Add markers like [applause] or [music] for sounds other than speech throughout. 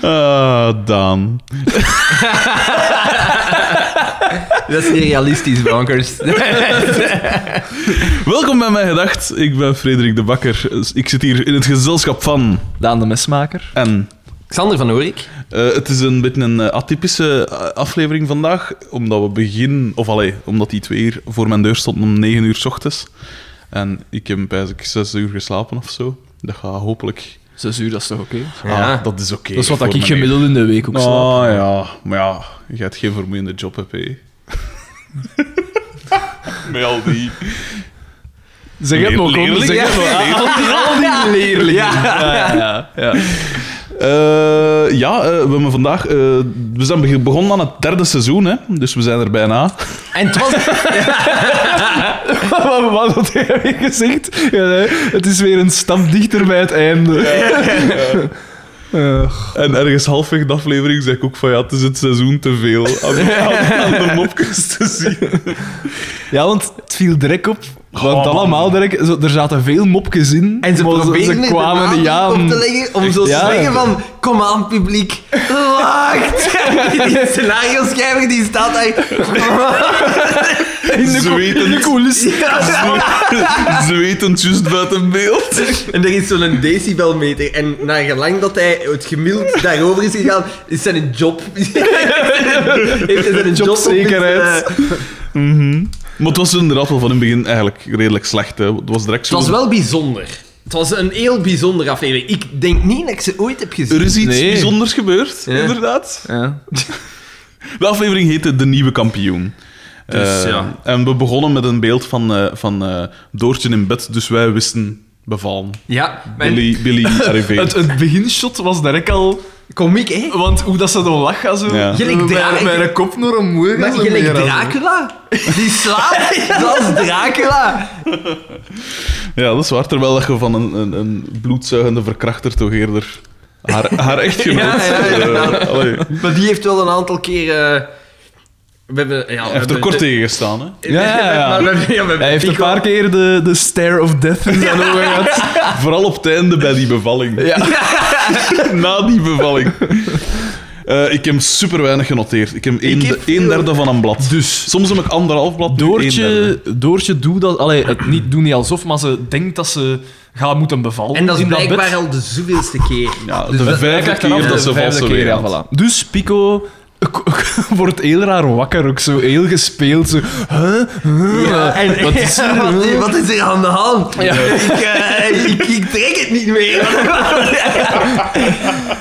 Ah, Daan. Dat is niet realistisch, bonkers. Welkom bij Mijn Gedacht. Ik ben Frederik de Bakker. Ik zit hier in het gezelschap van... Daan de mesmaker. En Xander van Oorik. eh, het is een beetje een eh, atypische eh, aflevering vandaag, omdat we begin... Of allee, omdat die twee hier voor mijn deur stonden om 9 uur s ochtends. En ik heb bijzonder zes uur geslapen of zo. Dat gaat hopelijk... Zes uur, dat is toch oké? Ja. Ah, dat is oké. Dat is voor wat ik mijn gemiddeld in de week ook slaap. Ah ja, maar ja, je hebt geen vermoeiende job, heb je. [laughs] Met al die... Zeg het Leer- maar, kom. leerlingen, Zeg het maar. leerlingen. Al die leerlingen. ja, ja. Eh, ja, eh, we hebben vandaag... eh, we zijn beg- begonnen aan het derde seizoen, hè. Dus we zijn er bijna. En het was... [laughs] [laughs] Wat- Wat had jij weer gezegd? Ja, nee, het is weer een stap dichter bij het einde. [laughs] Eh, En ergens halfweg de aflevering zeg ik ook van... Ja, het is het seizoen te veel. Aan, aan- aan de mopjes te zien. ja, want het viel direct op. Want Oh, allemaal direct, zo, er zaten veel mopjes in. En ze maar probeerden ze het kwamen niet aan. op te leggen om zo Ja. te zeggen van... Kom aan, publiek. Wacht. [laughs] Die scenario-schrijver die staat daar... In de, cou- in de Zwetend. coulissen. [laughs] Zwetend, juist buiten beeld. [laughs] En er is zo'n decibelmeter. En naar gelang dat hij het gemiddeld daarover is gegaan, is zijn job. [laughs] Heeft hij zijn job op zijn, Jobzekerheid. eh, Maar het was inderdaad wel van in het begin eigenlijk redelijk slecht, hè. Het was direct Het zo... was wel bijzonder. Het was een heel bijzondere aflevering. Ik denk niet dat ik ze ooit heb gezien. Er is iets Nee. bijzonders gebeurd, Ja. inderdaad. Ja. De aflevering heette De Nieuwe Kampioen. Dus, Eh, ja. En we begonnen met een beeld van, eh, van eh, Doortje in bed, dus wij wisten bevallen. Ja, mijn Billy, Billy [laughs] arriveert. Het, het beginshot was direct al... komiek, hè? Want hoe dat ze dan lachen, en zo. Ja. Gelijk Met- draak. Met een kop naar een moer. Maar en zo gelijk meer, en zo. Dracula? Die [laughs] slaapt zoals Dracula. Ja, dat is waar. Terwijl dat je van een, een, een bloedzuigende verkrachter toch eerder [laughs] haar, haar echtgenoot... Ja, ja, ja. eh, allee, Maar die heeft wel een aantal keer... eh, we hebben... Ja, we heeft er hebben kort de- tegen gestaan, hè. Ja, ja, ja. Maar we hebben- ja, we hebben Hij heeft een Pico- paar keer de, de stare of death in zijn ogen [laughs] gehad. Vooral op het einde bij die bevalling. [laughs] Na die bevalling. Eh, ik heb super weinig genoteerd. Ik heb een, heb de- een veel. derde van een blad. Dus- Soms heb ik anderhalf blad. nu een derde. Doortje, Doortje doet dat... Allee, het niet, doet niet alsof, maar ze denkt dat ze gaat moeten bevallen En dat is in dat blijkbaar bed. al de zoveelste keer. Ah, Ja, Dus de dat- vijfde Hij krijgt keer eraf dat de ze vijfde valse keer, weer ja, voilà. Dus Pico [laughs] wordt heel raar wakker, ook zo heel gespeeld. Zo, huh? Huh? Ja, [laughs] en, Wat is er? wat, [laughs] wat is er aan de hand? Ik, eh, ik, ik trek het niet meer.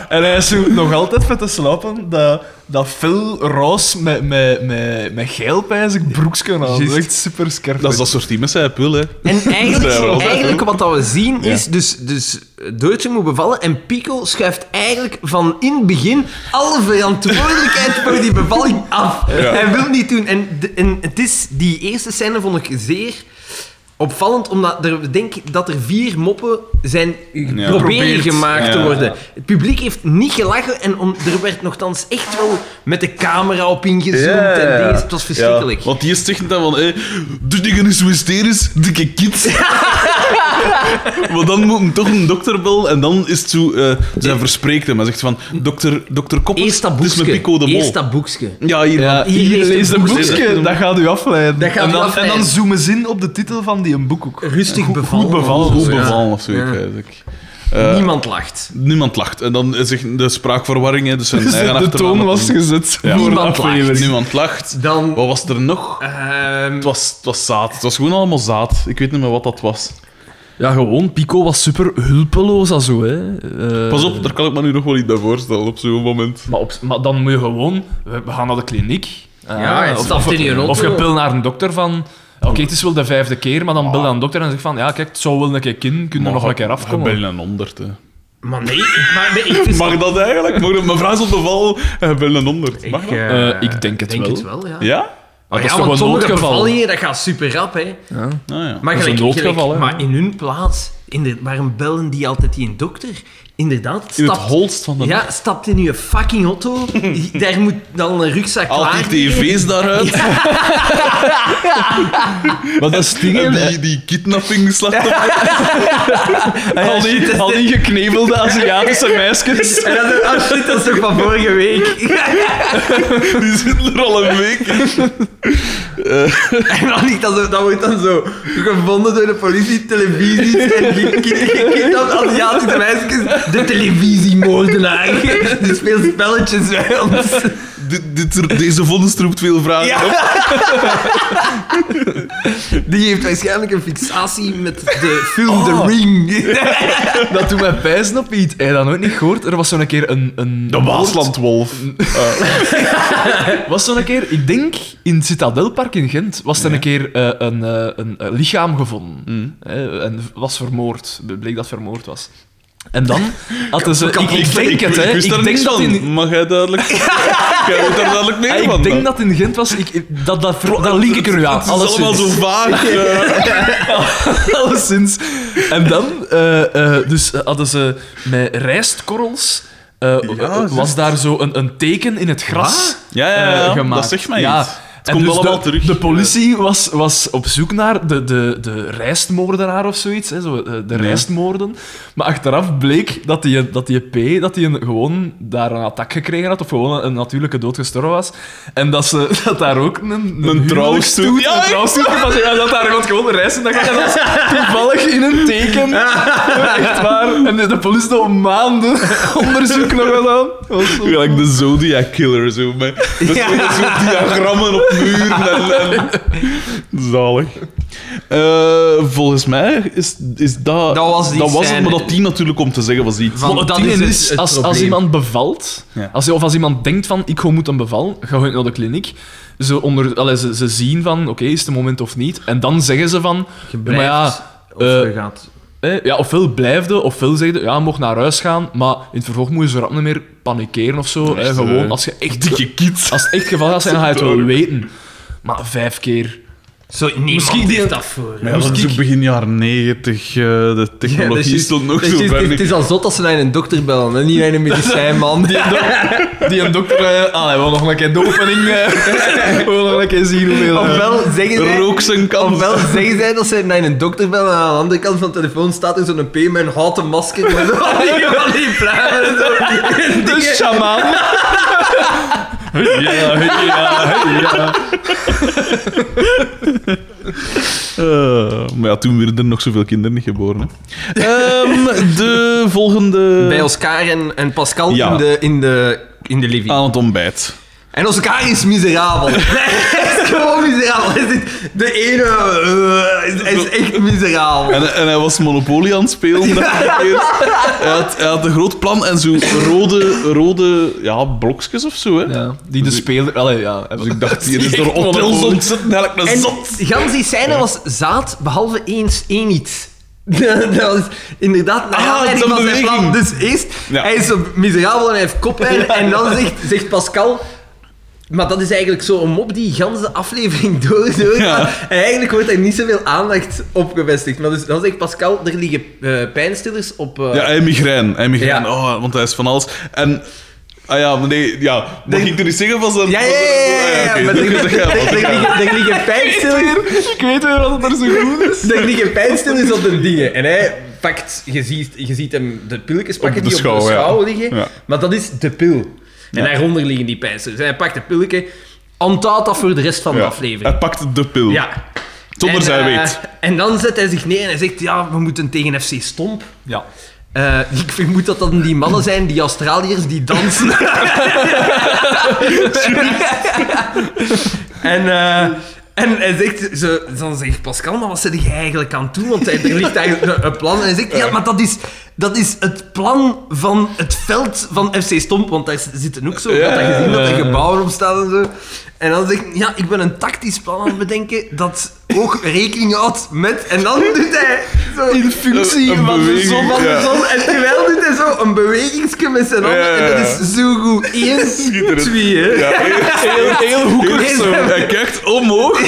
En hij is zo nog altijd vet te slapen dat, dat Phil Roos met, met, met, met geil bij zijn broeksken aan. Dat is Juist. echt super scherp. Dat is dat soort team, zij wil, hè. [laughs] En Ja, wel. eigenlijk, eigenlijk wat dat we zien is, dus, dus Deutsche moet bevallen en Pico schuift eigenlijk van in het begin alle verantwoordelijkheid voor die bevalling af. Hij wil niet doen. En, de- en het is, die eerste scène vond ik zeer opvallend, omdat er, ik denk dat er vier moppen zijn proberen Geprobeerd. gemaakt te Ja. worden. Het publiek heeft niet gelachen en om, er werd nogthans echt wel met de camera op ingezoomd Ja. en dingen. Het was verschrikkelijk. Ja, want die is tegen dan van, hé, de dingen is zo hysterisch, dikke [laughs] kids. maar dan moet hem toch een dokter bellen en dan is het zo, eh zij verspreekt hem. Hij zegt van, dokter, dokter Koppers, Eerst dat het is boekje. met Pico de Mol. Eerst dat boekje. Ja, hier. Ja, Hier hier leest lees de een boek. boekje, dat gaat u afleiden. Dat gaat en, u dan, afleiden. en dan zoomen ze in op de titel van die een boek ook. Rustig Goed- bevallen. Goed bevallen. Goed zo, ja. bevallen of zo, ik weet ik. Eh, Niemand lacht. Niemand lacht. En dan is er de spraakverwarring, hè, dus zijn Dus eigen [laughs] de, de achternaam. toon was gezet. Ja. voor de Niemand lacht. aflevering. Niemand lacht. Dan... Wat was er nog? ehm, Het was, het was zaad. Het was gewoon allemaal zaad. Ik weet niet meer wat dat was. Ja, gewoon. Pico was super hulpeloos en zo. Hè. Eh, Pas op, daar kan ik me nu nog wel iets bij voorstellen op zo'n moment. Maar, op- maar dan moet je gewoon... We, we gaan naar de kliniek. Eh, Ja, en of, stapt of, in je auto. of je pil naar een dokter van... Oké, het is wel de vijfde keer, maar dan bel je aan de dokter en zeg van... Ja, kijk, het zou wel een keer kind, kunnen nog een keer afkomen. Bijna een honderd, hè. Maar nee, maar nee, ik, dus- Mag dat eigenlijk? Mag dat- mijn vraag is op de val. eh, Bijna een honderd. Mag ik, dat? eh, Eh, ik denk het denk wel. het wel, ja. Ja? Maar ja, dat is want toch een sommige noodgeval? bevallingen, dat gaat super rap, hè. Nou ja. Dat Maar, is gelijk, een noodgeval, gelijk- hè. maar in hun plaats, Inder- waarom bellen die altijd die een dokter? Inderdaad, In het stapt- holst van de... ja, stapt in je [laughs] fucking auto. Daar moet dan een rugzak Al klaar die tv's daaruit. Maar dat is [laughs] dingen. En [laughs] die, die kidnapping-slachtoffer. al, die, al die geknevelde [laughs] Aziatische meisjes. En dat, oh shit, dat is toch van vorige week? Die zitten er al een week in. [laughs] En dan niet, dat, zo- dat wordt dan zo gevonden door de politie, [laughs] televisie en gekidnapt Aziatische meisjes. De televisiemoordenaar. [laughs] Die speelt spelletjes bij ons. Dit, dit, er- deze vondst roept veel vragen Ja. op. Die heeft waarschijnlijk een fixatie met de film The Ring. Dat doet mij pijzen op iets. Heb je dat nooit niet gehoord? Er was zo'n keer een... een De Waaslandwolf. was zo'n keer, ik denk in het Citadelpark in Gent, was er een keer eh, een, eh, een, eh, lichaam gevonden. Mm. Hè, en was vermoord. Bleek dat vermoord was. En dan [laughs] hadden ze... Ik, Kapot. ik denk het, hè. wist daar Ik denk niks dat van. in... Maar jij [laughs] duidelijk... jij weet daar duidelijk meer Ah, van. ik denk hè? dat in Gent was... Ik, ik- dat, dat, dat, link ik er nu aan. [laughs] Het is allemaal zo Alleszins. [laughs] vaag. eh. Alleszins. En dan, eh, eh, dus hadden ze met rijstkorrels. eh, Ja, was daar zo een, een teken in het gras Ja, ja, ja, eh, ja. gemaakt. dat zegt mij Ja. iets. Het En komt dus allemaal de, terug. De [laughs] politie was, was op zoek naar de, de, de rijstmoordenaar of zoiets, hè, zo, eh, de rijstmoorden. Maar achteraf bleek dat die, dat die P dat die een, gewoon daar een attack gekregen had, of gewoon een, een natuurlijke dood gestorven was. En dat, ze, [laughs] dat daar ook een, een, trouwstoet. huwelijkstoet- Ja, een echt? trouwstoet was. Ja, dat daar iemand gewoon rijst in dat En dat was toevallig in een [laughs] teken. Echt waar. En de, de politie had al maanden [laughs] onderzoek nog gedaan. Dat Oh, was zo- Gelijk de Zodiac Killer, zo. Met, met Ja. zo'n soort diagrammen op muren. En, en... Zalig. Eh, volgens mij is, is dat... Dat was die het, scène. maar dat die natuurlijk om te zeggen was iets. Van- Maar dat het is ding het- is, het als, als probleem. iemand bevalt, Ja. als, of als iemand denkt van ik ga moeten bevallen, ga je naar de kliniek. Ze, onder, allee, ze, ze zien van oké, is het een moment of niet. En dan zeggen ze van, maar ja, eh, gaat... hè, ja ofwel blijfde, ofwel zegde, ja, je mag naar huis gaan, maar in het vervolg moet je zo rap niet meer panikeren of zo. Echt, hè, gewoon hè. als je echt Dikke kids. [laughs] als het echt geval gaat zijn, dan ga je het wel weten. Maar vijf keer. Zo, niemand Misschien Misschien die- heeft dat voor. Maar ja, dat is ook begin jaren negentig. eh, de technologie stond nog zo ver. Het is al zot als ze naar een dokter bellen en niet naar een [laughs] medicijnman. Die een dokter, eh, allee, we gaan nog een keer de [laughs] opening. eh, we gaan nog een keer zien hoeveel. eh, Ofwel zeggen zij... Rook zijn kans. Ofwel zeggen zij dat ze naar een dokter bellen en aan de andere kant van de telefoon staat er zo'n P met een houten masker [laughs] met zo van die, van die pluimen en zo. En De dingen. Dus shaman. Ja, ja, ja. [laughs] Eh, maar ja, toen werden er nog zoveel kinderen niet geboren. Hè. Ehm, de volgende... Bij Oscar en, en Pascal Ja. in, de, in, de, in de living. Aan het ontbijt. En Oscar is miserabel. hij is gewoon miserabel. Hij zit- de ene eh, hij is echt miserabel. En, en hij was Monopoly aan het spelen. dacht ik eerst. Hij, had, hij had een groot plan en zo rode, rode ja, blokjes of zo. Hè. Ja, die de speler... Allee, ja. Dus ik dacht, Die is door hotels ontzettend eigenlijk een En zot. gans die scène was zaad, behalve eens één iets. dat was inderdaad naar Ah, aanleiding zo'n van zijn beweging. plan. Dus eerst, Ja. hij is zo miserabel en hij heeft koppijn. En dan zegt, zegt Pascal... Maar dat is eigenlijk zo'n mop die gans de aflevering door en door Ja. gaat. En eigenlijk wordt er niet zoveel aandacht op gevestigd. Maar dus, dan zegt Pascal, er liggen eh, pijnstillers op... eh, Ja, hij migraine. Hij migraine. Ja. Oh, want hij is van alles. En... Ah ja, maar nee, ja. Mag Nee. ik er niet zeggen van zijn... ja, ja, ja, ja, ja, Ah, ja, oké, [laughs] maar dan er kun je liggen- zeggen, er- want er ik ga- liggen- er liggen pijnstillers... Ik weet weer wat er zo goed is. Er liggen pijnstillers op de dingen. En hij pakt, je ziet, je ziet hem de pilletjes pakken Op de die op de schouw, ja. schouw liggen. Ja. Maar dat is de pil. En daaronder liggen die pijnstillers. En hij pakt de pilletje. Onthoudt dat voor de rest van Ja, de Hij aflevering. pakt de pil. Ja. Zonder En, zij eh, weet. En dan zet hij zich neer en hij zegt, ja, we moeten tegen FC Stomp. Ja. Eh, ik vermoed dat dat die mannen zijn, die Australiërs, die dansen. [laughs] en, eh, en hij zegt, ze, dan zegt Pascal, maar wat zit je eigenlijk aan toe? Want hij, er ligt eigenlijk een, een plan. En hij zegt, ja, maar dat is Dat is het plan van het veld van FC Stomp, want daar zitten ook zo. Ik had dat gezien, dat er gebouwen op staan en zo. En dan zegt hij, ja, ik ben een tactisch plan aan het bedenken dat ook rekening houdt met... En dan doet hij zo... In functie Een- een van de beweging, zon. Van de ja. zon. En terwijl doet hij zo een bewegingsje met zijn handen. Ja, ja, ja. En dat is zo goed. Eens, Schitterend. twee, hè. Ja, heel, heel hoekig Heel- zo. Hij kijkt omhoog.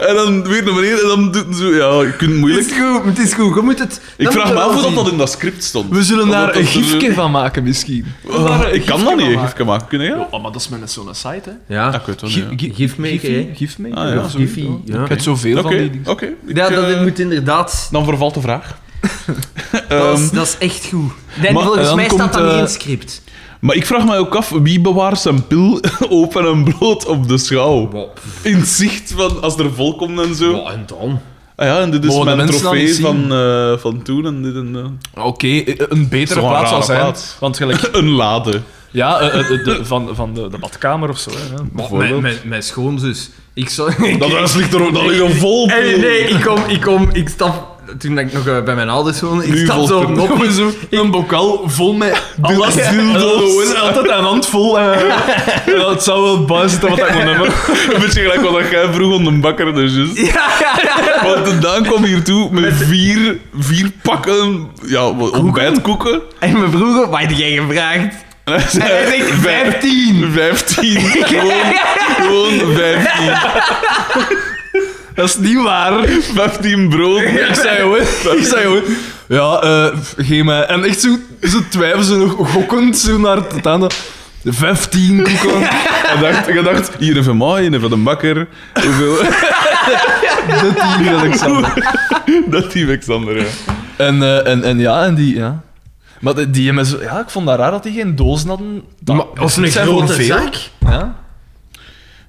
En dan weer naar beneden. En dan doet hij zo... Ja, je kunt Het is moeilijk. goed, het is goed. Je moet het... Ik dat vraag moet me je af wel of dat, zien. dat in dat script stond. We zullen Of daar dat een dat zo- gifje van maken, misschien. We Oh, zullen daar een ik kan gifje dat niet, een van gifje maken. Kunnen ja? maken. Oh, maar dat is met zo'n site, hè? Ja, Ja. ik weet wel Gif- niet. gif- Gif maken, gifie, hè? gifmaker, Ah, ja. ja, zoiets, Gifie, hoor. ja. Ik heb zoveel ja. van die Oké, dingen. oké. Ik, Ja, dat eh, moet inderdaad... Dan vervalt de vraag. Dat is, [laughs] Ehm, dat is echt goed. Nee, Maar, volgens eh, mij dan staat dat komt, niet in eh, het script. maar ik vraag me ook af, wie bewaart zijn pil [laughs] open en bloot op de schouw? In zicht van als er volk komt en zo. en dan? Ah ja, en dit is Mogen de mijn mensen dat trofee niet zien? van, eh, van toen en dit en dat. Oké, een betere Zo'n plaats rare zou zijn. plaats. Want gelijk, Een lade. ja, eh, eh, de- de- van, van de, de badkamer of zo. Hè, ja. Mijn, mijn, mijn schoonzus. Ik zou... Dat huis ligt er, [laughs] dat ligt er vol pil. Hey, nee, ik kom, ik kom, ik stap... Toen ik nog eh, bij mijn ouders woonde, ik Nu stap vol zo pil. op. Gewoon zo een bokaal vol met alles Ja. dildo's. Gewoon Altijd een hand vol. eh. Ja, het zou wel buis zitten wat ik moet hebben. [laughs] Een beetje gelijk wat jij vroeg om een bakker, dus juist. Ja, ja, ja. Want de Daan kwam hiertoe met vier, vier pakken ja, ontbijtkoeken. En mijn broer, wat heb jij gevraagd? En hij En zei, hij zegt "Vijf- 15. 15. [laughs] Gewoon, gewoon 15. Dat is niet waar. 15 brood. Ik zei gewoon, ik zei gewoon, ja, eh geef mij. En echt zo, zo twijfelen, zo nog gokkend, zo naar het einde. 15 [laughs] koeken. Je dacht, je dacht, hier een van mij, een van de bakker. [laughs] Hoeveel? De tien, Alexander. Dat die Alexander, ja. En, eh, en, en ja, en die, ja. Maar die, die hebben zo- ja, ik vond dat raar dat die geen dozen hadden. Dat, Of een zijn gewoon grote veel. zak. Ja.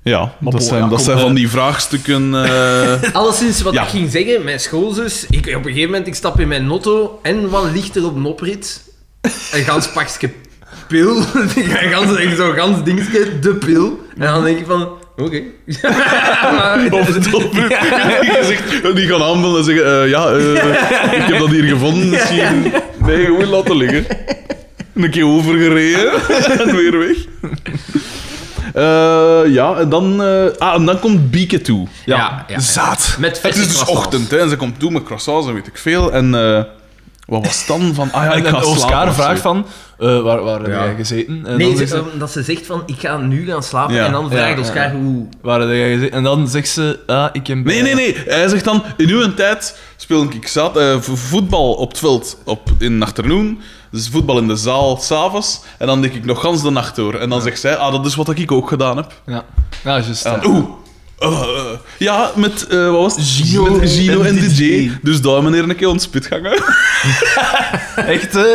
Ja, dat bon, zijn, ja, dat kom, zijn eh. van die vraagstukken. [laughs] eh, Alleszins wat Ja. ik ging zeggen, mijn schoolzus, ik, op een gegeven moment ik stap in mijn notto en wat ligt er op een oprit? Een gans pakje pil, [laughs] een gans, echt zo'n gans dingetje, de pil. En dan denk ik van, oké. Maar- of het oproep. Je zegt, Die gaan aanbellen en zeggen: eh, Ja, eh, [laughs] ik heb dat hier gevonden. Misschien. Nee, gewoon laten liggen. Een keer overgereden [laughs] en weer weg. Eh, ja, en dan, eh, ah, en dan komt Bieke toe. Ja, ja, ja. Zaad. Met Het is dus ochtend, hè, en ze komt toe met croissants en weet ik veel. En eh, wat was het dan? Van, ah ja, ik En, en ga slapen Oscar of zo. vraagt van, eh, waar, waar heb Ja. jij gezeten? En Nee, dan ze- zegt ze, omdat ze zegt van, ik ga nu gaan slapen Ja. en dan Ja, vraagt ja, Oscar hoe... waar heb jij gezeten? En dan zegt ze, ah, ik heb... Nee, nee, nee. Hij zegt dan, in uw tijd speel ik zat, voetbal op het veld op, in de afternoon. Dus voetbal in de zaal s'avonds. En dan denk ik nog gans de nacht door. En dan zegt zij, ah, dat is wat ik ook gedaan heb. Ja, ja juist. En ja. dan, oeh. eh, eh, ja, met, eh, wat was het? Gino Met Gino en en DJ. DJ. Dus daar meneer een keer ontspit gangen. Echt, hè?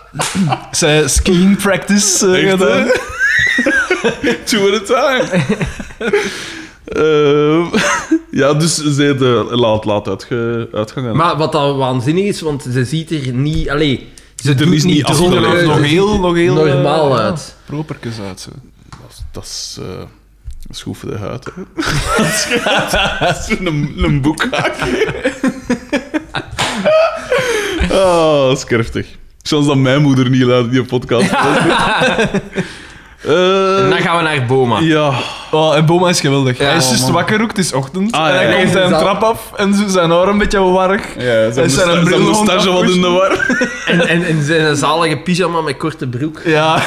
[laughs] Zij skiing practice eh, Echt, gedaan. hè? [laughs] Two at a time. Ehm, [laughs] ja, dus zij de laat, laat uitge, uitgangen. Maar wat dan waanzinnig is, want ze ziet er niet... Allee, ze er doet is niet, niet dronken afgelopen. uit, eh, nog ze ziet heel, nog heel... er eh, normaal ja, uit. Properkes uit, zo. Dat is, eh dat is goed voor de huid, hè. dat is een, een [laughs] boekhaakje. Ah, dat is kerftig. Chance dat mijn moeder niet luistert die [laughs] podcast. En dan Eh gaan we naar Boma. ja. Oh, en Boma is geweldig. hij is oh, juist man. wakker ook, het is ochtend. Ah, en ja, hij ja. komt zijn Zal- trap af en zo zijn haar een beetje warrig. ja zijn mousta- bril gewoon moustache wat in de war. En, en, en zijn zalige pyjama met korte broek. Ja, [laughs]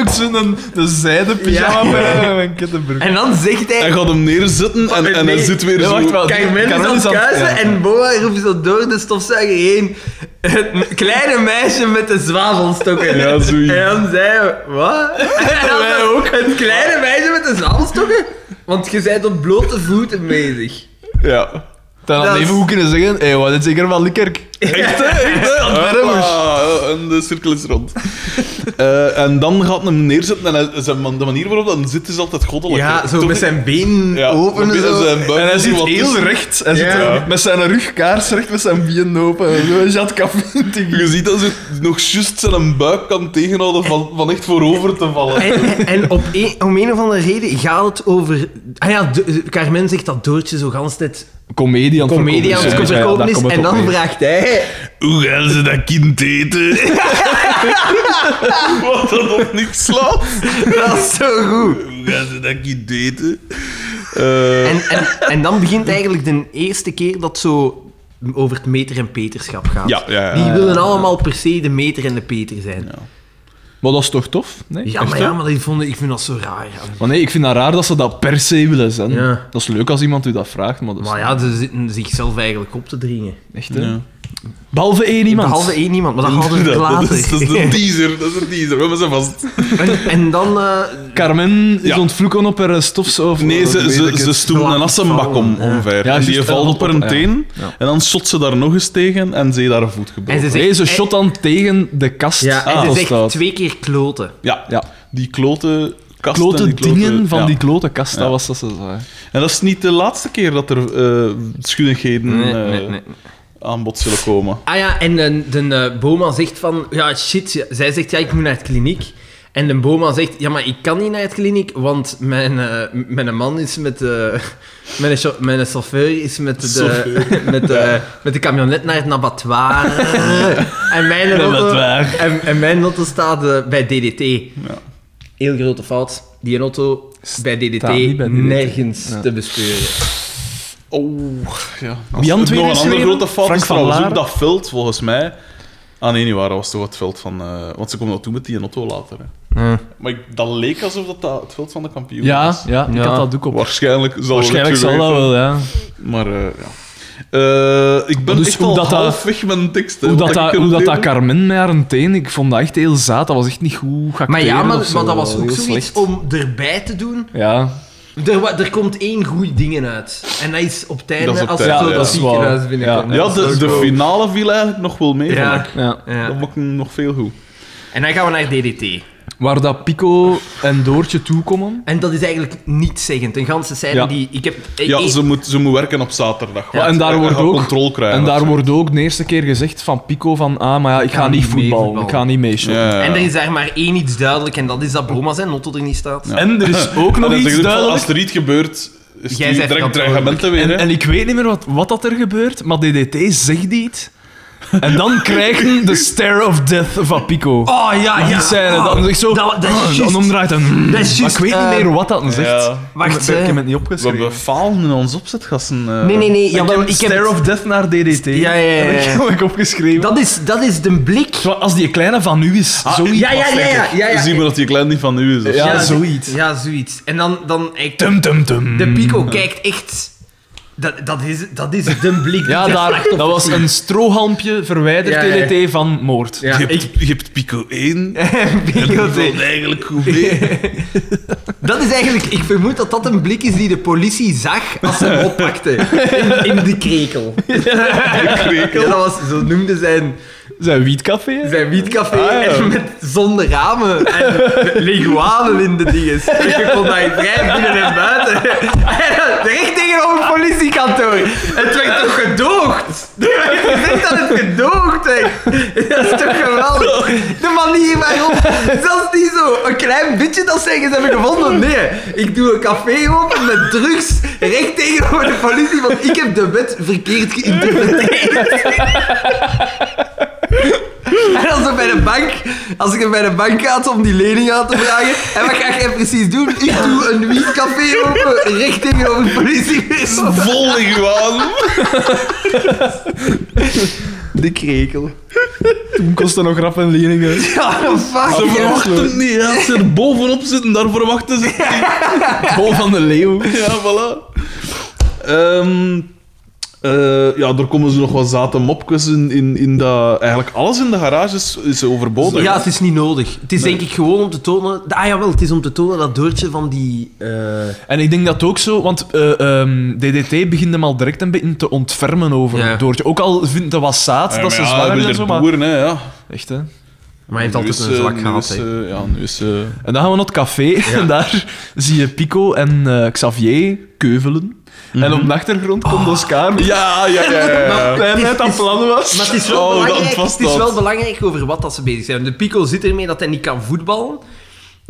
ook zo'n de zijde pyjama Ja. bij en een kettenbroek. En dan zegt hij... Hij gaat hem neerzetten en, en hij Nee. zit weer Nee, zo... wacht wel. Kijk, men is Carmen aan is het aan het- kuisen ja. en Boa roept zo door de stofzuiger heen. Het kleine meisje met de zwavelstokken. Ja, zoiets. En dan zei we, wat? En dan Wij ook. Het kleine meisje met de zwavelstokken? Want je bent op blote voeten bezig. Ja. Dan had Dat is- even goed kunnen zeggen, hé, wat is zeker van Likkerk? Echt, hè? Echt, hè? Hoppa, En de cirkel is rond. [laughs] Eh, en dan gaat hem neerzetten en hij- zijn man- de manier waarop dat zit is altijd goddelijk. hè. Toch niet- been Ja, met zijn buik En hij is zit wat heel tussen. recht. Hij zit Ja. er met zijn rug kaarsrecht, met zijn benen open. Zo, Hij zat Je ziet dat ze nog juist zijn buik kan tegenhouden van, van echt voorover te vallen. En, en op een, om een of andere reden gaat het over... Ah ja, de- Carmen zegt dat Doortje zo gans net comedian comedian aan het verkopen is. En dan vraagt hij... [laughs] Hoe gaan ze dat kind eten? Wat dat op niks slaat. Dat is zo goed. Hoe gaan ze dat kind eten? Eh, En, en, en dan begint eigenlijk de eerste keer dat zo over het meter en peterschap gaat. Ja, ja, ja. Die Ja, willen allemaal per se de meter en de peter zijn. Ja, Maar dat is toch tof? Nee? Echt, maar, hè? ja, maar dat vond ik, ik vind dat zo raar. ja. Maar nee, ik vind dat raar dat ze dat per se willen zijn. Ja. Dat is leuk als iemand u dat vraagt, maar dat is Maar ja, ze zitten zichzelf eigenlijk op te dringen. echt... hè. Behalve één iemand. Behalve één iemand, maar dat hadden we [laughs] dat, dat later. is, dat is [laughs] een teaser, dat is een teaser. We hebben ze vast. en, en dan... eh, Carmen is Ja. ontvloeken op haar stofzuivel. Nee, ze, Dat weet ze, ik ze het. stoelen een assenbak om, Ja. omver. Ja, en die juist, valt ja, op haar ja. teen. Ja. En dan shot ze daar nog eens tegen en ze heeft haar voet en gebroken. ze zegt, Nee, ze shot dan tegen de kast. ja, Ah, en dat ze zegt staat. twee keer kloten. Ja, Ja. die klote kasten. Klote die klote- dingen van ja. die klote kast, dat Ja. was dat ze zei. En dat is niet de laatste keer dat er eh schunnigheden eh, aan bod zullen komen. Ah ja, en de, de eh, Boma zegt van... Ja, shit. ja. Zij zegt, ja, ik moet naar het kliniek. En de Boma zegt, ja, maar ik kan niet naar het kliniek, want mijn, eh, m- mijn man is met de... Mijn, cho- mijn chauffeur is met de, Chauffeur. [laughs] met, de, met de camionet naar het [laughs] abattoir. en, mijn auto, Abattoir. en, en mijn auto staat eh, bij DDT. Heel grote fout. Die auto is bij DDT, Staat niet bij DDT. nergens te bespeuren. Oh, ja. Wie aan Nog twee een is andere gereden? grote fout Frank is van trouwens ook Laar. dat veld, volgens mij. Ah nee, niet waar, dat was toch het veld van... eh, want ze komen dat toe met die auto later. Hè. Maar ik- dat leek alsof dat, dat het veld van de kampioen Ja, was. ja, ik Ja. had dat doek op. Waarschijnlijk zal Waarschijnlijk het zo zal dat geweest wel, ja. zijn. Maar eh, ja. Eh, ik ben Dus echt hoe al dat dat- halfweg met mijn tekst. hè, Hoe wat dat, dat, ik hoe dat, dat kan... Carmen met haar teen, ik vond dat echt heel zaad. Dat was echt niet goed geacteerd Maar ja, maar, of zo. maar dat was ook Heel zoiets slecht. om erbij te doen. Ja, Er, wa- er komt één goed ding uit. En dat is op tijd Dat als is op het tijd, zo ja. dat Dat is ziekenhuis waar. Ja, binnenkomt. Ja, de, de finale viel eigenlijk nog wel mee. Ja. vond ik. ja. Ja. Dat maakt hem nog veel goed. En dan gaan we naar DDT. Waar dat Pico en Doortje toekomen. En dat is eigenlijk niet zeggend. Een ganse scène Ja. die... Ik heb, eh, ik- Ja, ik- ze moet, ze moet werken op zaterdag. Ja, en daar Hij wordt gaat ook- controle krijgen. en of daar zo. wordt ook de eerste keer gezegd van Pico van ah, maar ja, ik ga niet niet mee voetballen, voetballen. ik ga niet meeshoppen. Ja, ja, ja. En er is daar maar één iets duidelijk, en dat is dat Broma zijn auto er niet staat. En er [laughs] is ook nog En dan iets zeggen ze van, duidelijk. Als er iets gebeurt, is Jij het bent direct verantwoordelijk. dreigementen weer. hè. En, en ik weet niet meer wat, wat dat er gebeurt, maar DDT zegt iets. En dan [laughs] krijgen we de stare of death van Pico. Oh ja, ja. die scène, oh, dan zegt zo... Dat, dat is en juist. omdraait en... Dat is maar juist, ik weet niet eh, meer wat dat dan zegt. Ja. ik, Wacht, heb- ik eh, heb het niet we opgeschreven. hebben falen in ons opzetgassen. eh. Nee, nee, nee. ik heb jawel, ik heb stare het- of death naar DDT. Ja, ja, ja, ja. Dat heb ik opgeschreven. dat, is, dat is de blik... Zo, Als die kleine van u is, Ah, zoiets. Ja, ja, ja, ja. ja, ja. Zien we dat die klein niet van u is. of Ja, zo. Ja, zoiets. Ja, zoiets. En dan... dan ik- Tum, tum, tum. De Pico kijkt echt. Dat, dat, is, dat is de blik. die Ja, ter daar, slachtoffer dat was ziet. een strohalmpje verwijderd Ja, ja. DDT van moord. Ja, je, hebt, ik- je hebt Pico [laughs] 1. en die Pico valt eigenlijk goed mee. Dat is eigenlijk, ik vermoed dat dat een blik is die de politie zag als ze hem oppakte. In, in de krekel. [laughs] Ja, dat was, zo noemde zijn, Zijn wietcafé? [laughs] zijn wietcafé. Ah, ja. en met, zonder ramen. En leguanen in de [laughs] dinges. En je kon daar vrij binnen en buiten. [laughs] En dan recht tegenover het politiekantoor. Het werd toch gedoogd? [laughs] Er werd gezegd dat het gedoogd werd. [laughs] Dat is toch geweldig? De manier waarop, zelfs niet zo een klein beetje dat ze ergens hebben gevonden. Nee, ik doe een café open met drugs recht tegenover de politie. Want ik heb de wet verkeerd geïnterpreteerd. En als ik bij de bank, als ik bij de bank gaat om die lening aan te vragen, en wat ga jij precies doen? Ik doe een wietcafé open, recht tegenover het politiebureau. Vol iguaan. De krekel. Toen kostte nog rap en leningen. Ja, fuck. Ze ja. verwachten het niet. hè. Als ze er bovenop zitten, daar verwachten ze het niet. Paul van de Leeuw. [laughs] Ja, voilà. Ehm, eh, ja, er komen ze nog wat zate mopjes in, in, in dat... Eigenlijk alles in de garage is, is overbodig. Ja, het is niet nodig. Het is denk ik gewoon om te tonen... Ah jawel, het is om te tonen dat Doortje van die... eh, En ik denk dat ook zo, want eh, ehm, DDT begint hem al direct een beetje te ontfermen over Ja. Doortje. Ook al vindt het wat zaad Ja, dat maar ze ja, zwanger wil is en er zo, maar... boeren, hè, ja. Echt, hè. maar hij heeft Nu altijd is, een eh, zwak nu gehad, is, hè. eh, Ja, nu is... eh, En dan gaan we naar het café [laughs] en daar zie je Pico en eh, Xavier keuvelen. Mhm. En op de achtergrond Oh. komt Oscar. die Ja, ja, ja. [laughs] ja, ja. Klein net aan plannen was. Maar Eh, het is, wel Oh, dat belangrijk, was het is dat. wel belangrijk over wat dat ze bezig zijn. De Pico zit ermee dat hij niet kan voetballen.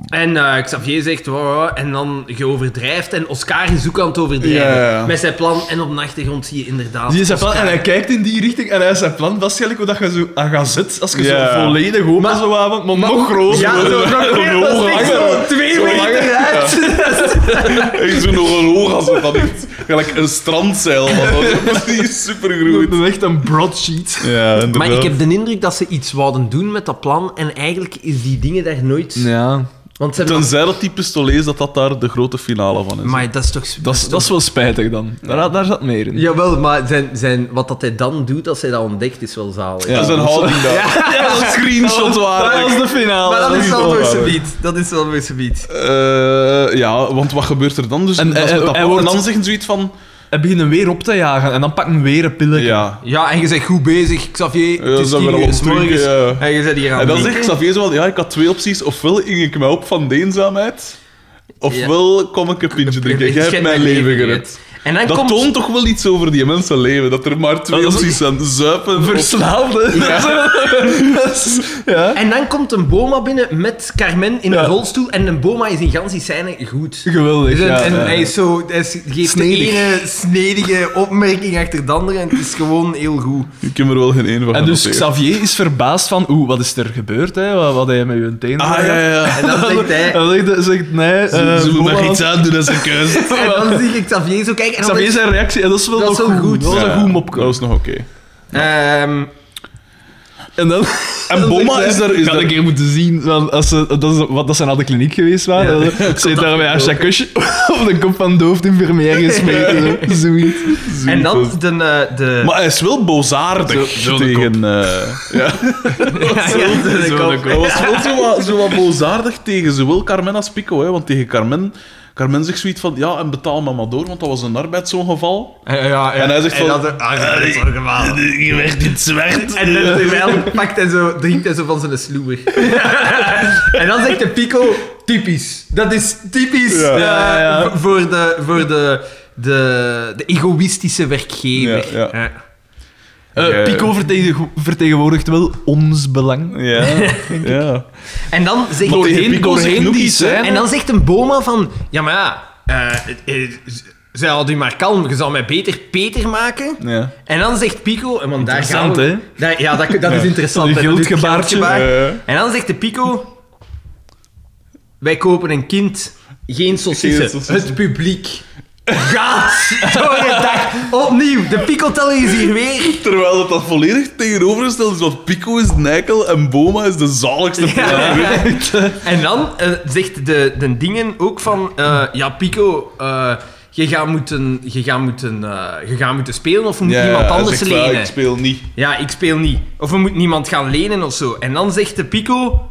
En eh, Xavier zegt, "Wow, wow," en dan je overdrijft. En Oscar is ook aan het overdrijven Ja, ja, ja. met zijn plan. En op de achtergrond zie je inderdaad... Die is zijn plan, en Oscar. hij kijkt in die richting en hij is zijn plan vastgelijk hoe dat je zo aan gaat zitten. Als je Ja. zo volledig open Maar- zo avond, maar, nog groter. Ja, zo, [laughs] wordt. dat Een ogen is echt hangen. zo twee Zo hangen. meter uit. Echt zo'n oorlog als het dan echt. Gelijk een strandzeil. Dat is precies supergroot. Dat is echt een broadsheet. Ja, inderdaad. Maar ik heb de indruk dat ze iets wouden doen met dat plan. En eigenlijk is die dingen daar nooit... Ja. Want ze hebben... Tenzij dat die pistolet is, dat dat daar de grote finale van is. Maar dat is toch... Dat is, dat is wel spijtig dan. Daar, daar zat meer in. Jawel, maar zijn, zijn, wat dat hij dan doet, als hij dat ontdekt, is wel zalig. dat is een houding daar. [laughs] dat is Screenshot Dat was de finale. Maar dat is wel wel voor waar, dus- zijn beat. Dat is wel voor zijn beat. Eh, ja, want wat gebeurt er dan? Dus En, Dat is eh, met dat hij plan. wordt- en dan zeggen ze iets van... Hij begint hem weer op te jagen en dan pakken we weer een pilletje. Ja. Ja, en je bent goed bezig, Xavier. Ja, Het is zijn we 10 al uur op is drinken, morgens. ja. En je bent hier aan En het dan drinken. zegt Xavier zo van... Ja, ik had twee opties. Ofwel ging ik mij op van eenzaamheid... Ofwel kom ik een [laughs] pintje drinken. Jij hebt mijn leven gered. En dan Dat komt... toont toch wel iets over die mensenleven. Dat er maar twee Dat is- opties zijn. Zuipen of- Verslaafde. [laughs] ja. En dan komt een boma binnen met Carmen in een Ja. rolstoel. En een boma is in gans die scène goed. Geweldig. Dus en, ja, en ja. hij, is zo, hij is- geeft Snedig. de ene snedige opmerking achter de andere en het is gewoon heel goed. Ik heb er wel geen één van En dus genoteerd. Xavier is verbaasd van, oeh, wat is er gebeurd, hè? Wat, wat heb je met je tenen Ah, ja, gedaan? ja. ja. En dan zegt [laughs] hij... Hij zegt, zegt nee, eh, Ze moeten Boba- daar iets aan doen als een [laughs] keuze. En dan zie ik Xavier zo kijken en dan Xavier zijn reactie, en dat is wel Dat nog is wel goed. Dat was Ja, een goed mopje. Dat was nog oké. Ehm, En dan... [laughs] En Boma is er... Is ik had er een keer moeten zien, want als ze, dat, is, wat, dat ze naar de kliniek geweest waren. [laughs] Ze heeft daar bij haar chakusje [laughs] op de kop van de hoofdinfirmier [laughs] gesmeten. zo. Zoiets. en dan de... eh, de maar hij is wel bozaardig Zo- zo de tegen... eh, [laughs] ja, ja, de- zo- kop. Hij was wel zo wat, zo wat bozaardig tegen zowel Carmen als Pico. Hè, want tegen Carmen... Carmen zegt zoiets van, ja, en betaal me maar door, want dat was een arbeidsongeval. Ja, ja, En hij zegt van- dat er- ah, ja, dat is wel gewaagd. [laughs] Je werd in zwart. En dan terwijl pakt hij zo, drinkt hij zo van zijn sloeber. [laughs] en dan zegt de Pico, typisch. Dat is typisch Ja. eh, Ja, ja. v- voor de... Voor de de, de egoïstische werkgever. Ja, Eh, Ja. Pico vertegen- vertegenwoordigt wel ons belang. Ja, [laughs] ja. En dan zegt Maar tegen Pico zegt nog die iets, hè. scène- En dan zegt een boma van... Ja, maar ja... eh, eh, z- zij had u maar kalm. Je zou mij beter Peter maken. ja. En dan zegt Pico... En want daar gaan Interessant, we, hè? daar- ja, dat, dat is interessant. Die hè, dat is het geldgebaartje. geldgebaar. Eh, En dan zegt de Pico... Wij kopen een kind, geen Geen saucissen. saucissen. Het publiek gaat door het dak. Opnieuw, de Pico-teller is hier weer. Terwijl dat dat volledig tegenovergesteld is, want Pico is Nijkel en Boma is de zaligste Ja. player. [laughs] En dan eh, zegt de, de dingen ook van... eh, ja, Pico, eh, je gaat moeten, je gaat moeten, eh, je gaat moeten spelen of we moeten iemand hij anders zegt wel, lenen. Ik speel niet. Ja, ik speel niet. Of we moeten iemand gaan lenen of zo. En dan zegt de Pico...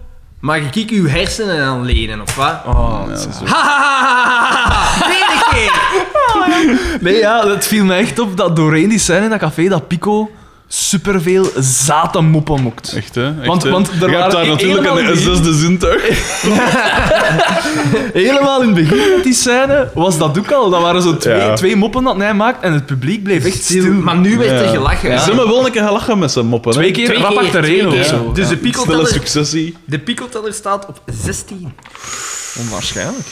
Mag ik uw hersenen aan lenen, of wat? Oh, Ja, zo. Ha, ha, ha, ha, ha, ha. Tweede keer! Nee, ja, het viel me echt op dat doorheen die scène in dat café dat Pico superveel zate moppen mokt. Echt, hè? Echt, Want- hè? want er Je waren hebt daar natuurlijk helemaal een, een niet- zesde [laughs] zintuig. Helemaal in het begin met die scène was dat ook al. Dat waren zo twee, Ja. twee moppen dat hij maakt en het publiek bleef echt stil. Maar nu werd er Ja. gelachen. Ze Ja. hebben wel een keer gelachen met zijn moppen. hè. Twee keer Twee rap keer, twee achtereen keer. of zo. Dus de Snelle Pico-teller successie. de Pico-teller staat op 16. Onwaarschijnlijk.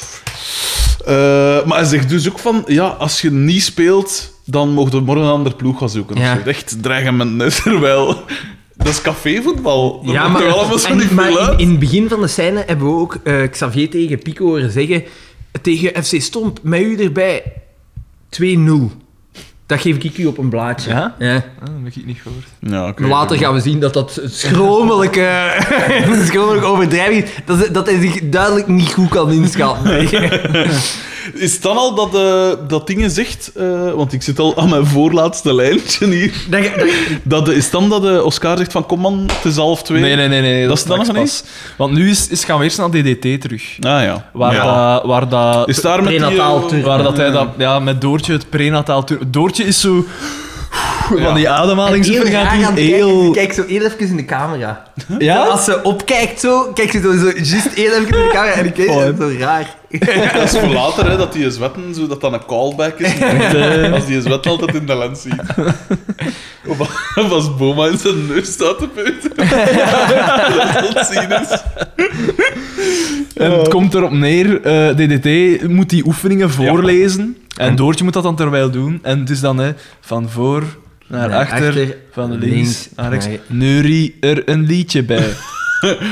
Eh, maar hij zegt dus ook van, ja, als je niet speelt, dan mogen we morgen een ander ploeg gaan zoeken. Ja. Dat is echt dreigement, hè, [laughs] terwijl... Dat is cafévoetbal. Dat moet er allemaal zo en- niet veel maar in, uit. in het begin van de scène hebben we ook eh, Xavier tegen Pico horen zeggen... Tegen FC Stomp, met u erbij, 2-0. Dat geef ik u op een blaadje. Ja? Ah, dat heb ik niet gehoord. Ja, oké. Maar Later gaan we zien dat dat een schromelijke, [laughs] een schromelijke overdrijving is. Dat, ze- dat hij zich duidelijk niet goed kan inschatten. [laughs] Is het dan al dat, eh dat dingen zegt, eh, want ik zit al aan mijn voorlaatste lijntje hier, Dat je- dat- dat, eh, is het dan dat eh, Oscar zegt van kom man, het is half twee? Nee, nee, nee. nee Dat is dan nog straks pas. Want nu is, is, gaan we eerst naar DDT terug. Ah ja. Waar, Ja. dat, waar dat... Is daar met die, Prenataal eh, tour. Waar dat hij dat, ja, met Doortje het prenataal... tur- Doortje is zo... Van die ademhaling heel zo raar aan gaat het die kijken. heel... Ze kijkt zo heel even in de camera. Ja? Als ze opkijkt zo, kijkt ze zo, zo juist heel even in de camera. En ik weet het, dat is zo raar. Dat is voor later, hè, dat die zwetten, zo dat dat een callback is. [laughs] Als die zwet altijd in de lens ziet. Of of als Boma in zijn [laughs] neus staat te putten. dat dat zien is. En het komt erop neer, eh, DDT moet die oefeningen voorlezen. En Doortje moet dat dan terwijl doen. En het is dan hè, van voor naar Naar achter, achter, van links links, naar rechts. naar- Neurie er een liedje bij.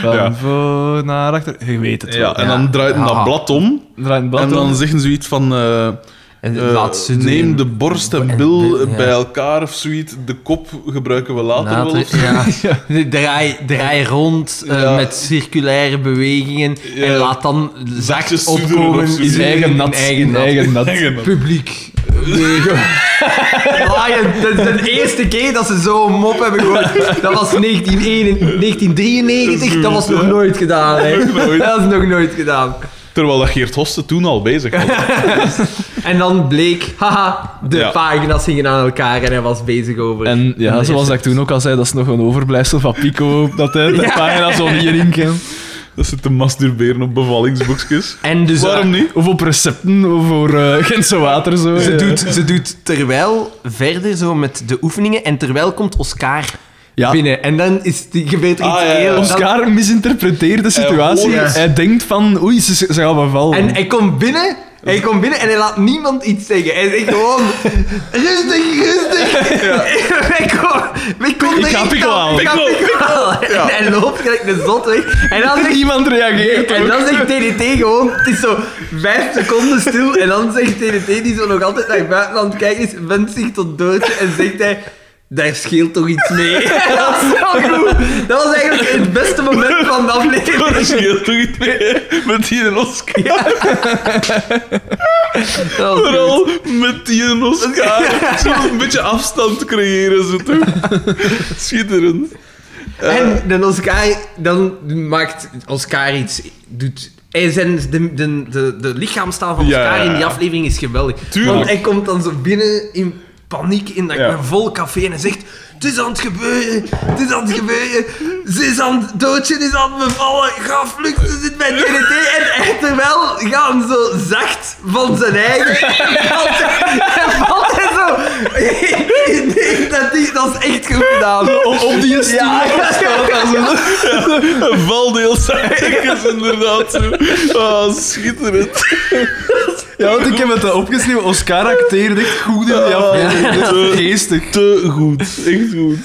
Van Ja. voor naar achter. Je weet het wel. Ja, en dan draait hij Ja. dat blad om. Draai een blad en dan om. zeggen ze iets van... eh, [laughs] En eh, laat ze neem doen. de borst en en bil bil, ja. bij elkaar of zoiets. De kop gebruiken we later, wel. of Later, zo. ja. [laughs] Nee, Draai, draai rond eh, Ja. met circulaire bewegingen en Ja. laat dan zachtjes Zachtjes toedelen opkomen of zo. [laughs] Is eigen nat. Eigen nat. Eigen nat. Publiek. Nee, gewoon- [laughs] Laaien. Dat is de eerste keer dat ze zo'n mop hebben gehoord. Dat was 1991, 1993. Dat was nog nooit gedaan. Hè. Dat is nog nooit gedaan. Terwijl dat Geert Hoste toen al bezig [laughs] was. En dan bleek, haha, de Ja. pagina's gingen aan elkaar en hij was bezig over. En ja, de zoals ik recept. toen ook al zei, dat is nog een overblijfsel van Pico, dat hij de Ja. pagina zo niet in kent. dat ze te masturberen op bevallingsboekjes. En dus Waarom niet? Of op recepten, of voor eh Gentse water. Zo, Ze ja. doet, ze doet terwijl verder zo met de oefeningen en terwijl komt Oscar Ja. binnen. En dan is die, gebeurt er iets Ah, ja, ja. heel... Oscar misinterpreteert de situatie. hoort het. Hij denkt van, oei, ze, ze gaan me vallen. En hij komt binnen... Hij komt binnen en hij laat niemand iets zeggen. Hij zegt gewoon... Rustig, [laughs] rustig. Wij komen wij komen Ik er ga echt Pico aan. halen. Ik ga Pico, Pico halen. En hij loopt gelijk de zot weg. En dan zegt Niemand reageert En ook. dan zegt TDT gewoon, het is zo vijf seconden stil. En dan zegt TDT, die zo nog altijd naar het buitenland kijkt, is, wendt zich tot dood en zegt hij. Daar scheelt toch iets mee. [laughs] Dat was zo goed. Dat was eigenlijk het beste moment van de aflevering. Dat scheelt toch niet mee, met die en Oscar. Dat was goed. Vooral met die en Oscar. Zo een beetje afstand creëren ze toch. Schitterend. Eh, En dan Oscar, dan maakt Oscar iets. Doet, hij zijn, de, de, de, de lichaamstaal van Ja, Oscar ja, ja. in die aflevering is geweldig. Tuurlijk. Want hij komt dan zo binnen in paniek in dat Ja. een vol café en hij zegt: Het is aan het gebeuren, het is aan het gebeuren. Ze is aan het doodje, is aan het bevallen. Ga vluchten, ze zit bij TNT. En hij terwijl gaan zo zacht van zijn [laughs] eigen. En valt hij- en valt hij zo. Ik denk dat, die, dat is echt goed gedaan. op, op die stoel. Ja, ja, Een valdeel is inderdaad zo. Ah, schitterend. Ja, want ik heb het al opgeschreven. Oscar acteerde echt goed in die aflevering. te, Geestig. te goed. Echt goed.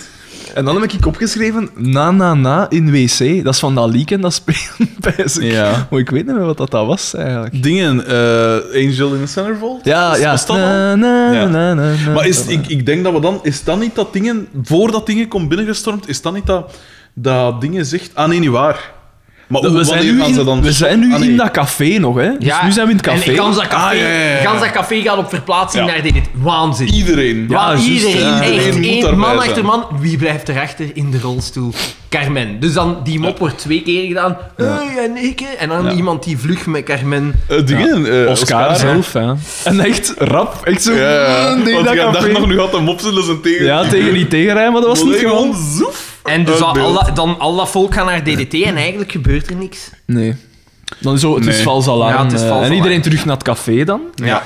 En dan heb ik opgeschreven, na na na in wc. Dat is van dat leak en dat spelen [laughs] bij zich. Ja. Maar ik weet niet meer wat dat, dat was eigenlijk. Dingen, eh, Angel in the Centerfold? Ja, ja. Was dat al? Na, na, Ja. na, na, na. Maar is, ik, ik denk dat we dan... Is dat niet dat dingen... Voordat dingen komt binnengestormd, is dat niet dat, dat dingen zegt... Ah, nee, niet waar. Maar Dat- hoe- we, zijn wanneer nu gaan ze in, dan... we zijn nu Ah, nee. in dat café nog, hè? Dus nu zijn we in het café. En gans dat café, Ah, ja, ja, ja. gans dat café gaat op verplaatsing Ja. naar dit. Waanzin. Iedereen. Ja, juist, iedereen, ja. echt Iedereen moet één daarbij man zijn. achter man. Wie blijft erachter in de rolstoel? Carmen. Dus dan, die mop wordt twee keer gedaan. Hey, en ik, hè. En dan iemand die vlucht met Carmen. Eh, dingen, eh, Oscar, zelf, ja. En echt rap. Echt zo... Ja, ja. mm, die Want dat ik dacht café. nog, nu gaat hem opzullen zijn tegen. Ja, tegen die tegenrij, maar dat was niet gewoon... zoef. En dus Uit Eh, al, beeld. al dat- dan al dat volk gaat naar DDT en eigenlijk gebeurt er niks. Nee. Dan is zo, het is Nee. vals alarm. Ja, het is eh, vals en alarm. iedereen terug naar het café dan. Ja.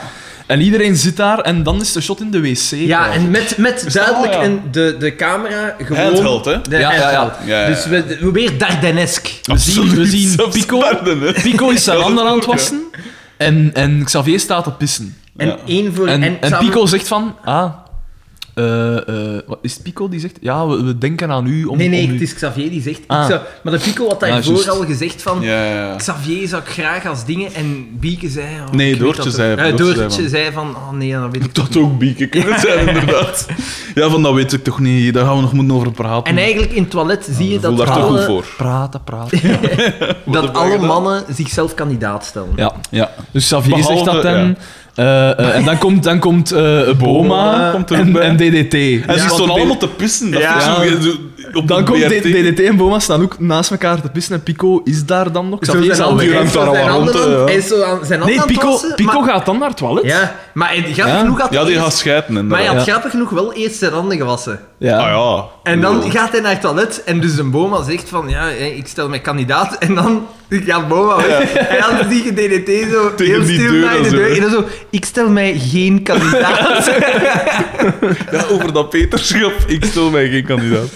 En iedereen zit daar en dan is de shot in de wc. Ja, en met, met duidelijk ja. en de, de camera gewoon... Handheld, hè? De Ja, ja, ja. handheld. Ja, ja, ja. Dus we, we weer Dardanesk. We zien, we [laughs] zien Pico. Pico is zijn Dat is handen aan het goed, ja. wassen. En, en Xavier staat te pissen. En Ja. één voor... En, en, en samen- Pico zegt van... Ah, eh, eh, wat is het Pico die zegt? Ja, we, we denken aan u. Om, Nee, nee, om u- het is Xavier die zegt... ik Ah. zou- maar de Pico had Ah, daarvoor juist. al gezegd van... Ja, ja. Xavier zou ik graag als dingen en Bieke zei... oh, Nee, ik weet Doortje dat zei- het- Eh, Doortje Doortje, zei zei van... Oh nee, dan [laughs] weet ik toch. Dat ook bieken kunnen [laughs] zijn, inderdaad. Ja, van dat weet ik toch niet. Daar gaan we nog moeten over praten. En eigenlijk in het toilet zie je ik voel dat daar toch goed alle, voor. Praten, [laughs] praten. dat hebben wij alle gedaan? mannen zichzelf kandidaat stellen. Ja. Ja. Dus Xavier Behalve- zegt dat dan. ja. eh, eh, en dan komt, dan komt eh, Boma Boma komt er ook en, bij. en DDT. En ze Ja. stonden allemaal te pissen. Dat Ja. vind ik zo- zo- op Dan de komt BRT. D- DDT en Boma staan ook naast elkaar te pissen en Pico is daar dan nog. Zo Xavier is al zijn handen- die weg. hangt zo daar zijn al handen rond, aan- eh. hij is zo aan zijn handen Nee, aan het Pico, wassen, Pico maar- gaat dan naar het toilet. Ja, maar hij gaat Ja. genoeg... had Ja, die eerst- gaat scheiden, Maar hij inderdaad. had grappig genoeg wel eerst zijn handen gewassen. Ja. Ah ja. En Ja. dan gaat hij naar het toilet en dus een Boma zegt van ja, hè, ik stel mij kandidaat [laughs] en dan gaat Boma weg. dus En dan zie je DDT zo Tegen heel die stil deur naar de en zo, deur hè. en dan zo, ik stel mij geen [laughs] kandidaat. [laughs] Ja, over dat Peterschap. Ik stel mij geen kandidaat.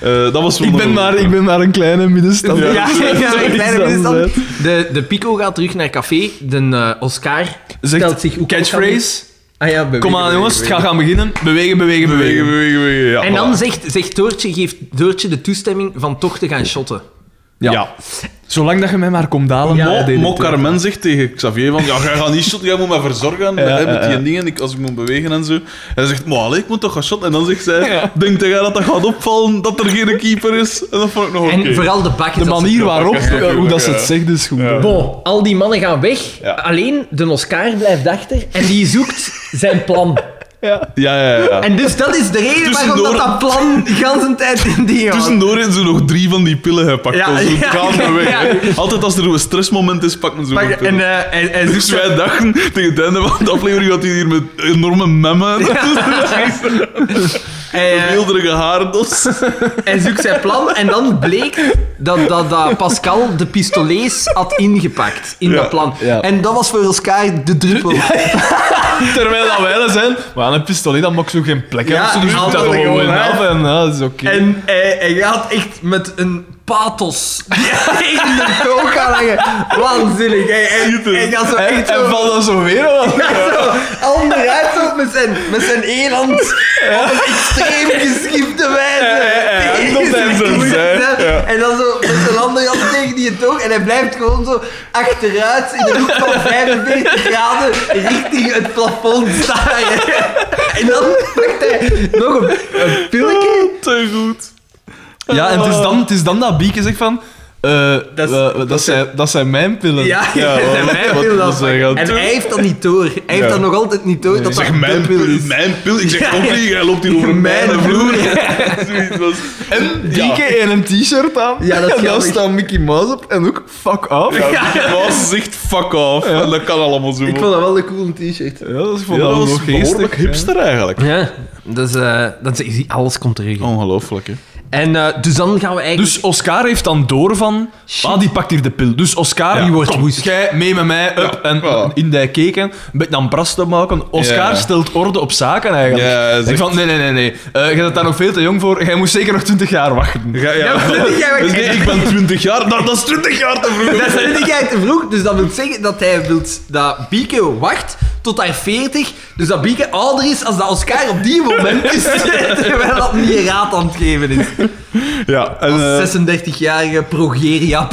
Eh, dat was wel Ik ben, een- maar, ik ben maar een kleine middenstand. [laughs] [laughs] Ja, ja, Zoiets een kleine dan, middenstand. hè. De, de Pico gaat terug naar café. De eh, Oscar stelt zich ook Catchphrase. Ah, ja, bewegen, Kom aan jongens, het bewegen, gaat gaan beginnen. Bewegen, Bewegen, bewegen, bewegen. bewegen, bewegen, ja, bewegen. En voilà. dan zegt, zegt Doortje, geeft Doortje de toestemming van toch te gaan shotten. Ja. Zolang dat je mij maar komt dalen. eh, Ja. dat deed Mo, het Mo ook. Carmen zegt tegen Xavier van, ja, jij gaat niet shotten, jij moet mij verzorgen Ja, hè, met ja, die ja. dingen, ik, als ik moet bewegen en zo. En hij zegt, maar allee, ik moet toch gaan shotten. En dan zegt zij, Ja. denkt jij dat dat gaat opvallen, dat er geen keeper is? En dat vond ik nog oké. En vooral de bakken. De dat ze- manier waarop, Ja, ja, eh, hoe dat ze ja. het zegt, is goed. hè. Bon, al die mannen gaan weg. Ja. Alleen de Oscar blijft achter en die zoekt zijn plan. Ja, ja, ja. En dus dat is de reden waarom dat, Tussendoor- dat plan de hele tijd in die gaat. Tussendoor hebben ze nog drie van die pillen gepakt. Ja, Ja, zo ja, gaan we weg. ja. hè. Altijd als er een stressmoment is, pakken ze Maar- een En pillen. eh, hij, hij Dus zoekt wij dachten, tegen het einde van de aflevering had hij hier met enorme [laughs] memmen. dus hij, eh, Wilderige [laughs] haardos. hij zoekt zijn plan en dan bleek dat, dat, dat Pascal de pistolees had ingepakt in Ja, dat plan. ja. En dat was voor Oscar de druppel. Terwijl dat wij dat zijn, maar aan een pistolet, dat mag zo geen plek Ja, hebben. Ze die doen dat andere gewoon gewoon, hè. af en ja, dat is oké. En hij, hij gaat echt met een pathos tegen de toon gaan hangen. Waanzinnig. Hij, hij, hij gaat zo En, echt en zo... valt dat zo weer wat? Ja, zo, Anderuit zo, met zijn, met zijn eland op een extreem geschifte wijze. ja, Tegen dat zijn ze, zijn hè. voeten. Ja. En dan zo met zijn andere hand tegen die toog. En hij blijft gewoon zo achteruit in de hoek van 45 graden richting het plafond staren. En dan pakt hij nog een, een pilletje. Te goed. Ja, en het is dan, het is dan dat Bieke zegt van... eh, Dat is- eh, dat, zijn, dat zijn mijn pillen. Ja, [laughs] Ja, en wat- hij wat- wil dat wat zijn we pakken. gaan En doen? hij heeft dat niet door. Hij heeft Ja. dat nog altijd niet door. Dat Zeg, dat mijn de pil, pil is. mijn pil. Ik zeg, Ja. kom niet, jij loopt hier over mijn Mijn vloer. [laughs] Zoiets was... En Bieke Ja. in een t-shirt aan. Ja, dat is en daar grappig. staat Mickey Mouse op en ook fuck off. Ja, Ja, die was echt fuck off. En dat kan allemaal zo. Ik vond dat wel een cool t-shirt. dat is Ja, voor dat dus dat was nog behoorlijk geestig. hipster eigenlijk. Ja, dus, eh dat is, alles komt terug. Ongelooflijk, hè. En eh, dus dan gaan we eigenlijk... Dus Oscar heeft dan door van... Ah, die pakt hier de pil. Dus Oscar, Ja. die wordt Kom. woest. Jij mee met mij, up, en voilà. in die keken. Een beetje aan bras te maken. Oscar Ja. stelt orde op zaken eigenlijk. Ja, hij ik zegt- van, nee, nee, nee. nee. Eh, jij bent daar nog veel te jong voor. Jij moest zeker nog 20 jaar wachten. Ja, ja. maar dat is jij Dus ook- nee, ik ben 20 jaar. Dat, dat is 20 jaar te vroeg. [laughs] Dat is niet te vroeg, dus dat wil zeggen dat hij wilt dat Bieke wacht tot haar 40. Dus dat Bieke ouder is als dat Oscar op die moment is. terwijl dat niet een raad aan het geven is. Ja, en, eh, Als 36-jarige progeria [laughs]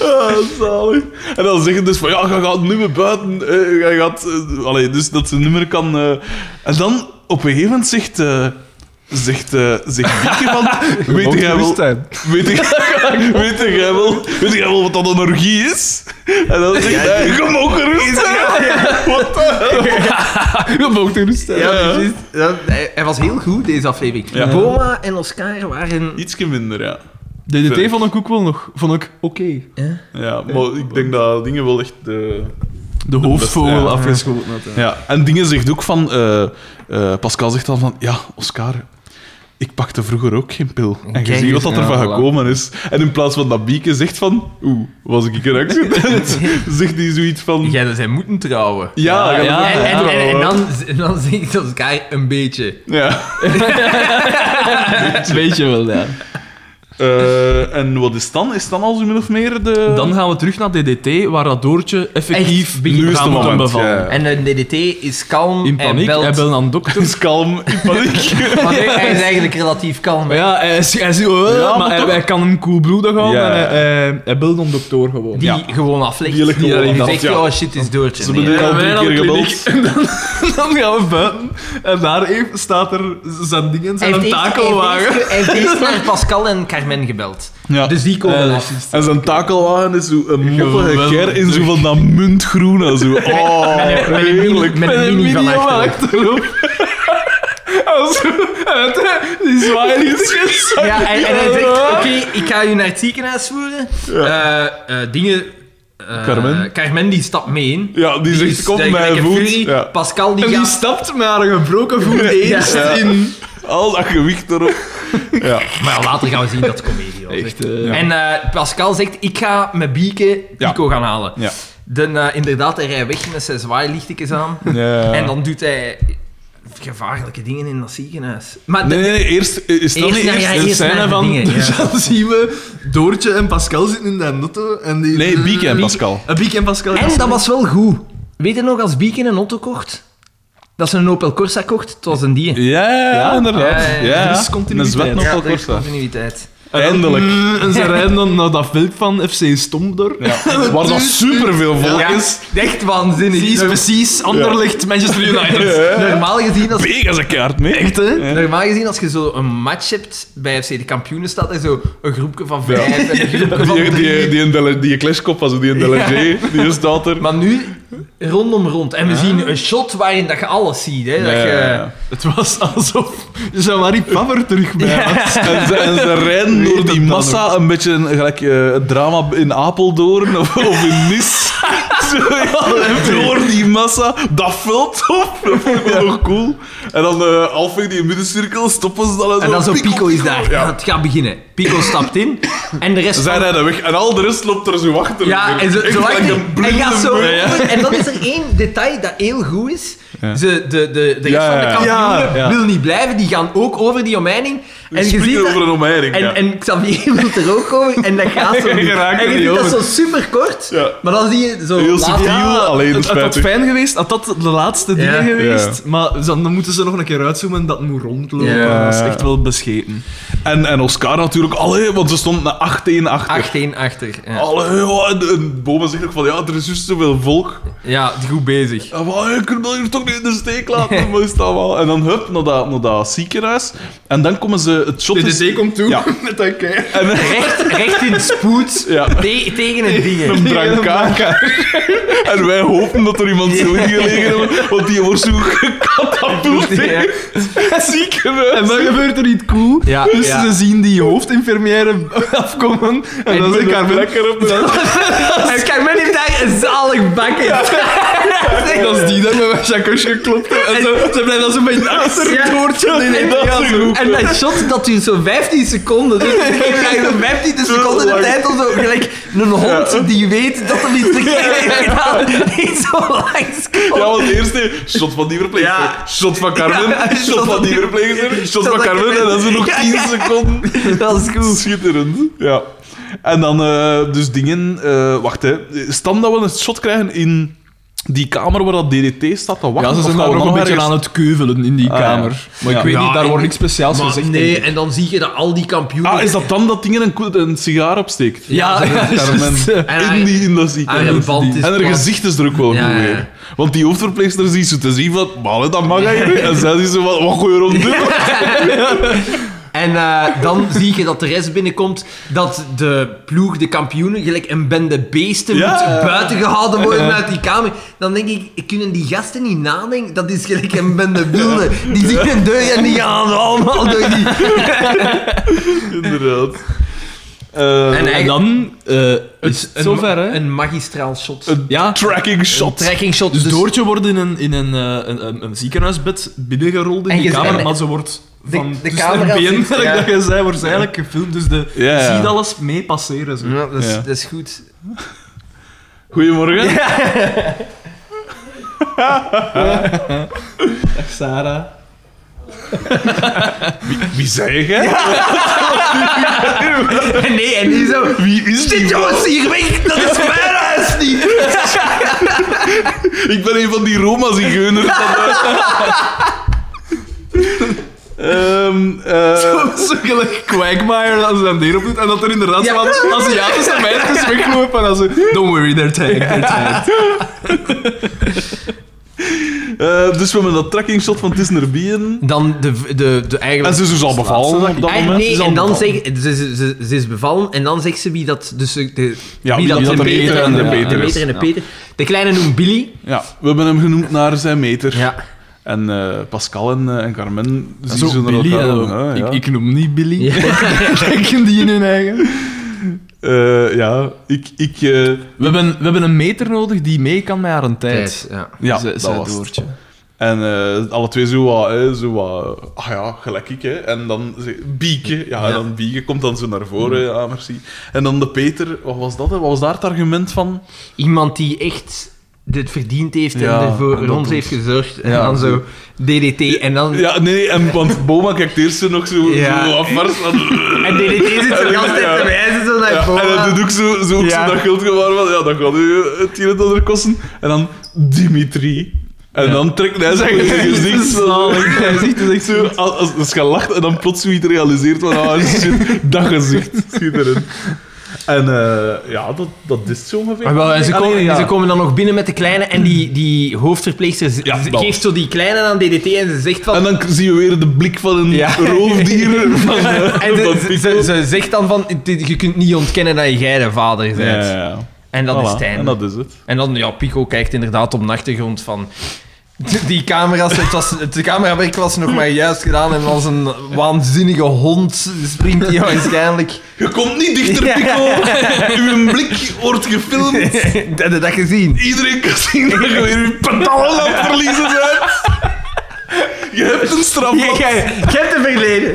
Ah, zalig. En dan zeggen dus van ja, je gaat nu weer buiten. eh, je gaat, eh, allee, dus dat ze nummer kan. eh. en dan op een gegeven moment zegt. eh, Zegt, eh zegt Bieke van... Weet moet jij wel... gerust [laughs] zijn. Weet jij, [laughs] weet, jij wel, weet jij wel wat dat energie is? En dan zegt hij... Je mag gerust zijn. What the hell? Je mag er rustig Ja, Ja. precies. Dat- hij, hij was heel goed, deze aflevering. Ja. Boma en Oscar waren... Ietsje minder, ja. DDT vond ik ook wel nog. Vond ik oké. Ja, maar ik denk dat dingen wel echt... eh, De hoofdvogel Ja. afgeschoten had. hè. Ja, en Dingen zegt ook van... eh, eh, Pascal zegt dan van... Ja, Oscar, ik pakte vroeger ook geen pil. En je Kijk ziet wat dat eens, er van ja, voilà. gekomen is. En in plaats van dat Bieke zegt van... Oeh, was ik een accident? zegt hij zoiets van... Ja, Jij, dus zij moeten trouwen. ja. Ja, ja, ja. En, en, en, en dan, en dan zingt Oscar een beetje. ja. [laughs] Weet je wel, ja. Eh, en wat is het dan? Is het dan al zo min of meer de... Dan gaan we terug naar DDT, waar dat Doortje effectief Echt, begin- nu is gaan het moeten moment. bevallen. ja. En de DDT is kalm. In paniek, Hij hij belt. belt aan de [laughs] dokter. is kalm, in paniek. Want hij- hij is eigenlijk relatief kalm. Maar hè. ja, hij, is- hij, is- eh, Ja, maar maar hij, toch? hij kan hem koelbloedig houden Ja. en hij, hij, hij belt een dokter gewoon. Die ja. gewoon aflegt. Die ligt gewoon daarin af, zegt, ja. oh shit, is doortje. Ze Nee, bedoelen al Ja, drie wij keer naar de gebeld. kliniek. En dan, [laughs] dan gaan we buiten en daar heeft, staat er zijn dingen, Hij zijn een heeft eerst- hij takelwagen. heeft eerst- Hij heeft eerst [laughs] naar Pascal en Carmen gebeld. Ja. Eh, Dus die komen af. En zijn takelwagen is zo een moppige Geweldig. ker in zo van dat muntgroen. en Zo. Oh, Met een mini, heerlijk. met een mini van video achteren. achterop. [laughs] En zo, en het- eh, die zwaaierietjes. Ja, en, en hij zegt, oké, ik ga u naar het ziekenhuis voeren. Eh, eh, dingen... eh, Carmen. Carmen, die stapt mee in. Ja, die zegt, is- kom die- mij like een voet. furie. Ja. Pascal, die En die gaat... stapt met haar gebroken voet eerst Ja. in. Al dat gewicht erop. Ja. Maar ja, later gaan we zien dat het comedie was. hè. Echt, eh, En eh, Pascal zegt, ik ga met Bieke Ja. Pico gaan halen. Ja. Dan, eh, inderdaad, hij rijdt weg met zijn zwaailichtjes aan. Ja. En dan doet hij gevaarlijke dingen in dat ziekenhuis. Maar Nee, de- nee, nee, eerst eh, is dat Eerst- niet ja, eerst ja, de eerst naar scène de van... dingen. Dus Ja. dan zien we Doortje en Pascal zitten in de auto. En die, Nee, Bieke en Pascal. Eh, Bieke en Pascal. En dat was wel goed. Weet je nog, als Bieken een auto kocht, dat ze een Opel Corsa kocht, het was een die. Ja, ja, ja, inderdaad. Ja, Ja, ja, ja. Er is continuïteit. Een zwet nog Ja, wel dat is Corsa. continuïteit. Eindelijk. Mm, En ze rijden dan naar dat veld van FC Stomdor. Waar [laughs] dat Dus- superveel volk Ja, is. echt waanzinnig. Precies, Norm- precies. Anderlecht, Manchester United. Normaal gezien, als, Big als een kaart mee. Echt, hè? normaal gezien, als je zo een match hebt bij FC de kampioenen, staat er zo een groepje van vijf [laughs] en een groepje van Die, die, drie. die, een Dele- die clashkop was, die een DLG, die staat er. Maar nu rondom rond. En we zien een shot waarin dat je alles ziet. Hè? Dat Ja, ja, je, ja. Het was alsof Jean-Marie Paver terug bij was. En ze, en ze rijden door die massa een beetje een- gelijk eh, het drama in Apeldoorn of, of in [laughs] Nice. Zo, ja, door die massa, dat vult op. Dat vond ik wel nog cool. En dan eh halfweg die middencirkel stoppen ze dan. En dan zo piek Pico is daar. Ja. Het gaat beginnen. Pico stapt in. En de rest Zij van- rijden weg en al de rest loopt er zo achter. Ja, en zo, Echt zo gelijk wacht- een en blinde gaat zo beul. over. En dan is er één detail dat heel goed is. Ja. Ze, de, de, de rest Ja, van de ja, ja. kampioenen Ja, ja. wil niet blijven. Die gaan ook over die omheining. En je Springen ziet over dat, een omheining. ja. en, en Xavier [laughs] wil er ook over. En dat gaat zo. [laughs] Je raakt en er je niet ziet dat over. zo super kort. Ja. Maar dan zie je zo Heel later- subtiel, alleen het, het had spijtig. fijn geweest, had dat de laatste dingen Ja. geweest. Maar dan, dan moeten ze nog een keer uitzoomen en dat moet rondlopen. Ja. Dat is echt wel bescheten. En, en Oscar natuurlijk, allee, want ze stond na 8-1 achter. 8-1 achter. Ja, Allee, wat, en, en Boma zegt ook van, ja, er is juist zoveel volk. ja goed bezig. En van, Ah, je kunt dat hier toch niet in de steek laten, maar is dat wel. En dan hup, naar dat, naar dat ziekenhuis. En dan komen ze, het shot is... komt toe Ja. [laughs] met dat keer. En, [laughs] Recht, recht in [laughs] spoed. Ja. Te- tegen [laughs] een ding. een brancard. [laughs] En wij hopen dat er iemand zo in gelegen heeft, want die wordt zo Ja. gekatapulteerd. Ziekenhuis. En dan gebeurt er iets cool. Ja, dus ja. ze zien die hoofdinfirmière afkomen. En, En dan die zit Carmen... lekker [laughs] op de... En Carmen heeft daar een zalig bakken. [laughs] Dat is die dan met mijn chakosje geklopt. En, zo, ze blijven dan zo bij achter het Ja. doortje. Nee, nee, Dat ja, is zo. goed. En dat shot dat duurt zo'n 15 seconden. Dus we geven eigenlijk 15 seconden de tijd om zo gelijk een hond die weet dat er iets verkeerd heeft gedaan. [laughs] Niet zo lang Ja, want eerst eh, shot van die verpleegster, Ja. shot van Carmen, Ja, shot van die verpleegster, shot van van Carmen, en Carmen. dan zijn nog Ja, 10 ja. seconden. Dat is goed. [laughs] Schitterend. Ja. En dan eh, dus dingen... eh, wacht, hè. Stam dat we een shot krijgen in die kamer waar dat DDT staat te wachten. Ja, ze of zijn dat daar we ook een beetje ergens- aan het keuvelen in die Ah, ja. kamer. Maar Ja. ik weet Ja, niet, daar en- wordt niks speciaals gezegd. denk nee, ik. en dan zie je dat al die kampioenen... Ah, is dat dan dat dingen een, ko- een sigaar opsteekt? Ja, ja, Carmen. [laughs] juist, ja. En in, haar- die, in dat Aan ziekenhuis. hun band is En haar plat. gezicht is er ook wel Ja, goed ja, ja. weer. Want die hoofdverpleegster ziet ze te zien van... Maar allee, dat mag hij niet. En zij is zo van... Wat gooi je [laughs] rond doen? [laughs] En eh, dan zie je dat de rest binnenkomt, dat de ploeg, de kampioenen, gelijk een bende beesten Ja. moet buiten gehouden worden uit die kamer. Dan denk ik, kunnen die gasten niet nadenken? Dat is gelijk een bende wilden. Die zien een deur en die gaan allemaal door [laughs] die... Inderdaad. Eh, En En eigenlijk- dan eh is het zover, hè? Een magistraal shot. Eh, Een ja. tracking Een shot. trekking shot. Dus Dus Doortje wordt in een, in een, eh, een, een, een ziekenhuisbed binnengerold in En die je- kamer, en- maar ze wordt de- van de tussen camera haar been, zit- gelijk ja. dat je zei, wordt ze eigenlijk gefilmd. Dus de, Ja, ja. je ziet alles mee passeren. Zo. Ja, dat, is, Ja. dat is goed. [laughs] Goedemorgen. Dag Sarah. [laughs] Wie zei jij? Nee, en die zo... Wie is Zit die? jongens hier weg? Dat [laughs] is mijn huis niet! Ik ben een van die [laughs] Roma-zigeuners. van, eh. Ehm, eh, Zo gelijk Quagmire dat ze dan neer op doet en dat er inderdaad Ja. ja. van Aziatische meisjes weglopen en dan zo... Don't worry, [laughs] they're tagged, they're tagged. eh, dus we hebben dat trackingshot van Tisner Bien. Dan de, de, de eigenlijk... En ze is dus al bevallen op dat Ah, moment. Ze nee, is al en dan bevallen. zeg, ze, ze, ze, ze is bevallen en dan zegt ze wie dat, dus de, de- Ja, wie dat de beter en de beter is. en de Peter. De kleine noemt Billy. Ja, we hebben hem genoemd naar zijn meter. Ja. En eh, Pascal en, eh, en Carmen zien Zo, ze naar Billy, elkaar. eh, Ja, Ah, ja. Ik, ik noem niet Billy. [laughs] Kijk hem die in hun eigen. Eh, ja, ik... ik eh, We hebben, we hebben een meter nodig die mee kan met haar een tijd. Ja. ja, Ze- dat zei was het. Doortje. En eh, alle twee zo wat, hè, zo wat, ah ja, gelijk ik, hè. En dan ze- bieken, ja, en dan bieken komt dan zo naar voren, ja, merci. En dan de Peter, wat was dat, hè? Wat was daar het argument van? Iemand die echt dit verdiend heeft Ja, en ervoor en voor dat ons doet. heeft gezorgd. En Ja. dan zo DDT en dan... Ja, nee, nee, en, want Boma kijkt eerst zo nog zo, Ja. zo afvars van... En DDT zit zo de hele tijd te wijzen zo naar Ja, en voren. dat doet ook zo, zo, ook Ja. zo dat geldgebaar van, ja, dat gaat u het hier en het ander kosten. En dan Dimitri. En dan trekt hij zijn gezicht zo. [laughs] Hij ziet het echt zo, als, als, als je lacht en dan plots zoiets realiseert van, ah shit, [laughs] dat gezicht. Schitterend. En eh, ja, dat, dat is zo ongeveer. Maar Ah, wel, en ze, Allee, komen, ja. ze komen dan nog binnen met de kleine en die, die hoofdverpleegster z- Ja, z- dat. geeft zo die kleine aan DDT en ze zegt van... En dan k- zie je weer de blik van een Ja. [laughs] roofdier. Van, eh, [laughs] en van ze- ze, Pico. ze, ze zegt dan van, "Dit- je kunt niet ontkennen dat jij de vader bent. Ja, ja, ja. En dat Voilà, is het einde. En dat is het. En dan, ja, Pico kijkt inderdaad op de achtergrond van... Die camera's, het, was, het camerawerk was nog maar juist gedaan en als een waanzinnige hond springt hij waarschijnlijk. [laughs] Je komt niet dichter, Pico. Uw blik wordt gefilmd. Dat heb je dat gezien. Iedereen kan zien dat je weer je pantalon aan het verliezen bent. Je hebt een straf. Je, hebt hem verleden.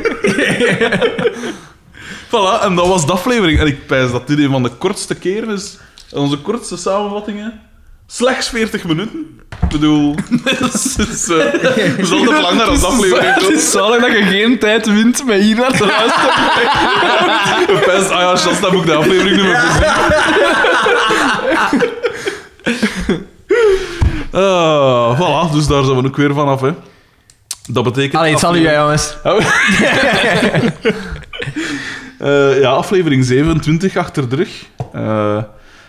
Voilà, en dat was de aflevering. En ik pijs dat dit een van de kortste keren is. En onze kortste samenvattingen. Slechts 40 minuten. Ik bedoel, dat is, dat is, eh, dat is altijd langer dan de Het aflevering. is zalig dat je geen tijd wint met hier naar te luisteren. Ik pijs, ah ja, Charles, dan moet ik de aflevering nummer bezien. Ah, voilà, dus daar zijn we ook weer vanaf, hè. Dat betekent... Allee, salut aflevering- jongens. Eh, ja, aflevering 27 achter de rug. Eh,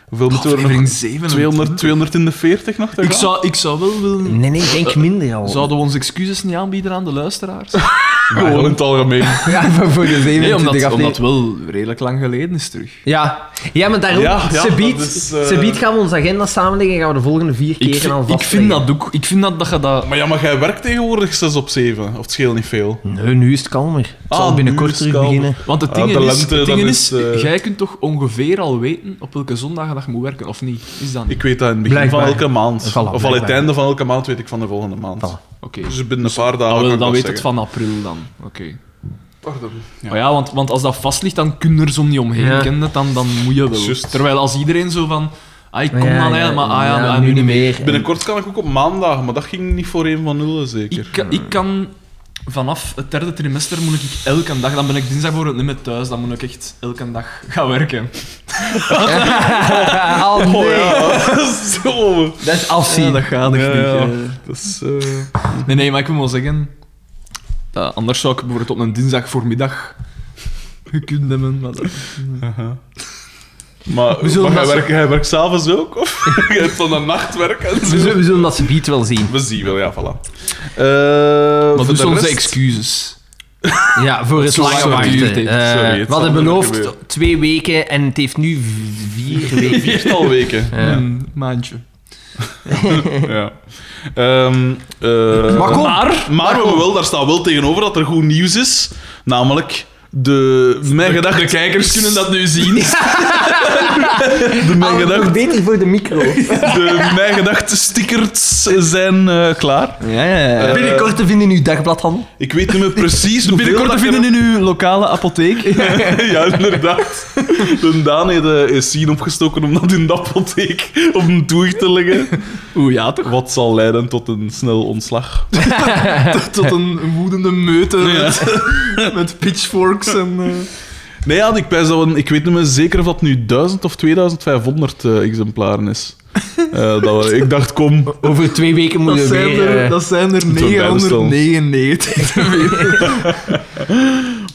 hoeveel moeten we er nog? Aflevering 27. 200, 240 nog te Ik gaan? zou, ik zou wel willen... Nee, nee, denk minder al. Zouden we onze excuses niet aanbieden aan de luisteraars? Gewoon in het algemeen. Ja, voor- voor de 27 Nee, omdat, aflevering. omdat het wel redelijk lang geleden is terug. Ja. ja, maar daarom, Ja, ja, ze biedt, dat is, eh, ze biedt gaan we onze agenda samenleggen en gaan we de volgende vier Ik, keren aan vind- ik vastleggen. vind dat ook. Ik vind dat, dat je dat... [laughs] Maar ja, maar jij werkt tegenwoordig 6 op 7. Of het scheelt niet Hm. veel. Nee, nu is het kalmer. Het Ah, zal nu binnenkort is het terug kalmer. beginnen. Want het Ah, ding de is, lente, het ding dat is, is, eh, jij kunt toch ongeveer al weten op welke zondag je dat moet werken, of niet? Is dat niet? Ik weet dat in het begin van Blijkbaar. elke maand. Voilà, of al het blijkbaar. einde van elke maand weet ik van de volgende maand. Voilà. Oké. Dus binnen een paar Dan, dagen wel- kan ik Nou, dan dat weet het zeggen. van april dan. Oké. Pardon. Ja. Maar ja, want, want als dat vast ligt, dan kun je er zo niet omheen. Ja. Ken je het? Dan, dan moet je wel. Juist. Terwijl als iedereen zo van... Ah, ik kom ja, dan, ja, hè, maar ah, ja, ja, ah, nu niet meer. [laughs] Binnenkort kan ik ook op maandag, maar dat ging niet voor 1 van 0 zeker. Ik, kan- ik kan vanaf het derde trimester moet ik elke dag, dan ben ik dinsdag voor het niet meer thuis, dan moet ik echt elke dag gaan werken. Ah, nee. Oh ja, [laughs] zo. Dat is afzien. Ja, dat gaat echt Ja, niet. ja. eh. Dat is... eh, Nee, nee, maar ik wil wel zeggen, eh, anders zou ik bijvoorbeeld op een dinsdag voormiddag gekund hebben. Maar dat... Maar, zullen maar jij, dat- werkt, jij werkt s'avonds ook? Of [laughs] jij hebt dan een nachtwerk en zo? We zullen, we zullen dat subiet wel zien. We zien wel, ja, voilà. Eh Maar voor dus de onze rest- excuses. Ja, voor het Zo lang lange geduurd wachten. heeft. Eh, Sorry, het we zal hadden wel beloofd gebeuren. twee weken en het heeft nu v- [laughs] vier weken. Viertal [laughs] weken. Ja. Een maandje. Ja. Ehm, eh, Maar kom. maar, maar we hebben wel, daar staat wel tegenover dat er goed nieuws is. Namelijk, de Mijn Gedacht... De kijkers kunnen dat nu [laughs] zien. De Mijn Gedacht... beter voor de [laughs] micro. De Mijn Gedacht stickers zijn eh, klaar. Ja, ja, Eh, Binnenkort te vinden in uw dagbladhandel. Ik weet niet meer precies hoeveel Binnenkort te dat ik er- vinden in uw lokale [laughs] apotheek. ja, inderdaad. De Daan heeft eh, is zien opgestoken om dat in de apotheek op een toer te leggen. Oeh, ja toch? Wat zal leiden tot een snel ontslag. Tot een woedende meute [laughs] met, met pitchforks en... eh, Nee, ja, ik, pijs dat we, ik weet niet meer zeker of dat nu 1000 of 2500 eh, exemplaren is. Eh, dat we- ik dacht, kom, Over twee weken Dat moeten we zijn, weer... er, eh, dat zijn er wordt bijna 999.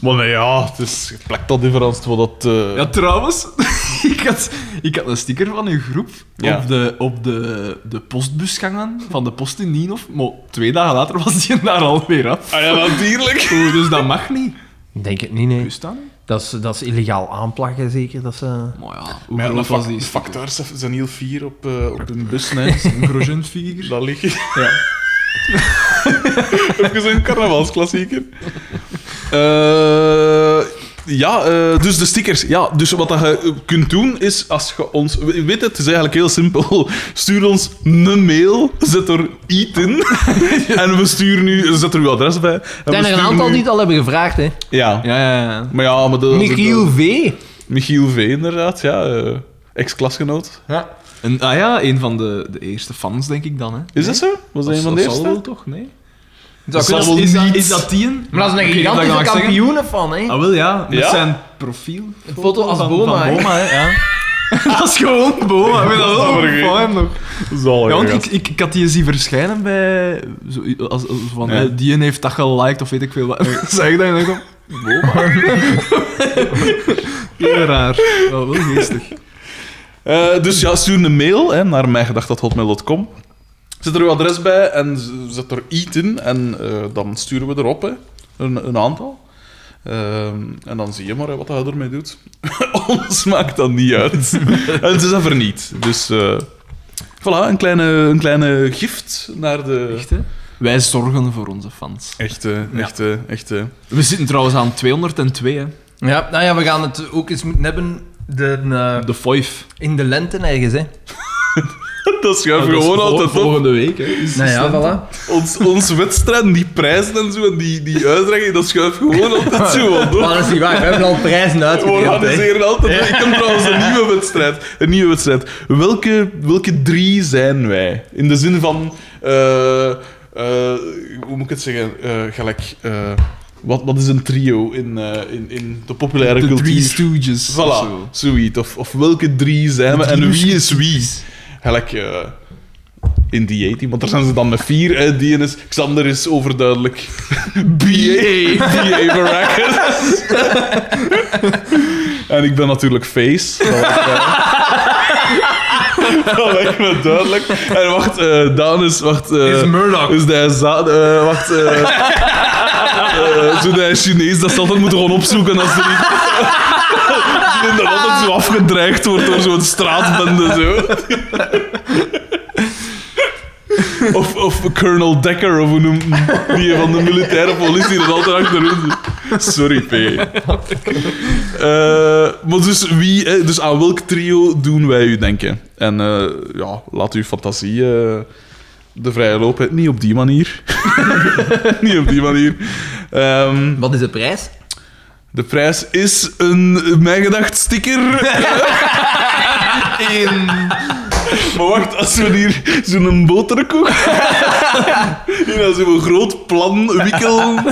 Maar nee, ja, het is, je plakt dat even als het wat dat... eh, Ja, trouwens, [laughs] ik had, ik had een sticker van uw groep Ja. op, de, op de, de postbus gangen van de post in Nienhof. Maar twee dagen later [laughs] was die daar alweer af. Ah ja, [laughs] natuurlijk. Oeh, dus dat mag niet. Denk het niet, nee. Wist dat niet? Dus Dat is, dat is illegaal aanplakken, zeker. Dat is, eh, Maar ja, Maar hoe ja, groot de was fac- die de sticker? facteurs zijn heel fier op, eh, op hun bus. Nee, [laughs] een Grosjean-figuur. Dat ligt... [laughs] Ja. Even zo'n carnavalsklassieker. Eh, Ja, eh, dus de stickers. Ja, dus wat dat je eh, kunt doen is, als je ons... we- Weet het, het is eigenlijk heel simpel. Stuur ons een mail, zet er iets [laughs] in. en we sturen nu... Zet er uw adres bij. En we zijn er een sturen aantal u- die het al hebben gevraagd, hè. Ja. Ja, ja, ja. Maar ja, maar de... Michiel de- V. Michiel V, inderdaad, ja. eh, Ex-klasgenoot. En, ah ja, een van de, de eerste fans, denk ik dan. Hè. Is dat zo? Was hij een van de zal wel eerste? toch? Nee. Dat zal is, wel is, dat, niet. is dat die? een? Maar dat is een Ik weet niet of dat gigantische ik dat mag zeggen. kampioen van, hè. Ah, wel ja, met Ja? zijn profiel. Een foto als van, Boma, Van hè. Boma [laughs] hè, ja. dat is gewoon Boma. Ik vind dat Dat wel is dat fijn nog. Zal Ja, want ik, ik, ik had die zien verschijnen bij... Zo, als, als van, Ja. hè, die heeft dat geliked of weet ik veel wat. [laughs] Zeg ik dat en dan kom... Boma. [laughs] Heel raar. Wel, wel [laughs] geestig. Eh, dus ja, stuur een mail hè, naar mijgedacht.hotmail.com. Zet er uw adres bij en z- zet er iets in. En eh, dan sturen we erop, hè, een, een aantal. Ehm, en dan zie je maar hè, wat hij ermee doet. [laughs] Ons maakt dat niet [laughs] uit. en het is even niet. Dus eh, voilà, een kleine, een kleine gift naar de... Echt, hè? Wij zorgen voor onze fans. Echte, echte, echte. We zitten trouwens aan 202, hè. Ja, nou ja, we gaan het ook eens moeten hebben de, eh, De Foif. in de lente ergens, hè. [laughs] Dat schuiven we gewoon altijd op. Volgende week, hè. Is- Nou is ja, dat- [laughs] voilà. Ons, ons wedstrijd, die prijzen en zo, en die, die uitreiking, dat schuift gewoon altijd zo wat op. Maar dat is niet waar, we hebben al [laughs] prijzen We uitgedeeld, hè. organiseren altijd. Ik heb trouwens een nieuwe wedstrijd. Een nieuwe wedstrijd. Welke, welke drie zijn wij? In de zin van. eh, eh, hoe moet ik het zeggen? Eh, gelijk. eh, wat, wat is een trio in, eh, in, in de populaire De cultuur? Three Stooges. of Voilà, zo. zoiets. Of, of welke drie zijn we en wie is wie? Gelijk eh, in die 18, want daar zijn ze dan met vier. Hè. Die is, Xander is overduidelijk [laughs] BA. BA Baracus. en ik ben natuurlijk Face. Dat lijkt me- Dat lijkt me duidelijk. [laughs] En wacht, eh Daan is... Wacht, eh, Is Murdoch. is dat za- eh, wacht. eh eh, zo dat is Chinees, dat ze altijd moeten gewoon opzoeken als er iets. [laughs] Die dan altijd zo afgedreigd wordt door zo'n straatbende. Zo. Of, of Colonel Decker, of hoe noemt hem? die van de militaire politie, dat altijd achterin zit. Sorry, P. Eh, maar dus, wie, eh, dus aan welk trio doen wij u denken? En eh, ja, laat uw fantasie eh, de vrije loop. hè. Niet op die manier. [laughs] Niet op die manier. Ehm, Wat is de prijs? de prijs is een eh, mijn gedacht sticker. [laughs] Maar wacht, als we hier zo'n [laughs] boterkoek. in zo'n groot plan wikkelen.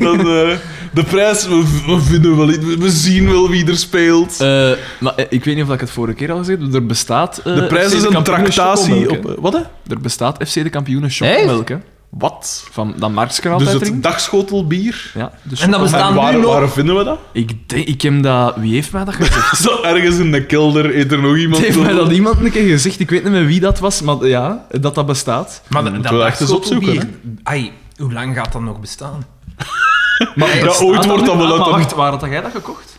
dan. eh, de prijs, we, we vinden wel iets. We zien wel wie er speelt. Eh, maar eh, ik weet niet of ik het vorige keer al gezegd heb. Er bestaat. eh, de prijs FC is de een Kampioenen tractatie. chocomelk, Op, hè. eh, wat hè? Er bestaat FC de kampioenen Echt? chocomelk, hè? Wat? Van dat Markskraal Dus dus het dagschotelbier. Ja, dus En dat bestaat- En Staan waar, nu nog- waar vinden we dat? [laughs] Ik denk, ik heb dat. Wie heeft mij dat gezegd? Zo ergens in de kelder eet er nog iemand. heeft op. mij dat iemand een keer gezegd? Ik weet niet meer wie dat was, maar ja, dat dat bestaat. Maar dat- moeten we dat echt eens opzoeken, Ai, hoe lang gaat dat nog bestaan? Maar Ja, ooit wordt dat wel Ah, uit maar een- wacht, waar had jij dat gekocht?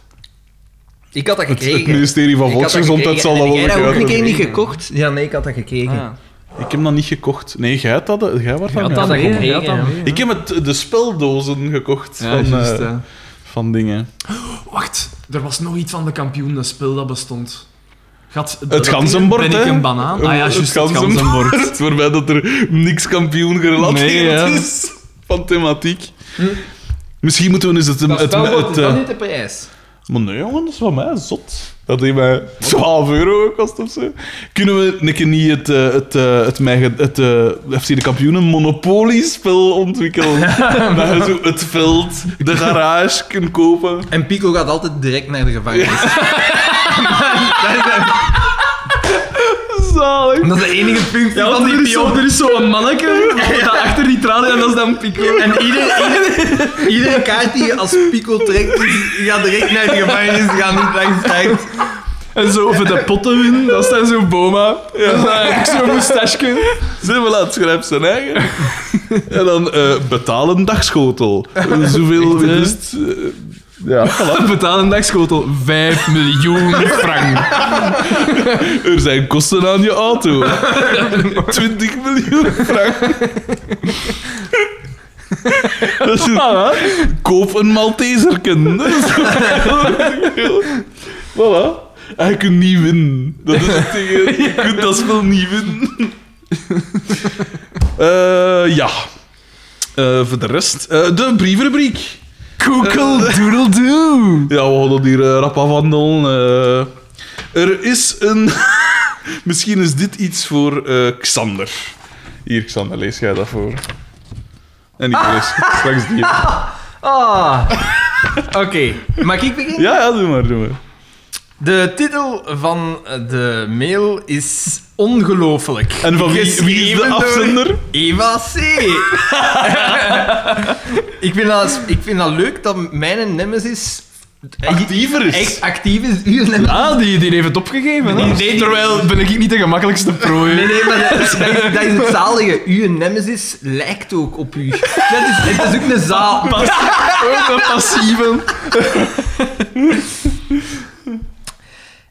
Ik had dat gekregen. Het ministerie van Ik had dat Volksgezondheid gekregen. zal dat wel Heb jij dat ook een bekijken. keer niet gekocht? Ja, nee, ik had dat gekregen. Ah, ja. Ik heb dat niet gekocht. Nee, jij had dat. Jij was daarmee had dat aan. gekocht. jij had gekregen, mee, Ik heb het, de speldozen gekocht Ja, van, juist, eh, ja. van dingen. Wacht, er was nog iets van de kampioen, dat spel dat bestond. Gaat, Het ganzenbord, Ben ik hè? een banaan? Ah ja, juist, het ganzenbord. [laughs] ganzenbord. Waarbij dat er niks kampioen gerelateerd Nee, ja. Hm. is van thematiek. Misschien moeten we eens het... het, het, Dat eh, is niet de prijs. maar nee, jongen, dat is van mij zot. Dat heeft mij 12 euro gekost of zo. Kunnen we een keer niet het, eh, het, eh, het, mijn ge- het, eh, FC de Kampioenen Monopoly-spel [laughs] ontwikkelen? dat je zo het veld, de garage kunt kopen. En Pico gaat altijd direct naar de gevangenis. Zalig. Dat is de enige functie Ja, van want er die is zo- pion. er is zo'n manneke dat achter die tralie en dat is dan Pico. En iedereen... Iedere kaart die je als Pico trekt, die die gaat direct naar de gevangenis. Die gaat niet langs tijd. En zo over de potten winnen, dat is dan zo'n boma. Ja. ik zo'n moustache. Zijn we laat schrijft zijn eigen. en dan eh betalen [laughs] dagschotel. Zoveel Echt, hè? winst. eh, ja. Betaal een dagschotel. 5 miljoen frank. Er zijn kosten aan je auto. 20 miljoen frank. Dat is een- Koop een Malteserken. Dat is ook heel- voilà. En je kunt niet winnen. Dat is het tegen. Je kunt dat spel niet winnen. Eh, ja. Eh, voor de rest, eh, de brievenrubriek. Koekel Eh. doodle doo. Ja, we gaan dat hier eh, rap afhandelen. Eh, er is een... [laughs] Misschien is dit iets voor eh, Xander. Hier, Xander, lees jij dat voor. En ik lees straks die. Ja, Ah. Oké, mag ik beginnen? ja, doe maar, doe maar. De titel van de mail is Ongelooflijk. En van wie- wie is de Geschreven door afzender? Eva C. [laughs] ik, vind dat, ik vind dat leuk dat mijn nemesis... Actiever is. Echt actief is. Uw nemesis. Ah, die, die heeft het opgegeven. Hè? Nee, nee, Terwijl ben ik niet de gemakkelijkste prooi. Nee, nee, maar [laughs] dat, dat, is- dat is het zalige. Uw nemesis lijkt ook op u. Dat is, dat is ook een zaal. Ook passieven.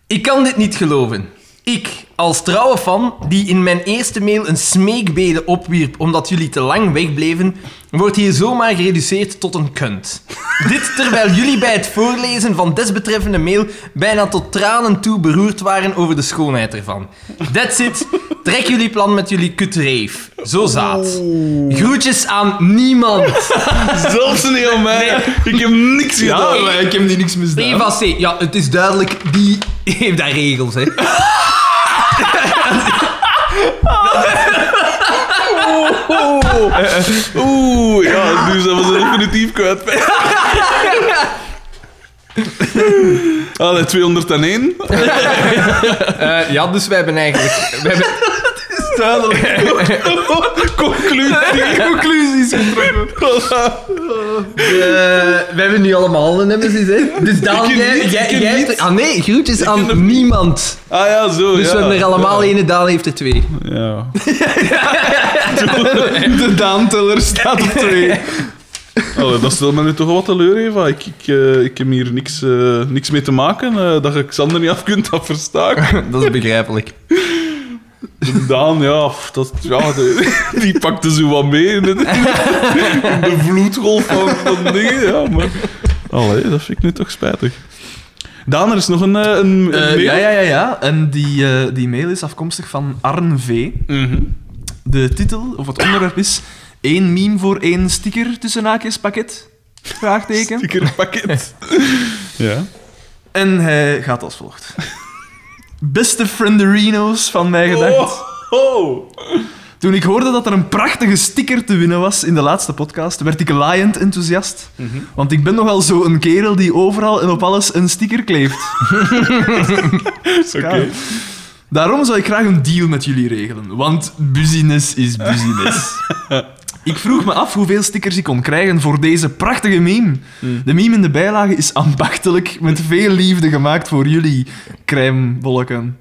Ik kan dit niet geloven. Ik, als trouwe fan, die in mijn eerste mail een smeekbede opwierp omdat jullie te lang wegbleven, wordt hier zomaar gereduceerd tot een kunt. dit terwijl jullie bij het voorlezen van desbetreffende mail bijna tot tranen toe beroerd waren over de schoonheid ervan. That's it. Trek jullie plan met jullie kutreef. Zo zaad. Groetjes aan niemand. Zelfs niet aan mij. Ik heb niks gedaan. Ja, maar Oh, ik heb die niks misdaan. Eva C. Ja, het is duidelijk, die heeft daar regels, hè. Oh. Oeh, ja, dus dat was een definitief kwijt. [laughs] Allee, 201. Eh, ja, dus wij hebben eigenlijk... We hebben, Conclusie. [laughs] conclusies Eh, we hebben nu allemaal een nemesis, hè? Dus Daan, Ik jij... niet, jij, ik jij niet. hebt er- ah nee, groetjes heb aan niemand. Ah ja, zo. Dus ja. we hebben er allemaal één en Daan heeft er twee. Ja. De daanteller staat op twee. Allee, dat stelt me nu toch wel wat teleur, Eva. Ik, ik, eh, ik heb hier niks, eh, niks mee te maken. eh, dat je Xander niet af kunt, dat versta [laughs] ik. Dat is begrijpelijk. De Daan, ja, pff, dat, ja de- [laughs] die pakte zo wat mee in de, in de vloedgolf van, van dingen. Ja, maar... Allee, dat vind ik nu toch spijtig. Daan, er is nog een, eh, een, een mail. ja, ja, ja, ja. En die, eh, die mail is afkomstig van Arn V. Mhm. De titel, of het onderwerp is... één meme voor één sticker tussen haakjes pakket? Vraagteken. Stickerpakket. ja. En hij gaat als volgt. Beste frienderino's van mij gedacht. oh. Toen ik hoorde dat er een prachtige sticker te winnen was in de laatste podcast, werd ik laaiend enthousiast. Want ik ben nogal zo'n kerel die overal en op alles een sticker kleeft. Is Oké. Kaal. Daarom zou ik graag een deal met jullie regelen, want business is [laughs] business. Ik vroeg me af hoeveel stickers ik kon krijgen voor deze prachtige meme. De meme in de bijlage is ambachtelijk, met veel liefde gemaakt voor jullie, crèmebolken.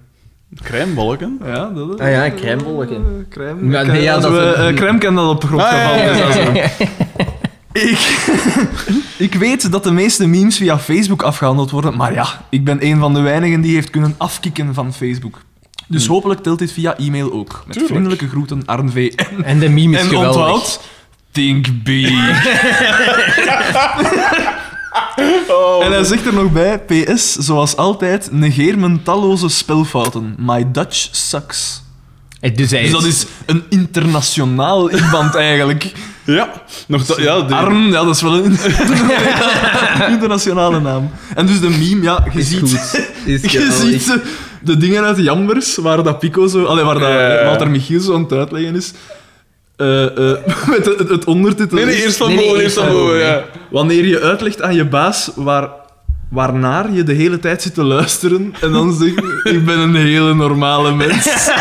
Crèmebalken. Ja, dat is... Ah ja, crèmebolken. Eh, Crème. Maar crème- nee, ja, als dat we, is een- eh, crème kan dat op de grond Ah, gaan ja, vallen, ja, ja. dat is wel. Ik, [laughs] ik weet dat de meeste memes via Facebook afgehandeld worden, maar ja, ik ben een van de weinigen die heeft kunnen afkicken van Facebook. Dus hopelijk telt dit via e-mail ook. Met Tuurlijk. vriendelijke groeten, Arn V. En, En de meme is en geweldig. onthoud, think big. Oh. En hij zegt er nog bij, PS, zoals altijd, negeer mijn talloze spelfouten. My Dutch sucks. Eh, Dus, hij Dus dat is een internationaal iemand eigenlijk. Ja. Nog dat, ja, die- Arm, ja, dat is wel een [laughs] internationale naam. En dus de meme, ja, je is ziet, goed. [laughs] [laughs] Is je geweldig. ziet de, de dingen uit Jambers, waar dat Pico zo, allee, waar dat Ja. Walter Michiel zo aan het uitleggen is. Eh, [laughs] eh, met het, het ondertitel Nee, nee, is, Oh, eerst van Nee, nee, boven, eerst eerst van van boven, boven, ja. Wanneer je uitlegt aan je baas waar, waarnaar je de hele tijd zit te luisteren en dan zeg je, [laughs] ik ben een hele normale mens.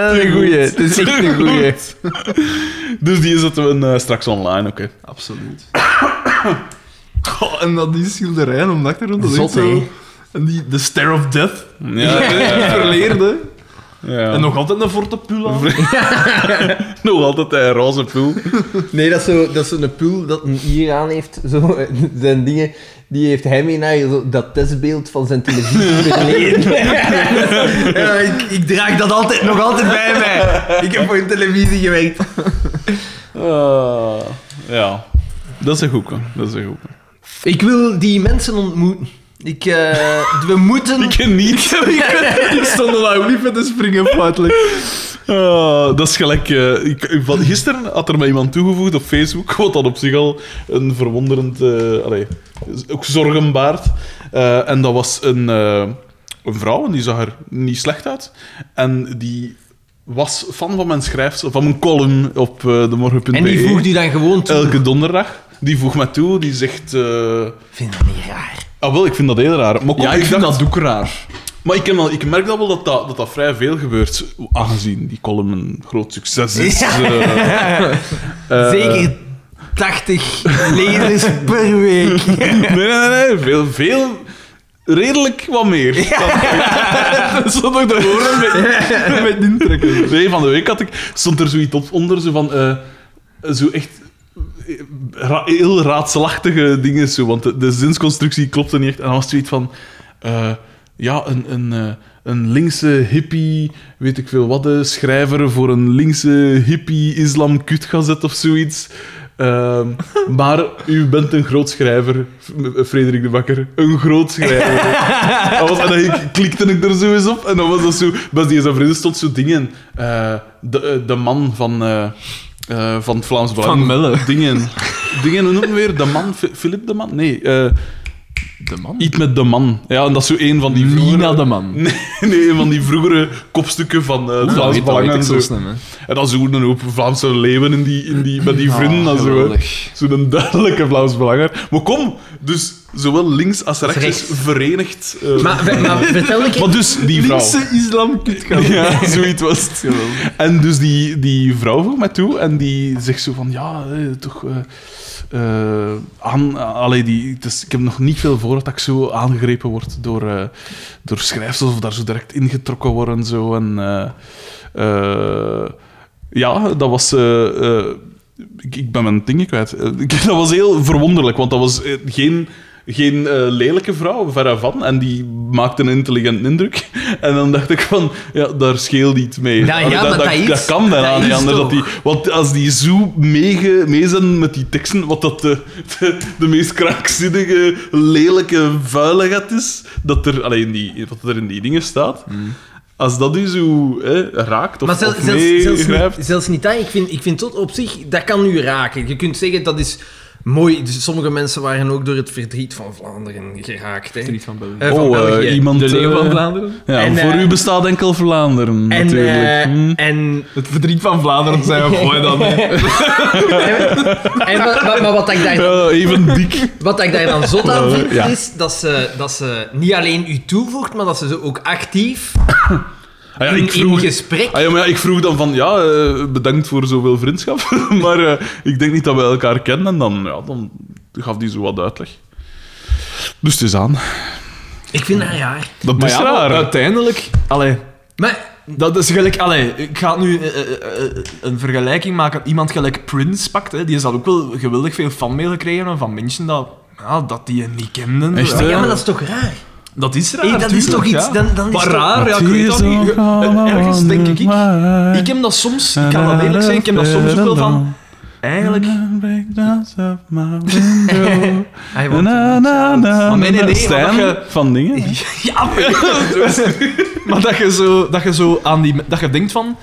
Dat is een goeie. Het is echt een goeie. Dus die zetten we eh, straks online, oké. Absoluut. [coughs] Goh, en dat die schilderijen om de achtergrond, dat is Zot, echt zo- hè? En die, de Stare of Death, Ja, ja, [laughs] verleerde. ja. En nog altijd een Forte Pula. [laughs] Nog altijd een roze poel. Nee, dat is zo'n dat is zo'n pul dat een hier aan heeft. Zo, [laughs] eh, zijn dingen, die heeft hij mee naar zo dat testbeeld van zijn [laughs] televisie verleden. ik, ik draag dat altijd, nog altijd bij mij. Ik heb voor een televisie gewerkt. Ah. Ja, dat is een goeie. Dat is een goeie. Ik wil die mensen ontmoeten. Ik, eh, we [laughs] moeten... Ik ken niet. Die stonden daar ook niet met te springen, feitelijk. Ah, dat is gelijk. eh, ik, van, gisteren had er mij iemand toegevoegd op Facebook, [laughs] wat dan op zich al een verwonderend, eh allee, z- ook zorgen baart. Eh, en dat was een, eh, een vrouw en die zag er niet slecht uit. En die was fan van mijn schrijfsel, van mijn column op eh de morgen.be. en die voegt u dan gewoon toe. Elke donderdag. Die voegt mij toe, die zegt. eh, Ik vind dat niet raar. ah, wel, ik vind dat heel raar. Maar kom, Ja, ik vind dacht- dat ook raar. maar ik, heb al- ik merk dat wel dat dat, dat dat vrij veel gebeurt, aangezien die column een groot succes is. Ja. [laughs] eh, eh, Zeker 80 lezers per week. [laughs] Nee, nee, nee. Veel, veel redelijk wat meer. Dat [laughs] stond ook de horen [laughs] met, met intrekken. [laughs] Nee, van de week had ik, stond er zoiets op onder, zo van... eh, zo echt eh, ra- heel raadselachtige dingen, zo, want de, de zinsconstructie klopte niet echt. En dan was zoiets van... eh, ja, een... een eh, een linkse hippie, weet ik veel wat, eh, schrijver voor een linkse hippie islam kutgazet of zoiets. Ehm, [laughs] maar u bent een groot schrijver, F- m- Frederik de Bakker. Een groot schrijver. Dat was- en dan ik- klikte ik er zo eens op en dan was dat zo... Bij die zijn vrienden stond zo dingen. eh, de, eh, de man van... eh, eh, van het Vlaams Belang. Van Melle. Dingen. Dingen, hoe noemen we weer? De man? Fi- Philip de man? Nee. eh, De man. iets met de man. Ja, en dat is zo een van die vroegere... Nina de man. Nee, nee, een van die vroegere kopstukken van eh, het Oeh, Vlaams weet- weet Belang. ik en zo. zo snel, hè. En dan zo'n een hoop Vlaamse leeuwen in die, in die, met die vrienden. en zo, hè. Ah, geweldig. Zo'n duidelijke Vlaams belanger. Maar kom, dus zowel links als rechts, Rechts. is verenigd. eh, Maar, maar vertel ik... maar dus, die vrouw. Linkse islam kutgazet. Ja, zoiets was het. En dus die, die vrouw vroeg mij toe en die zegt zo van, ja, eh, toch... eh, eh, aan, allee, die, het is- ik heb nog niet veel voor dat ik zo aangegrepen word door, eh door schrijfsels of daar zo direct ingetrokken worden en zo. En, eh, eh, ja, dat was... eh, eh, ik, ik ben mijn dingen kwijt. [laughs] Eh, ik- dat was heel verwonderlijk, want dat was eh, geen, geen eh, lelijke vrouw, verre van. En die maakte een intelligent indruk. [laughs] En dan dacht ik van, ja, daar scheelt iets mee. Nou ja, Allee, maar dat is- dat kan bijna dat niet is anders. Dat toch. die, want als die zo meege- mee zijn met die teksten, wat dat de, de, de meest krankzinnige, lelijke vuiligheid is, dat er, allee, in die, wat er in die dingen staat... Mm. Als dat u zo hè, raakt of, Maar zelfs, of zelfs, zelfs, meegrijpt- niet, zelfs niet dat. Ik vind, ik vind tot op zich, dat kan u raken. Je kunt zeggen, dat is mooi. Dus sommige mensen waren ook door het verdriet van Vlaanderen geraakt. Hè. Verdriet van België. Eh, van Oh, eh, België. iemand... De leeuw eh, van Vlaanderen? Ja, En, voor eh, u bestaat enkel Vlaanderen, en, natuurlijk. eh, Hm. en, Het verdriet van Vlaanderen zijn we mooi dan. hè. en wa- wa- maar wat ik daar Ja, [laughs] even dik. Wat ik daar dan zot aan vind, Ja. is dat ze, dat ze niet alleen u toevoegt, maar dat ze zo ook actief Ah, ja, in, ik in vroeg, gesprek... ah, ja, maar ja, ik vroeg dan van, ja, eh, bedankt voor zoveel vriendschap. [laughs] maar eh, ik denk niet dat we elkaar kennen. En dan, ja, dan gaf die zo wat uitleg. Dus het is aan. Ik vind dat raar. Dat Maar is ja, eh, maar raar. uiteindelijk... Allee, Maar dat is gelijk... Allee, ik ga nu eh, eh, eh, een vergelijking maken. Iemand gelijk Prince pakt, hè, die is dat ook wel geweldig veel fanmail gekregen van mensen dat, ja, dat die hem niet kenden. Echt, Ja. hè? ja, maar dat is toch raar? Dat is raar. Hey, dat is toch tuurlijk, iets... ja. Dan, dan is Maar toch- raar, ja, ik weet dat niet. Eh, Ergens denk ik... Ik heb dat soms, ik kan dat eerlijk zijn, ik heb dat soms ook wel van... Eigenlijk... [laughs] Hij wordt- Maar nee, nee, nee, Stijn maar dat van dingen. Ja, maar, [laughs] maar dat, je zo, dat je zo aan die... Dat je denkt van...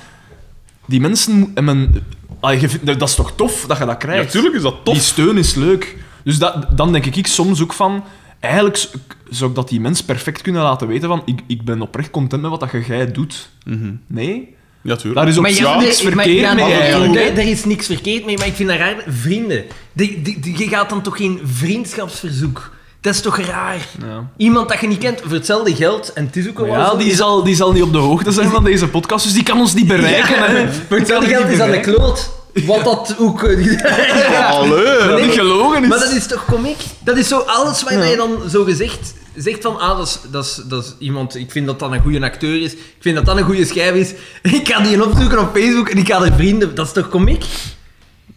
Die mensen hebben... ah, je vindt- Dat is toch tof dat je dat krijgt? Natuurlijk is dat Die tof. steun is leuk. Dus dat, dan denk ik soms ook van... Eigenlijk z- zou ik dat die mens perfect kunnen laten weten van... Ik, ik ben oprecht content met wat dat je jij doet. Mhm. Nee? Ja, tuurlijk. Daar is ook Maar ja, niks nee, maar- verkeerd ja, mee nee, eigenlijk. nee, hè. Er is niks verkeerd mee, maar ik vind dat raar. Vrienden, die, die, die- je gaat dan toch geen vriendschapsverzoek? Dat is toch raar? Ja. Iemand dat je niet kent voor hetzelfde geld, en het is ook al Ja, die zal, die zal niet op de hoogte zijn van deze podcast, dus die kan ons niet bereiken. hè. [laughs] Voor hetzelfde geld is dat een kloot. Wat dat ook... eh, [laughs] Allee. Dat niet gelogen is. Maar dat is toch komiek? Dat is zo alles wat je dan zo gezegd zegt van, ah, dat is, dat, is, dat is iemand, ik vind dat dat een goede acteur is, ik vind dat dat een goede schrijver is, [laughs] ik ga die opzoeken op Facebook en ik ga er vrienden, dat is toch komiek?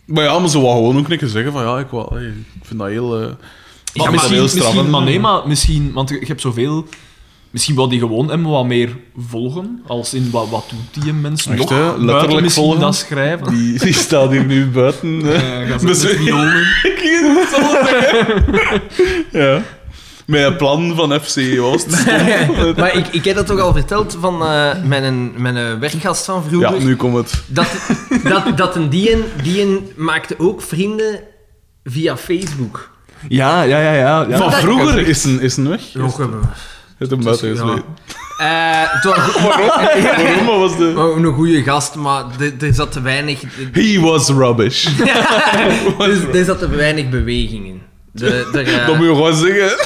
Maar ja, maar ze wou gewoon ook niks zeggen van ja, ik, wou, hey, ik vind dat heel. eh, ik vind dat Maar misschien, straf, misschien, hè. maar nee, maar misschien, want je je hebt zoveel Misschien wou die gewoon hem wat meer volgen, als in wat, wat doet die mens Echt, nog? hè? Buiten Letterlijk misschien volgen? dat schrijven. Die, die staat hier nu buiten. hè. Eh, gaat [laughs] ze Dus- met violen. [laughs] ja. Met een plan van FC [laughs] Oost. maar ik, ik heb dat toch al verteld van eh, mijn, mijn eh, werkgast van vroeger. Ja, nu komt het. Dat, dat, dat een dien, dien maakte ook vrienden via Facebook. Ja, ja, ja, ja. ja. Van dat- vroeger is een, is een weg. Nog hebben Het hem buiten Ja. gesleept. Eh, [laughs] het was Waarom? Wat was de... maar een goede gast, maar de- er zat te weinig, de- He was [laughs] rubbish. dus, er zat te weinig beweging in. De, de, eh, Dat moet je gewoon zeggen.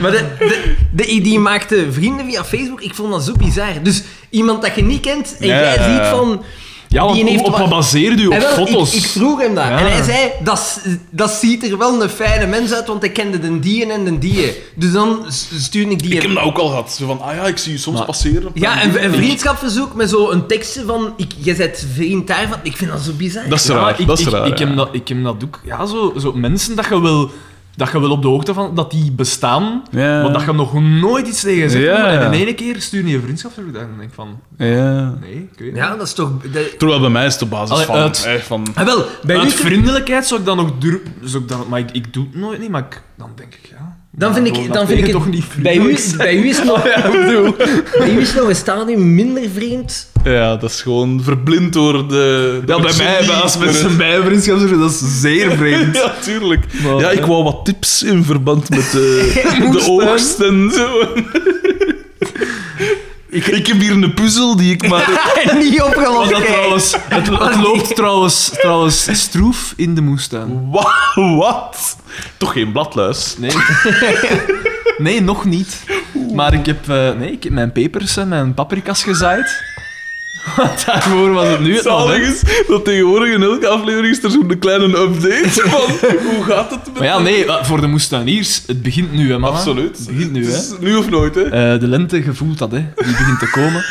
maar de, de, de, die maakte vrienden via Facebook, ik vond dat zo bizar. Dus iemand dat je niet kent en Ja, jij ja, ja. ziet van... ja want die heeft op, op wat- wat baseer je op En wel, ik- foto's? Ik, vroeg hem dat. Ja. En hij zei, dat, s- dat ziet er wel een fijne mens uit, want hij kende de dieën en de dieën. Dus dan s- stuurde ik die... Ik heb dat ook al gehad. Zo van, ah ja, ik zie je soms Maar- passeren. ja, een, een vriendschapverzoek met zo'n tekstje van, ik, jij bent vriend daarvan. Ik vind dat zo bizar. Dat is Ja, raar. ik, dat is ik, raar. ik, heb dat, ik heb dat ook. Ja, zo, zo mensen dat je wel... Dat je wel op de hoogte van dat die bestaan, Ja. want dat je nog nooit iets tegen gezegd Ja. hebt. En in ene keer stuur je een vriendschapsverzoek en dan denk ik van, Ja. nee, ik weet niet. Ja, dat is toch... dat- Terwijl bij mij is het de basis Allee, van, uit- eh, van... Ah, wel, bij Uit u- vriendelijkheid zou ik dan nog durven, zou ik dan, maar ik, ik doe het nooit niet, maar ik, dan denk ik, ja. Dan vind ik, dan dat vind ik tegen het, toch niet bij, vriendelijk u, zijn. bij, u is nog, [laughs] bij u is nog een stadium minder vreemd. Ja, dat is gewoon verblind door de... de Ja, bij mij, bij- als [laughs] mensen bij een vriendschapsverzoek, dat is zeer vreemd. Ja, tuurlijk. Maar, ja, ik eh. wou wat tips in verband met [laughs] de, de oogst en [laughs] zo. ik, ik heb hier een puzzel die ik [laughs] maar... En niet Was opgelost. dat trouwens, het, het loopt trouwens, trouwens stroef in de moestuin. Wa- Wat? Toch geen bladluis. Nee. nee, nog niet. Maar ik heb, eh, nee, ik heb mijn pepers en mijn paprika's gezaaid. [laughs] Want daarvoor was het nu het nog, hè. Zalig is dat tegenwoordig in elke aflevering is er zo'n kleine [laughs] update van hoe gaat het met... Maar ja, nee, wa- voor de moestuiniers, het begint nu, hè, mama. Absoluut. Het begint nu, Het hè. is Nu of nooit, hè? Eh, de lente, gevoelt dat, hè. Die begint te komen.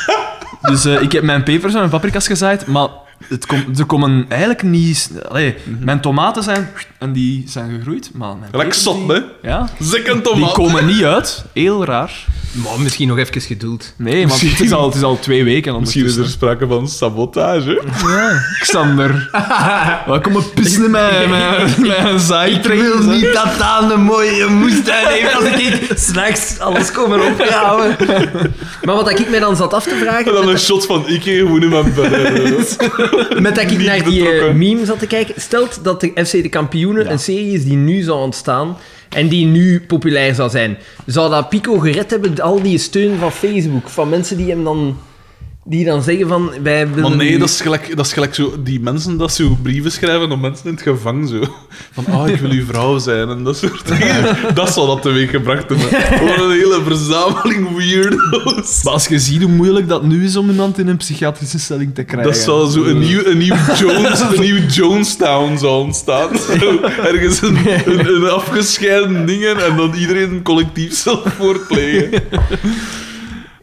Dus eh, ik heb mijn pepers en mijn paprika's gezaaid, maar het komt ze komen eigenlijk niet... s- Allee, mijn tomaten zijn... En die zijn gegroeid, maar mijn Gelijk pepers zot, die- hè? Ja. Zekken Die tomaat. komen niet uit. Heel raar. Maar misschien nog even geduld. Nee, want het is al, het is al twee weken Misschien is er ondertussen. sprake van sabotage. [laughs] Xander. Wat komen pissen met [laughs] mijn, mijn Ik wil zaaitrainers, hè. niet dat aan een mooie moestuin heeft als ik s'nachts alles komen ophouden. Maar wat ik mij dan zat af te En vragen, dan met, een shot van ik gewoon in mijn [laughs] bed. hè. dat- met dat ik niet naar die eh, betrokken. meme zat te kijken, stelt dat de FC de Kampioenen een serie is die nu zou ontstaan en die nu populair zou zijn. Zou dat Pico gered hebben, al die steun van Facebook, van mensen die hem dan... Die dan zeggen van, wij willen... Maar nee, nu- dat is, gelijk, dat is gelijk zo... Die mensen dat zo brieven schrijven om mensen in het gevangen zo. Van, ah, ik wil uw vrouw zijn en dat soort [laughs] dingen. Dat zal dat teweeg gebracht hebben. Wat een hele verzameling weirdo's. Maar als je ziet hoe moeilijk dat nu is om iemand in een psychiatrische stelling te krijgen. Dat zal zo een nieuw, een nieuw, Jones, een nieuw Jonestown zal ontstaan. Zo, ergens een, een, een afgescheiden dingen en dan iedereen een collectief zal voortplegen.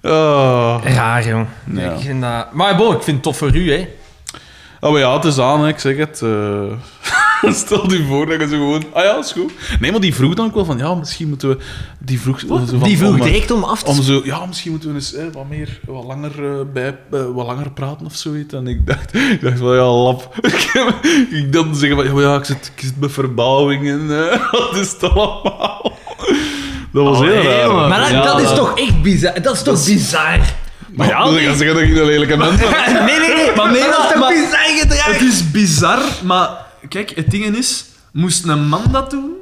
Ah. Raar, jong. Ja. Ik vind dat... Maar bon, ik vind het tof voor u, hè. Oh, maar ja, het is aan, hè, ik zeg het. eh. [laughs] Stel je voor dat je zo gewoon... Ah ja, is goed. Nee, maar die vroeg dan ook wel van... Ja, misschien moeten we... Die vroeg, zo van, Die vroeg om, eh, direct om af te Om zo, ja, misschien moeten we eens eh, wat meer, wat langer, eh, bij, eh, wat langer praten of zoiets. En ik dacht, [laughs] ik dacht van, ja, lap. [laughs] ik heb- ik dan zeggen van, ja, maar ja, ik zit, ik zit met verbouwingen. eh, [laughs] wat is het allemaal? Dat was heel Allee, raar. man. Maar dat, Ja, dat is dat- toch echt bizar. Dat is toch Maar bizar? ja, Maar ja, dan ga je zeggen dat ik een lelijke mens ben. Nee, nee, nee. Maar nee, dat is maar- toch maar- bizar gedrag? Het is bizar, maar kijk, het ding is, moest een man dat doen?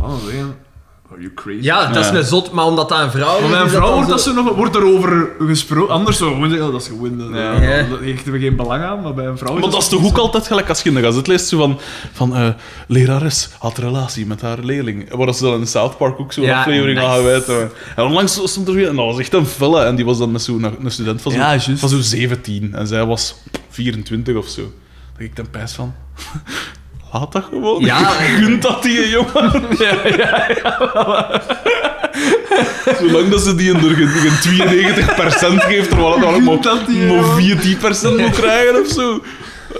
Oh, zeggen, are you crazy? Ja, dat is een zot, maar omdat dat een vrouw Maar is, mijn is vrouw dan wordt, zo- dat zo nog, wordt erover gesproken. Anders zou ik gewoon zeggen, dat is gewoon... eh, Ja. Ja. Daar hechten we geen belang aan, maar bij een vrouw... Maar dat is toch ook altijd gelijk als je in de gazet leest zo van, van eh, lerares had relatie met haar leerling. Waar dat ze dan in South Park ook zo'n Ja, aflevering nice. aan gewijd hebben. En onlangs stond er weer, en dat was echt een felle, en die was dan met zo'n een student van zo'n Ja, juist. van zo'n 17. En zij was 24 of zo. Dat ik dan pijs van... [laughs] Laat dat gewoon. Ja. [laughs] Je gunt dat die jongen. Zolang dat ze die een door een 92% geeft, terwijl het allemaal Gunt dat die maar 14% jongen. moet krijgen of zo.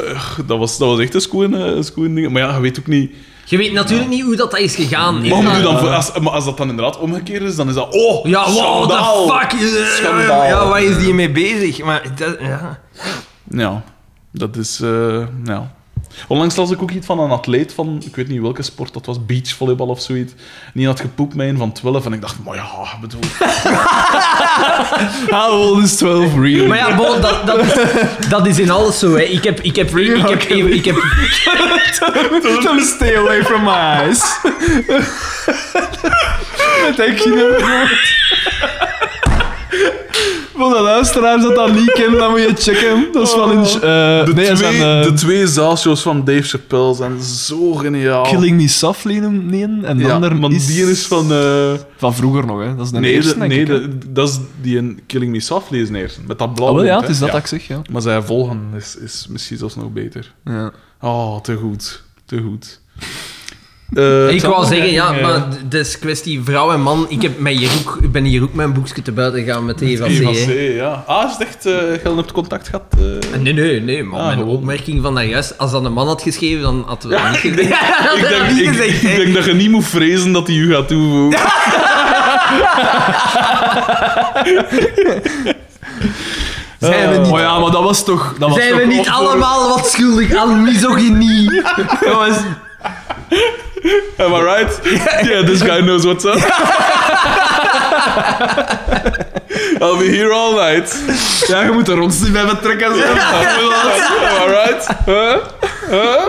Ugh, dat, was, dat was echt een schoon, eh, een schoon ding. Maar ja, je weet ook niet. Je weet natuurlijk niet hoe dat, dat is gegaan. Maar, hoe Ja. moet je dan, voor- als, maar als dat dan inderdaad omgekeerd is, dan is dat... Oh, Ja, wow, schandaal. the fuck. Schandaal. Ja, waar is die mee bezig? Maar dat, ja. Ja, dat is. eh, ja. Onlangs las ik ook iets van een atleet van, ik weet niet welke sport dat was, beachvolleybal of zoiets. En die had gepoept met een van 12 en ik dacht, maar ja, ik bedoel. [laughs] How old is 12 real? Maar ja, bon, dat, dat, dat is in alles zo. Hè. Ik heb... Ik heb, ik heb, ik heb, ik heb Don't stay away from my eyes. Met dat kinderwoord. Voor de luisteraars dat dat niet kennen, dan moet je checken. Dat is van een... eh, De, nee, dat is twee, een, eh, de twee zaalshows van Dave Chappelle zijn zo geniaal. Killing Me Softly noemt die een, en de ja, ander maar is... die is van. eh, Van vroeger nog, hè. Dat is de nee, eerste, de- denk nee ik, hè. de- dat is die een Killing Me Softly is neer. Met dat blauwe. Ah, wel, ja, lint, het hè. is dat dat ik zeg, ja. Maar zijn volgen is, is misschien zelfs nog beter. ja. Oh, te goed. Te goed. Eh, Ik wou Xander? zeggen, ja, Ja. maar d- dat is kwestie vrouw en man. Ik heb met hier ook, ik ben hier ook mijn boekje te buiten gegaan met Eva C. Eva C, hè. ja. Ah, is het echt eh Gelden hebt contact gehad? [laughs] eh? Nee, nee, nee, maar Ah, mijn gewoon. opmerking van daarjuist, als dat een man had geschreven, dan hadden we [laughs] dat niet gezegd. Ik, denk, niet ik, gezegd, ik hè. denk dat je niet moet vrezen dat hij u gaat toevoegen. Zijn Ah, we niet- Oh ja, maar dat was toch... Dat was Zijn toch we niet op- [laughs] allemaal wat schuldig aan misogynie? Jongens, Am I right? [laughs] Yeah, this guy knows what's up. [laughs] I'll be here all [laughs] night. Ja, je moet er ons niet bij betrekken. zeg. Am I right? Huh? Huh?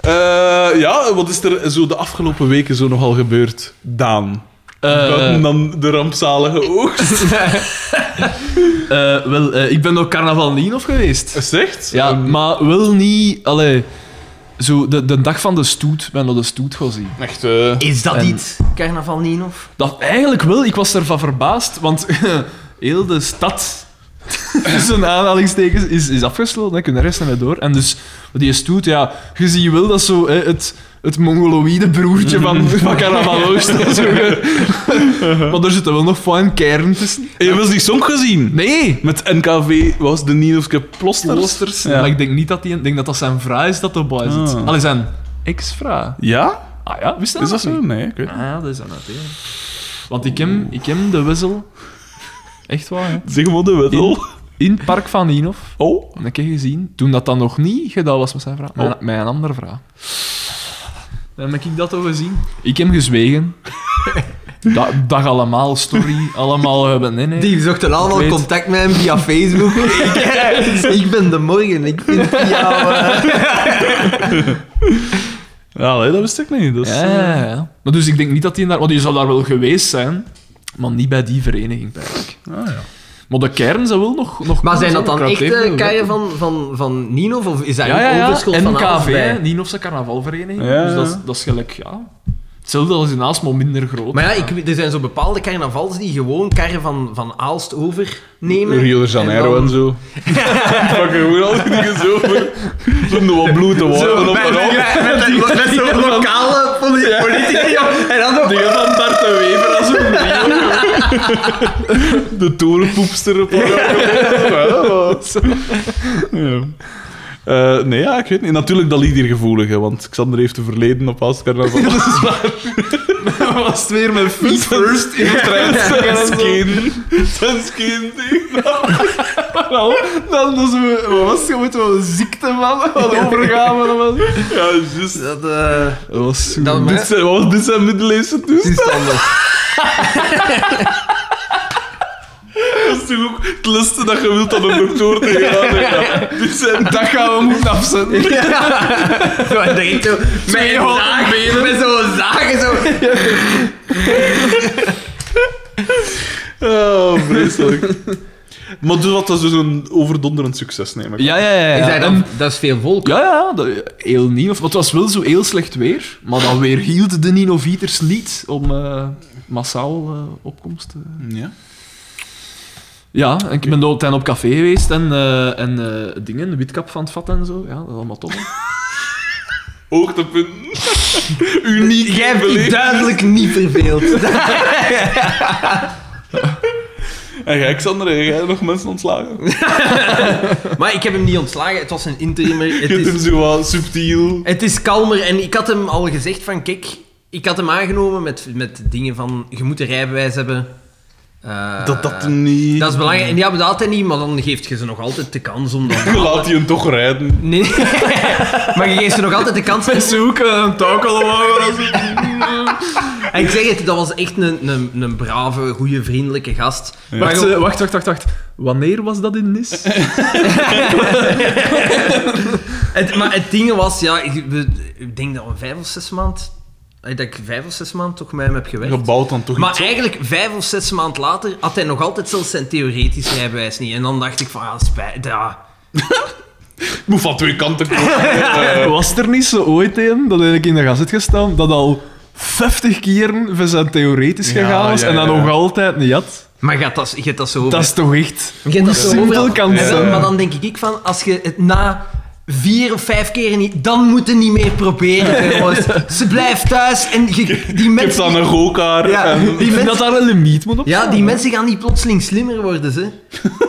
Eh, ja, wat is er zo de afgelopen weken zo nogal gebeurd, Daan? Buiten dan de rampzalige oogst. Eh, wel, eh, ik ben nog carnaval niet of geweest. [laughs] Zegt? Ja, maar wel niet... Allee, zo de, de dag van de stoet, ben naar de stoet gaan zien. Echt, eh, is dat En- iets? Carnaval Ninov? Dat eigenlijk wel, ik was ervan verbaasd, want [laughs] heel de stad, [laughs] tussen aanhalingstekens, is, is afgesloten. Hè. Kunnen de rest niet meer door. En dus, die stoet, ja, je ziet wel dat zo hè, het, het mongoloïde broertje [laughs] van, van Carnaval Oost. zo, hè. [laughs] maar er zitten wel nog fijn kern tussen. Heb je wel eens die song gezien? Nee! Met NKV was de Nielske Plosters. Plosters. Ja. Maar ik denk niet dat die, ik denk dat dat zijn vrouw is dat erbij zit. Ah. Allee, zijn ex-vrouw. Ja? Ah ja, wist je Is dat nog zo? niet? Nee, ik weet Ah ja, dat is aan het, ja. Want ik heb, ik heb de wissel. Echt waar, hè? niet. Zeg maar de In, wedel. in het park van Inhof. Oh. Een keer gezien. Toen dat dan nog niet gedaan was met zijn vrouw. Met, Oh. met een andere vrouw. Dan heb ik dat al gezien. Ik heb gezwegen. Da- dag allemaal, story. Allemaal hebben. Nee, nee. Die zochten allemaal Ik weet- contact met hem via [laughs] Facebook. ik, ik ben de morgen, ik vind jou... [laughs] eh, Ja, nee, dat wist ik niet. Dus, Ja, ja, ja. Maar dus ik denk niet dat die daar... Want die zou daar wel geweest zijn. Maar niet bij die vereniging, eigenlijk. Ah, ja. Maar de kern zou wel nog... nog Maar zijn dat dan Kraut heeft echte wel- keien van, van, van Ninov? Of is dat Ja, ja, een ja. overschot van alles NKV, bij? hè. Ninofse carnavalvereniging. Ja, Dus dat is, ja. dat is gelijk, ja... Hetzelfde als in Aalst, maar minder groot. Maar ja, ik, weet- er zijn zo bepaalde carnavals die gewoon karren van, van Aalst overnemen. eh, Rio de Janeiro en, dan- zo. Pak je gewoon al die dingen zo. Zo'n wat bloed te worden op en op. Met, met zo'n lokale poli- politici. ja. En dan nog... Dingen van Bart de Wever als een Rio. De torenpoepster op ja. Eh, nee, ja, ik weet niet. Natuurlijk, dat lied hier gevoelig, hè, want Xander heeft een verleden op Aalst Carnaval. was het weer met fiets. [laughs] First in trend, skin. Zijn skin ding. Dan dus we, wat was het? Je moet wel een ziekte van, van overgaan. maar dat was- Ja, juist. Dat, eh Dat was zo. Dat- dit zijn, wat was dit zijn middeleeuwse het is toestand? anders. Dat is toch ook het liste dat je wilt dat een dokter tegenaan ja. Dit zijn Dat gaan we moeten afzetten. Zo, en direct zo... Met Twee een houten zaag, met zo'n zaag en zo... Oh, vreselijk. Maar dus wat, dat is dus een overdonderend succes, neem ik. aan. Ja, ja, ja. ja. Is dat, dan, En- dat is veel volk. ja, ja, dat- heel niet. Of, maar het was wel zo heel slecht weer. Maar dan weer hield de Ninoviters niet om eh, massaal eh, opkomst te... ja. Ja, en ik ben dan op café geweest en, eh, en eh, dingen, witkap van het vat en zo. Ja, dat is allemaal tof. hè. Hoogtepunten. [laughs] Uniek. Jij hebt je beleefd. duidelijk niet verveeld. En jij, Xander, heb jij nog mensen ontslagen? Maar ik heb hem niet ontslagen, het was een interimmer. Het Je hebt hem is, zo wat subtiel. het is kalmer en ik had hem al gezegd van, kijk, ik had hem aangenomen met, met dingen van, je moet een rijbewijs hebben. Eh, Dat dat niet... Dat is belangrijk. En ja, maar dat had hij niet, maar dan geeft je ze nog altijd de kans om dat... Je laat hij hem toch rijden. Nee, [laughs] maar je geeft ze nog altijd de kans. zoeken en taak allemaal. En ik zeg het, dat was echt een, een, een brave, goede, vriendelijke gast. Maar Wacht, gewoon- eh, wacht, wacht, wacht, wacht. Wanneer was dat in [laughs] Nis? Het, maar het ding was, ja, ik, we- ik denk dat we vijf of zes maand... eh, Dat ik vijf of zes maand toch met hem heb gewerkt. Je bouwt dan toch Maar iets eigenlijk, vijf of zes maand later, had hij nog altijd zelfs zijn theoretisch rijbewijs niet. En dan dacht ik van, ja, spijt, ja. op. Moet van twee kanten komen. Eh, Was er niet zo ooit een dat ik in de gazet gestaan dat al 50 keren van zijn theoretisch Ja, gegaan was ja, en dan ja. nog altijd niet had? Maar je hebt dat, je hebt dat zo... Dat is toch echt... Je hebt dat zo simpel overal. kan En wel, zijn. Maar dan denk ik van, als je het na vier of vijf keren niet... Dan moet je niet meer proberen, [laughs] jongens. Ze blijft thuis en je, die Je hebt mensen... dan een rookhaar. Ja, en- die mensen... Dat daar een limiet moet op Ja, staan. die mensen gaan niet plotseling slimmer [laughs] worden, ze.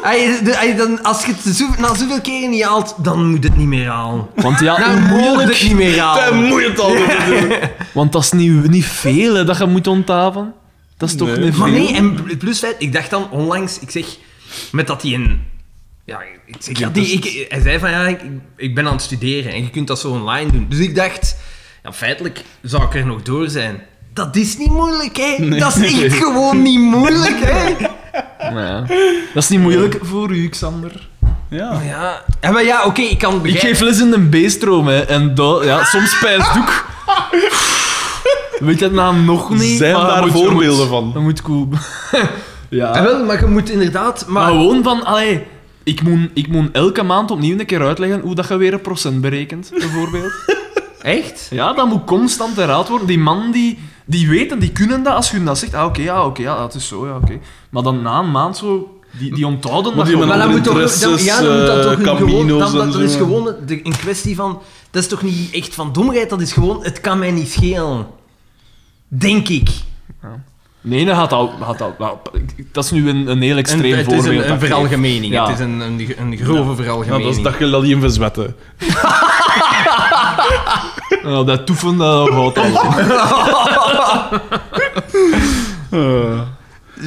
Ai, de- ai, dan, als je het zo, na zoveel keren niet haalt, dan moet het niet meer halen. Want ja, Dan moet onmogelijk. het niet meer Hij halen. moet het al doen. Want dat is niet, niet veel hè, dat je moet onthaven. Dat is toch Nee. niet veel. Maar nee, en het plusfeit, ik dacht dan onlangs, ik zeg, met dat hij een... Ja, ik zeg, dat die, ik, hij zei van, ja, ik, ik ben aan het studeren en je kunt dat zo online doen. Dus ik dacht, ja, feitelijk zou ik er nog door zijn. Dat is niet moeilijk, hè. Dat is echt gewoon niet moeilijk, hè. Nou ja. Dat is niet moeilijk voor u, Xander. Ja. Ja, en maar ja, oké, ik kan Ik begrijpen. geef les in een B-stroom, hè. En dat, ja, soms pijst doek. Weet je het nou nog niet? Zijn maar dat daar moet- dat moet- voorbeelden van? Dat moet cool. [laughs] ja. Ah, wel, maar je moet inderdaad... Maar Maar, gewoon van, allee, ik moet, ik moet elke maand opnieuw een keer uitleggen hoe dat je weer een procent berekent, [laughs] bijvoorbeeld. echt? ja, dat moet constant herhaald worden. Die man die, die weet en die kunnen dat als je hun dat zegt. Ah, oké, ja, oké, ja, dat is zo, ja, oké. Maar dan na een maand zo, die, die onthouden Maar die dat man- Maar gewoon. dan moet toch... Dan, ja, dan moet dat toch Interesses, eh, een gewoon... Camino's Dan, dat en is zo. gewoon de- een kwestie van... Dat is toch niet echt van domheid, dat is gewoon... Het kan mij niet schelen. Denk ik. Nee, dat gaat al... Gaat al nou, dat is nu een, een heel extreem Een- het is voorbeeld. een, een dat ik geef. veralgemening. Ja. Het is een, een, een grove Nou, dat veralgemening. is dat je dat je hem verzwetten. Nou, dat toeven, dat houdt [laughs] al. Eh,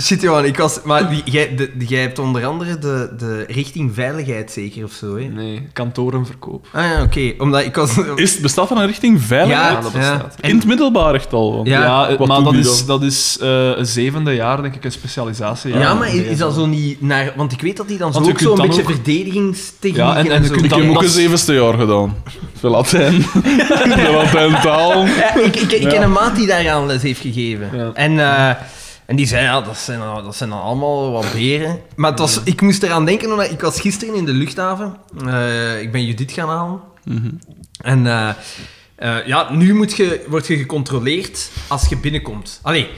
Shit, Johan, ik was... Maar die- jij de- die- jij hebt onder andere de, de richting veiligheid zeker of zo, hè? Nee, kantorenverkoop. Ah ja, oké. Omdat ik was... Is, bestaat er een richting veiligheid? dat bestaat. In het middelbaar echt al. want- Ja, Ja, eh, wat maar doe dat je is, dan? dat is eh, een zevende jaar, denk ik, een specialisatie. Ja, maar is, is dat zo niet naar... Want ik weet dat die dan zo Want je ook kunt zo'n dan beetje ook- verdedigingstechniek Ja, en- en, en je zo. kunt Ik dan- heb ook dat een is- zevende jaar gedaan. Veel [laughs] Latijn. Veel Latijn taal. Ja, ik, ik, ik ken een maat die daar aan les heeft gegeven. Ja. En, eh, en die zei, ja, dat zijn, al- dat zijn dan allemaal wat beren. Maar het was, ik moest eraan denken, omdat ik was gisteren in de luchthaven. Eh, ik ben Judith gaan halen. En eh, eh, ja, nu moet je, word je gecontroleerd als je binnenkomt. Allee,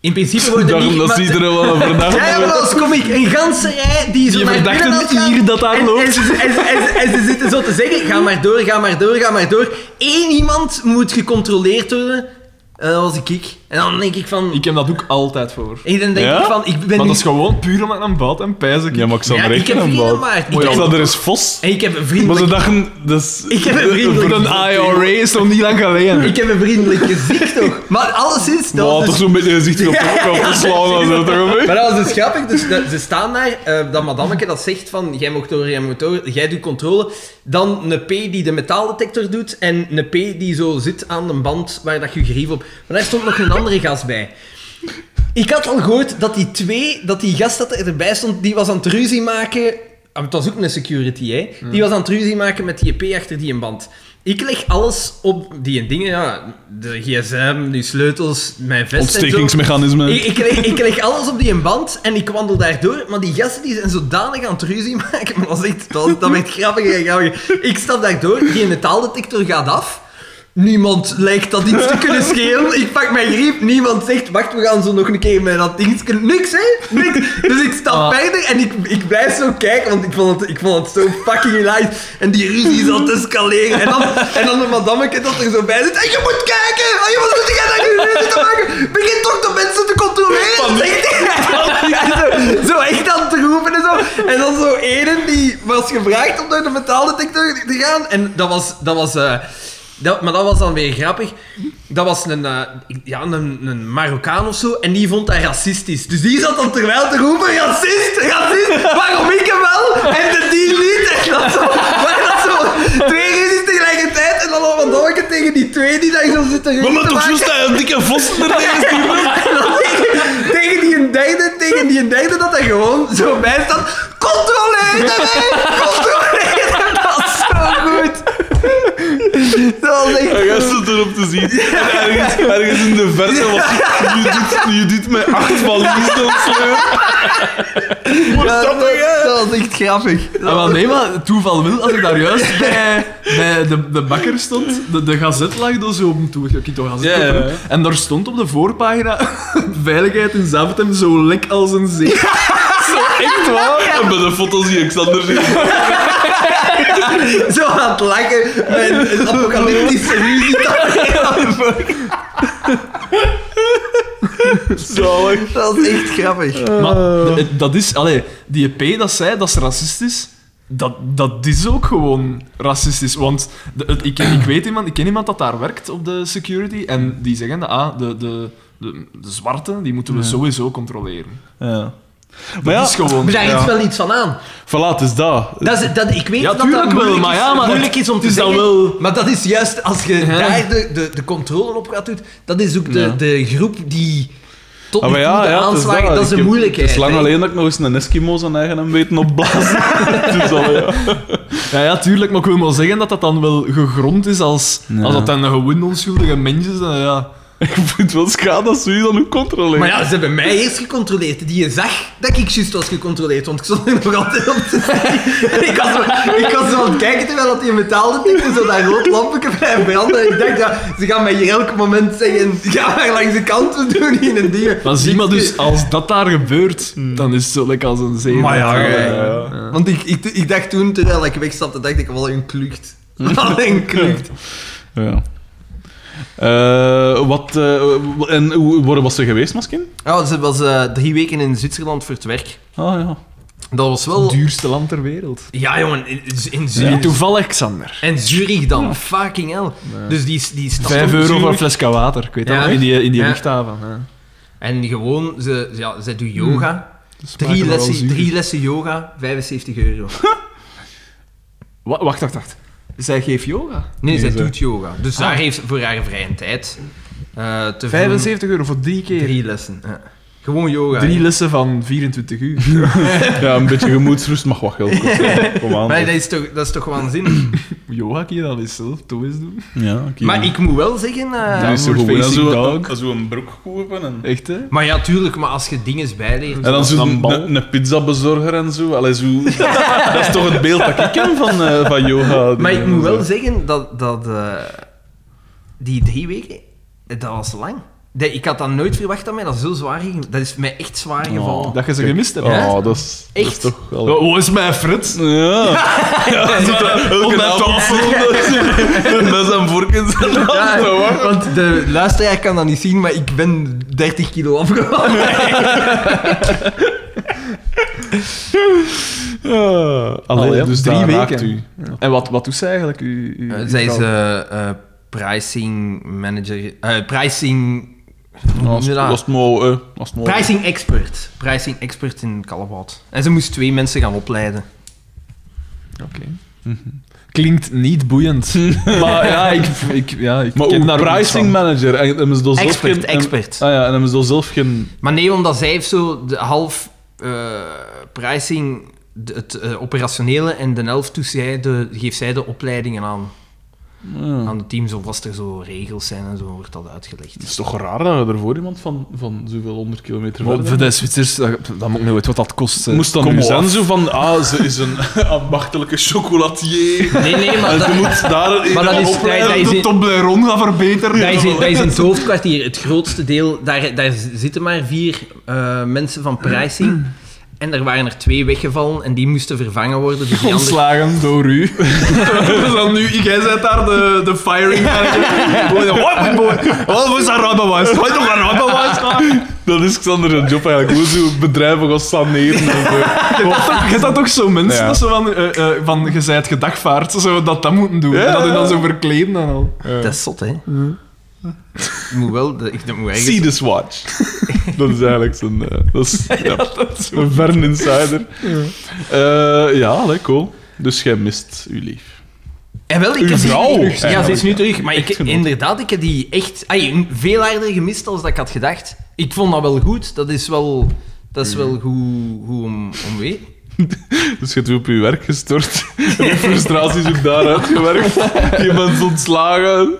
in principe wordt er Daarom niet... dat maar- iedereen wel een verdachte Ja, maar als kom ik een ganse rij die zo Die naar verdachte binnen aan het gaan- hier dat daar en, loopt. En ze, en, ze- en ze- en ze zitten zo te zeggen, ga maar door, ga maar door, ga maar door. Eén iemand moet gecontroleerd worden. En dat was ik. En dan denk ik van... Ik heb dat ook altijd voor. en dan denk Ja? ik van, ik ben Maar nu... dat is gewoon puur omdat ik aan bad en pijs ik. Ja, maar ik zal Ja, er ik echt heb aan vrienden, bouwen. maar- Maar Oh Ik- ja, dat er is vos. En ik heb een Maar ze vriendelijk... dachten... Dat is eh, Ik heb een vriendelijk- Een IRA is nog niet lang geleden. Ik heb een vriendelijk gezicht, toch? Maar alleszins... Wow, Dat was dus- toch zo'n beetje gezicht op te slaan. en zo, toch een beetje? Maar dat was dus grappig. Dus dat- ze staan daar, eh, dat madammeke dat zegt van, jij mag door, jij mag door, jij doet controle. Dan een P die de metaaldetector doet en een P die zo zit aan de band waar dat je grief op... Maar daar stond nog een andere gast bij. Ik had al gehoord dat die twee, dat die gast dat erbij stond, die was aan het ruzie maken. Ah, Het was ook een security, hè? Die was aan het ruzie maken met die EP achter die een band. Ik leg alles op die dingen, ja. De gsm, die sleutels, mijn vest en zo. Ik, Ontstekingsmechanismen. ik, kreeg, ik kreeg alles op die een band en ik wandel daardoor, maar die gasten die zijn zodanig aan het ruzie [laughs] maken, maar dat, was echt, dat, was- dat werd grappiger en grappiger. Ik stap daardoor, die metaaldetector gaat af. Niemand lijkt dat iets te kunnen schelen. Ik pak mijn griep, niemand zegt, wacht, we gaan zo nog een keer met dat ding... Niks, hè? Niks. Dus ik stap Ah. verder en ik, ik blijf zo kijken, want ik vond het, ik vond het zo fucking hilarisch. En die ruzie is aan het escaleren. En dan, en dan een madammeke dat er zo bij zit. En je moet kijken! Oh, je moet niet gaan ruzie te maken! Begin toch de mensen te controleren! Zeg het niet. [laughs] zo, zo echt En dan zo ene die was gevraagd om naar de metaaldetector te gaan. En dat was... Dat was eh, dat, maar dat was dan weer grappig. Dat was een, eh, ik- ja, een, een Marokkaan of zo. En die vond dat racistisch. Dus die zat dan terwijl te roepen... Racist! Racist! Waarom ik hem wel? En de die niet. En dat zo... Maar dat zo... Twee ruzies tegelijkertijd. En dan allemaal dolken tegen die twee die daar zo zitten ruzie te maken. een dikke vos En dan tegen, tegen die een derde, tegen die een derde dat hij gewoon zo bij staat. Controleer mij! Controleer hem! Dat is zo goed! Dat was echt... Jij stond erop te zien. En ergens, ergens in de verte was je doet, je doet met acht baliesten of zo. ja, dat, dat was echt grappig. Ah, wel, nee, maar toeval wil, als ik daar [laughs] juist bij, bij de, de bakker stond, de, de gazet lag daar zo op toe. Ik toch gazet Ja, ja, openen. ja. En daar stond op de voorpagina [laughs] veiligheid in Zaventem zo lek als een zee. [laughs] zo echt waar. En bij de foto zie ik Xander zitten. Zo aan het lachen met een apocalyptische muziek. Zalig. Dat was echt grappig. Maar Eh. d- dat is, allee, die EP dat zei dat is racistisch. Dat, dat is ook gewoon racistisch. Want de- het- ik, ken- ik weet iemand, ik ken iemand dat daar werkt op de security. En die zeggen dat ah, de, de, de, de zwarte die moeten we sowieso controleren. Ja. Dat Maar ja, is gewoon. Maar daar Ja. is wel iets van aan. voilà, het is dat. Dat is, dat, ik weet Ja, dat tuurlijk dat wel, moeilijk, maar is, ja, maar moeilijk is om het te is dan zeggen. wel- Maar dat is juist, als je Ja. daar de, de, de controle op gaat doen, dat is ook de, Ja. de groep die tot nu Ah, toe maar ja, de ja, het aanslagen, dat, Ik is een heb- moeilijkheid. Het is lang hè. alleen dat ik nog eens een Eskimo zijn eigen hem weten [laughs] opblazen. dus al, ja. Ja, ja, tuurlijk, maar ik wil maar zeggen dat dat dan wel gegrond is als, Ja. als dat dan gewoon onschuldige mensen zijn. Ja. Ik vind het wel schade als ze je dan ook controleren. Maar ja, ze hebben mij eerst gecontroleerd. Die zag dat ik juist was gecontroleerd, want ik stond er nog altijd op te zijn. En [laughs] ik was, zo- ik was zo aan het kijken terwijl dat die metaaldetector zo dat rood lampje blijft branden. En ik dacht, ja, ze gaan mij hier elk moment zeggen, ga maar langs de kant, we doen hier een ding. Dan zie je maar dus, als dat daar gebeurt, dan is het zo lekker als een zee. Maar ja, Hmm. ja, ja, ja. Want ik, ik, ik dacht toen, terwijl ik wegstapte, dacht ik wel een klucht. [laughs] Wel een klucht. Ja. Eh, wat, eh, w- en hoe waar was ze geweest, Maskin? Ja, ze was eh, drie weken in Zwitserland voor het werk. Ah ja. Dat was Het wel... duurste land ter wereld. Ja, jongen, in, in Niet Zurich. toevallig, Xander. En Zurich dan, fucking hell. Dus die, die stad Vijf op euro voor een Zurich. flesje water, ik weet dat Ja. nog, in die, in die Ja. luchthaven. Ja. En gewoon, ze, ja, ze doet yoga. Dat smaakt Drie wel lessen, zuur. drie lessen yoga, 75 euro. Wa- wacht, wacht, wacht. Zij geeft yoga. Nee, zij ze- doet yoga. Dus daar heeft voor haar vrije tijd eh, te veel- 75 euro voor drie keer. Drie, Drie lessen, ja. Gewoon yoga. lessen van 24 uur. [laughs] Ja, een beetje gemoedsrust mag wat geld kosten. Kom aan. Maar dat is toch, dat is toch waanzinnig. yoga kun je dan eens zelf toe eens doen. Ja, oké. Maar ik moet wel zeggen... eh, Dan is ze Downward gewoon facing zo, dog. zo een broek kopen en... Echt, hè? Maar ja, tuurlijk, maar als je dingen bijleert... En dan Dan zo'n een bal. een, een pizzabezorger en zo. Allee, [laughs] zo dat, is toch het beeld dat ik ken van, eh, van yoga. Maar ik en moet zo. wel zeggen dat, dat eh, die drie weken, dat was lang. Dat, ik had dat nooit verwacht dat mij dat zo zwaar ging. Dat is mij echt zwaar gevallen. Dat je ze gemist hebt. Oh, Ja. Oh, dat Oh, is, dat is Echt? [laughs] toch wel... Wo- Wo is mijn Frits? Ja. ja, zit er op mijn tafel. Mes en vork in zijn hand. Ja, zo, hoor. want de luisteraar kan dat niet zien, maar ik ben 30 kilo afgevallen. [laughs] Ja. Allee, Allee, dus drie daar weken. raakt u. En wat, wat doet ze eigenlijk? U, u, uw Zij is vrouw? eh, eh, pricing manager... eh, pricing... hoe noem Als je dat? als het mooi... eh, Als het mooi... Pricing expert. Pricing expert in Callebaut. En ze moest twee mensen gaan opleiden. eh, Oké. Mhm. Klinkt [laughs] niet boeiend. maar ja, ik, ik, ja, ik Maar ken ook daar ook niks pricing van. manager. En hebben ze daar zelf Expert, geen- en- expert. ah ja, en hebben ze daar zelf geen... Maar nee, omdat zij heeft zo de half eh, pricing, de- het eh, operationele, en de helft doet zij de, geeft zij de opleidingen aan. Ja. Aan de teams, of als er zo regels zijn en zo wordt dat uitgelegd. Het is toch raar dat je ervoor iemand van, van zoveel honderd kilometer Maar verder... Voor de Zwitsers, dat, dat moet ik nooit wat dat kost. hè. Moest dan Kom nu op. zijn zo van, ah, ze is een [laughs] ambachtelijke chocolatier. [laughs] Nee, nee, maar En dat, ze moet daar Maar dat is- opleiden. dat is- De Toblerone gaat verbeteren. dat, is, in- dat is in het hoofdkwartier. Het grootste deel, daar, daar zitten maar vier eh, mensen van pricing. En er waren er twee weggevallen en die moesten vervangen worden. Dus die andere... Ontslagen door [laughs] u. dus dan nu, jij bent daar de, de firing manager. Wat, wat, wat, wat, wat is dat Rabobank? Wat is dat Rabobank? [laughs] Dat is Xander zijn job eigenlijk. Hoe zo bedrijven gaan saneren. en [laughs] zo. Je hebt dat ook zo mensen Ja. dat zo van, eh eh, van je zijt gedagvaard, zo dat dat moeten doen. Ja. En dat hun dan zo verkleden en al. Dat is zot, hè? Ik moet wel... de- Ik dat moet See eigenlijk... this watch. dat is eigenlijk zijn... eh, dat [laughs] is, ja, een verne insider. Ja, ja allee, cool. Dus jij mist uw lief. [laughs] En Eh, wel, ik Uw heb die vrouw, terug. Ja, ze is nu eigenlijk. terug. Maar ik, Echtgenoot. inderdaad, ik heb die echt ai, veel harder gemist dan dat ik had gedacht. Ik vond dat wel goed. Dat is wel, dat is wel goed, goed om, om weet. Dus je hebt u op je werk gestort. [laughs] en je frustraties ook daaruit gewerkt. Je bent ontslagen.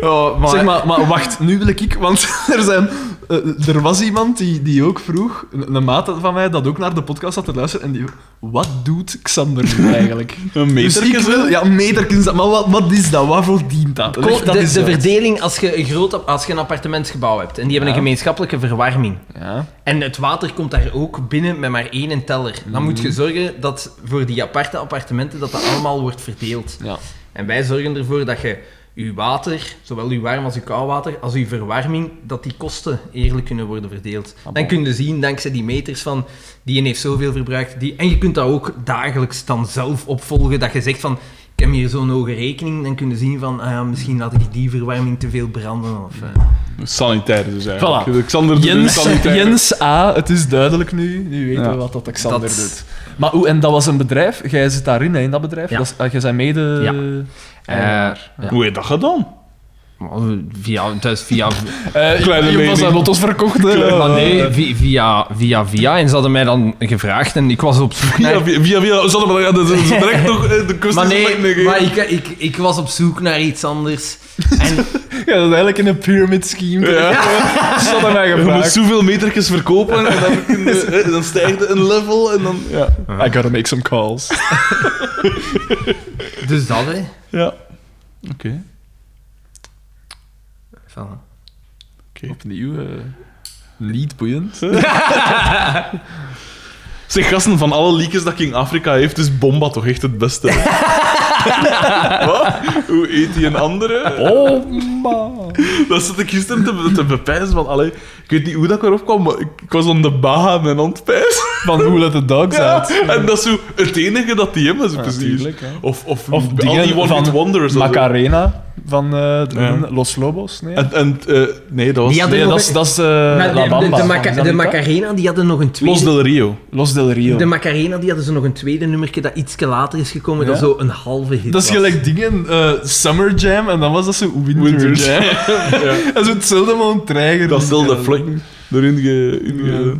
Oh, maar, Zeg maar, maar wacht, nu wil ik, ik want [laughs] er, zijn, eh, er was iemand die, die ook vroeg, een, een maat van mij, dat ook naar de podcast had te luisteren, en die wat doet Xander nu eigenlijk? Een Dus meter ik wil, ja, meterkens, maar wat, wat is dat? Waarvoor dient dat? Ko- Leg de, dat eens de uit. verdeling als je een, groot, als je een appartementsgebouw hebt en die hebben een gemeenschappelijke verwarming. Ja. En het water komt daar ook binnen met maar één teller. Dan moet je zorgen dat voor die aparte appartementen dat dat allemaal wordt verdeeld. Ja. En wij zorgen ervoor dat je je water, zowel je warm als je koud water, als je verwarming, dat die kosten eerlijk kunnen worden verdeeld. Dan kun je zien, dankzij die meters van, die een heeft zoveel verbruikt. Die, en je kunt dat ook dagelijks dan zelf opvolgen, dat je zegt van, ik heb hier zo'n hoge rekening, dan kun je zien van, ah ja, misschien laat ik die verwarming te veel branden. Of, eh. Sanitair dus eigenlijk. Voilà. Xander doet een Jens, sanitair. Jens A, het is duidelijk nu. Nu weten Ja. we wat dat Xander Dat- doet. Maar hoe, en dat was een bedrijf. Jij zit daarin, hè, in dat bedrijf. Ja. Dat is, eh, jij zijn mede... Ja. Eh, Hoe heb je dat gedaan? Via, dus via, eh, Kleine je was mening. aan auto's verkocht. hè. maar nee, vi- via, via, via. En ze hadden mij dan gevraagd en ik was op zoek naar... Via, via, via, via Zonder maar ja, dat is direct nog eh, de kust Maar is nog nee, niet maar ik, ik, ik was op zoek naar iets [laughs] anders. En [laughs] Ja, dat is eigenlijk in een pyramid scheme. Ja. Dat hadden mij Je moet gevraagd. zoveel metertjes verkopen en dan, kun je- eh, dan stijgt het een level en dan... Ja. I gotta make some calls. dus dat, hè. Ja. Oké. Van, Opnieuw. eh lead boeiend. [laughs] Zeg, gasten, van alle leakers dat King Afrika heeft, is Bomba toch echt het [laughs] beste? Wat? Hoe eet hij een andere? Oh, man. Dat zat ik gisteren te, te bepijzen van... Allee, ik weet niet hoe dat ik erop kwam, maar ik, ik was aan de Baha mijn hand pijzen. Van hoe let the dogs Ja, out. [laughs] en dat is zo het enige dat die hebben, zo precies. tuurlijk, hè. Of, of, Of al dingen die One van Hit Wonders. of zo. Macarena van eh, de- Ja. Los Lobos. Nee, En, en eh, nee, dat was... Die hadden nee nog dat is, een- dat is eh, La Maar de, de, Bamba. de, van Maca- de Zanika. Macarena die hadden nog een tweede... Los del Rio. Los del Rio. De Macarena die hadden ze nog een tweede nummerke dat iets later is gekomen, dat Ja? zo een halve hit Dat is was. gelijk dingen, eh, Summer Jam, en dan was dat zo Winter, Winter Jam. [laughs] dat is hetzelfde, maar een treiger. Dat is wel de fling erin ge... in ge-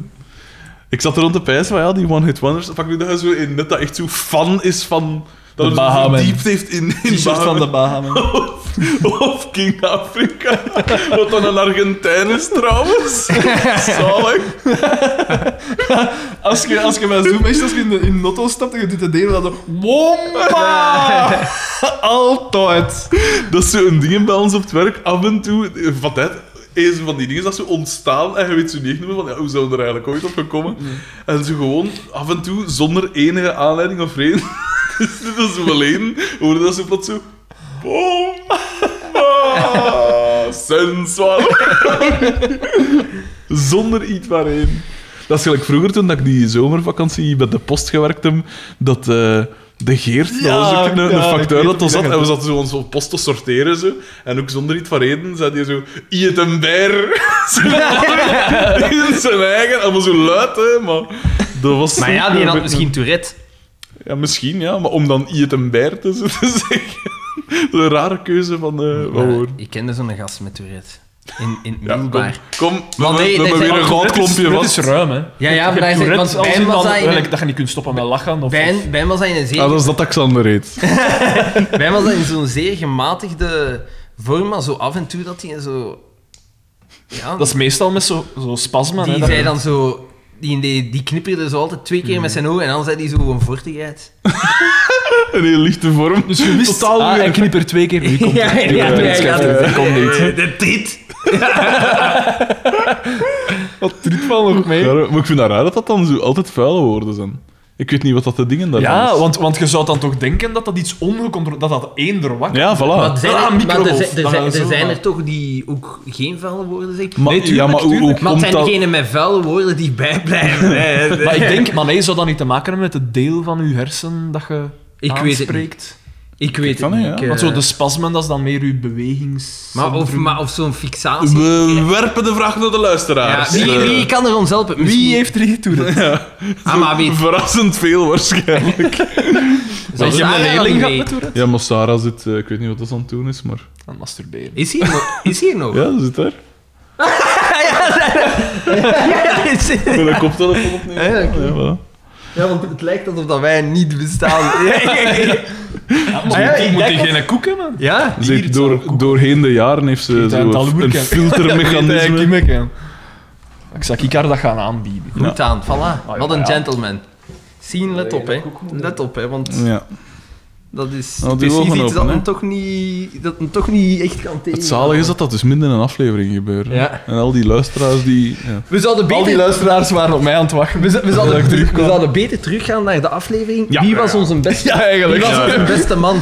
Ik zat er rond te pijzen, maar ja, die One Hit Wonders... Pak nu dat je zo in net dat echt zo fan is van... Dat De hem zo Bahamen. verdiept heeft in, in T-shirt van de Bahamen. Bahamas. Of King Afrika. Wat dan een Argentijn is trouwens. Zalig. Als je, als je bij Zoom is, als je in de in de auto stapt en je doet de delen, dan... Womba! [laughs] Altijd. Dat is zo'n ding bij ons op het werk. Af en toe... eh, Van tijd is van die dingen dat ze ontstaan en je weet zo niet echt meer van ja, hoe zouden we er eigenlijk ooit op gekomen. En ze gewoon af en toe zonder enige aanleiding of reden. [laughs] dus dit is wel één. Hoorden dat ze plots zo... Boom! Ah, sensual. [laughs] Zonder iets waarheen. Dat is gelijk vroeger toen dat ik die zomervakantie bij de post gewerkt heb, dat eh, de Geert, Ja, dat was ook een, ja, een ik factuur weet dat er wie zat, dat en we zaten zo onze post te sorteren zo, en ook zonder iets van reden zei hij zo, Iet een beer. [laughs] [laughs] in zijn eigen, allemaal zo luid, hè, maar dat was... Maar ja, die had misschien Tourette. Ja, misschien, ja, maar om dan Iet een beer te, [laughs] zo te zeggen, een rare keuze van, eh van Maar woorden. ik kende zo'n gast met Tourette. In, in het Ja, kom, middelbaar. kom, we, Maar nee, we dat hebben is- weer een dat goudklompje Dat vast. is ruim, hè. Ja, ja, maar Je daar hebt zit- Tourette want als bij in hem was van- hij in gelijk een- Dat je niet kunt stoppen met lachen. Of, Bij hen- bij hem was hij in een zeer, Ah, dat is dat dat Xander heet. [laughs] bij hem was hij in zo'n zeer gematigde vorm, maar zo af en toe dat hij zo... Ja, Dat is meestal met zo'n zo zo'n spasma. hè, die dat- Mhm. zei dan zo... Die, die, die knipperde zo altijd twee keer met zijn ogen en dan zei hij zo een vortigheid. Een heel lichte vorm. Dus je wist... Totaal Ah, weer- en knip er twee keer. Nu komt [laughs] Ja, het. Nu ja, komt het. ja, ja, Schrijf ja. het. Nu komt het. De tit. Ah. Wat triet wel nog mee. Ja, maar ik vind dat raar dat dat dan zo altijd vuile woorden zijn. Ik weet niet wat dat de dingen daarvan Ja, is. want, want je zou dan toch denken dat dat iets ongecontroleerd... Dat dat eender wakker... Ja, voilà. Maar, zijn Ah, er, maar er, microgolf. zijn- er Dan zijn, gaan we er zo zijn gaan. er toch die ook geen vuile woorden zeggen? Maar, ja, maar hoe, hoe maar het komt zijn dat... degenen met vuile woorden die bijblijven. hè. [laughs] Maar ik denk... Maar nee, zou dat niet te maken hebben met het deel van je hersen dat je Ik weet het niet. aanspreekt? ik weet het kan niet, niet. ja. ik, eh, Want zo de spasmen, dat is dan meer je bewegings... maar, of, maar of zo'n fixatie. We werpen de vraag naar de Ja, luisteraars. wie, Eh, wie kan er ons helpen? Misschien- Wie heeft er getoerd? Ah, maar weet, Verrassend veel waarschijnlijk. zou Als je Sarah mijn dan leerling gaat mee? met toeren? ja, maar Sarah zit... eh, ik weet niet wat dat aan het doen is, maar... Aan masturberen. Is hier nog? Is hier nog? Ja, ze zit daar. Ja, [laughs] is- Wil ik koptelefoon opnemen? Ja, oké. Ja, voilà. ja, want het lijkt alsof dat wij niet bestaan. moet ja, die- ik moet denk die geen koek hebben? [laughs] ja? Ze heeft door, doorheen de jaren heeft ze Eet zo aan het een, alhoek, hè. Dat weet [laughs] filtermechanisme. ik niet meer, hè. Ik zou Kikar dat gaan aanbieden. Goed aan, voilà. ja, Wat een ja. gentleman. Zien, let op, hè. Let op, hè, want Ja. dat is Nou, doe precies ogen iets dat, open, hè. hem toch niet, dat hem toch niet echt kan tegen. Het zalige is dat dat dus minder in een aflevering gebeurt. hè. Ja. En al die luisteraars die... Ja. We zouden Al die beter... luisteraars waren op mij aan het wachten. We, z- we zouden, ik we terugkwam. zouden beter teruggaan naar de aflevering. Ja, Wie ja, was ja. onze beste, Ja, wie eigenlijk. was ja, onze ja. beste man?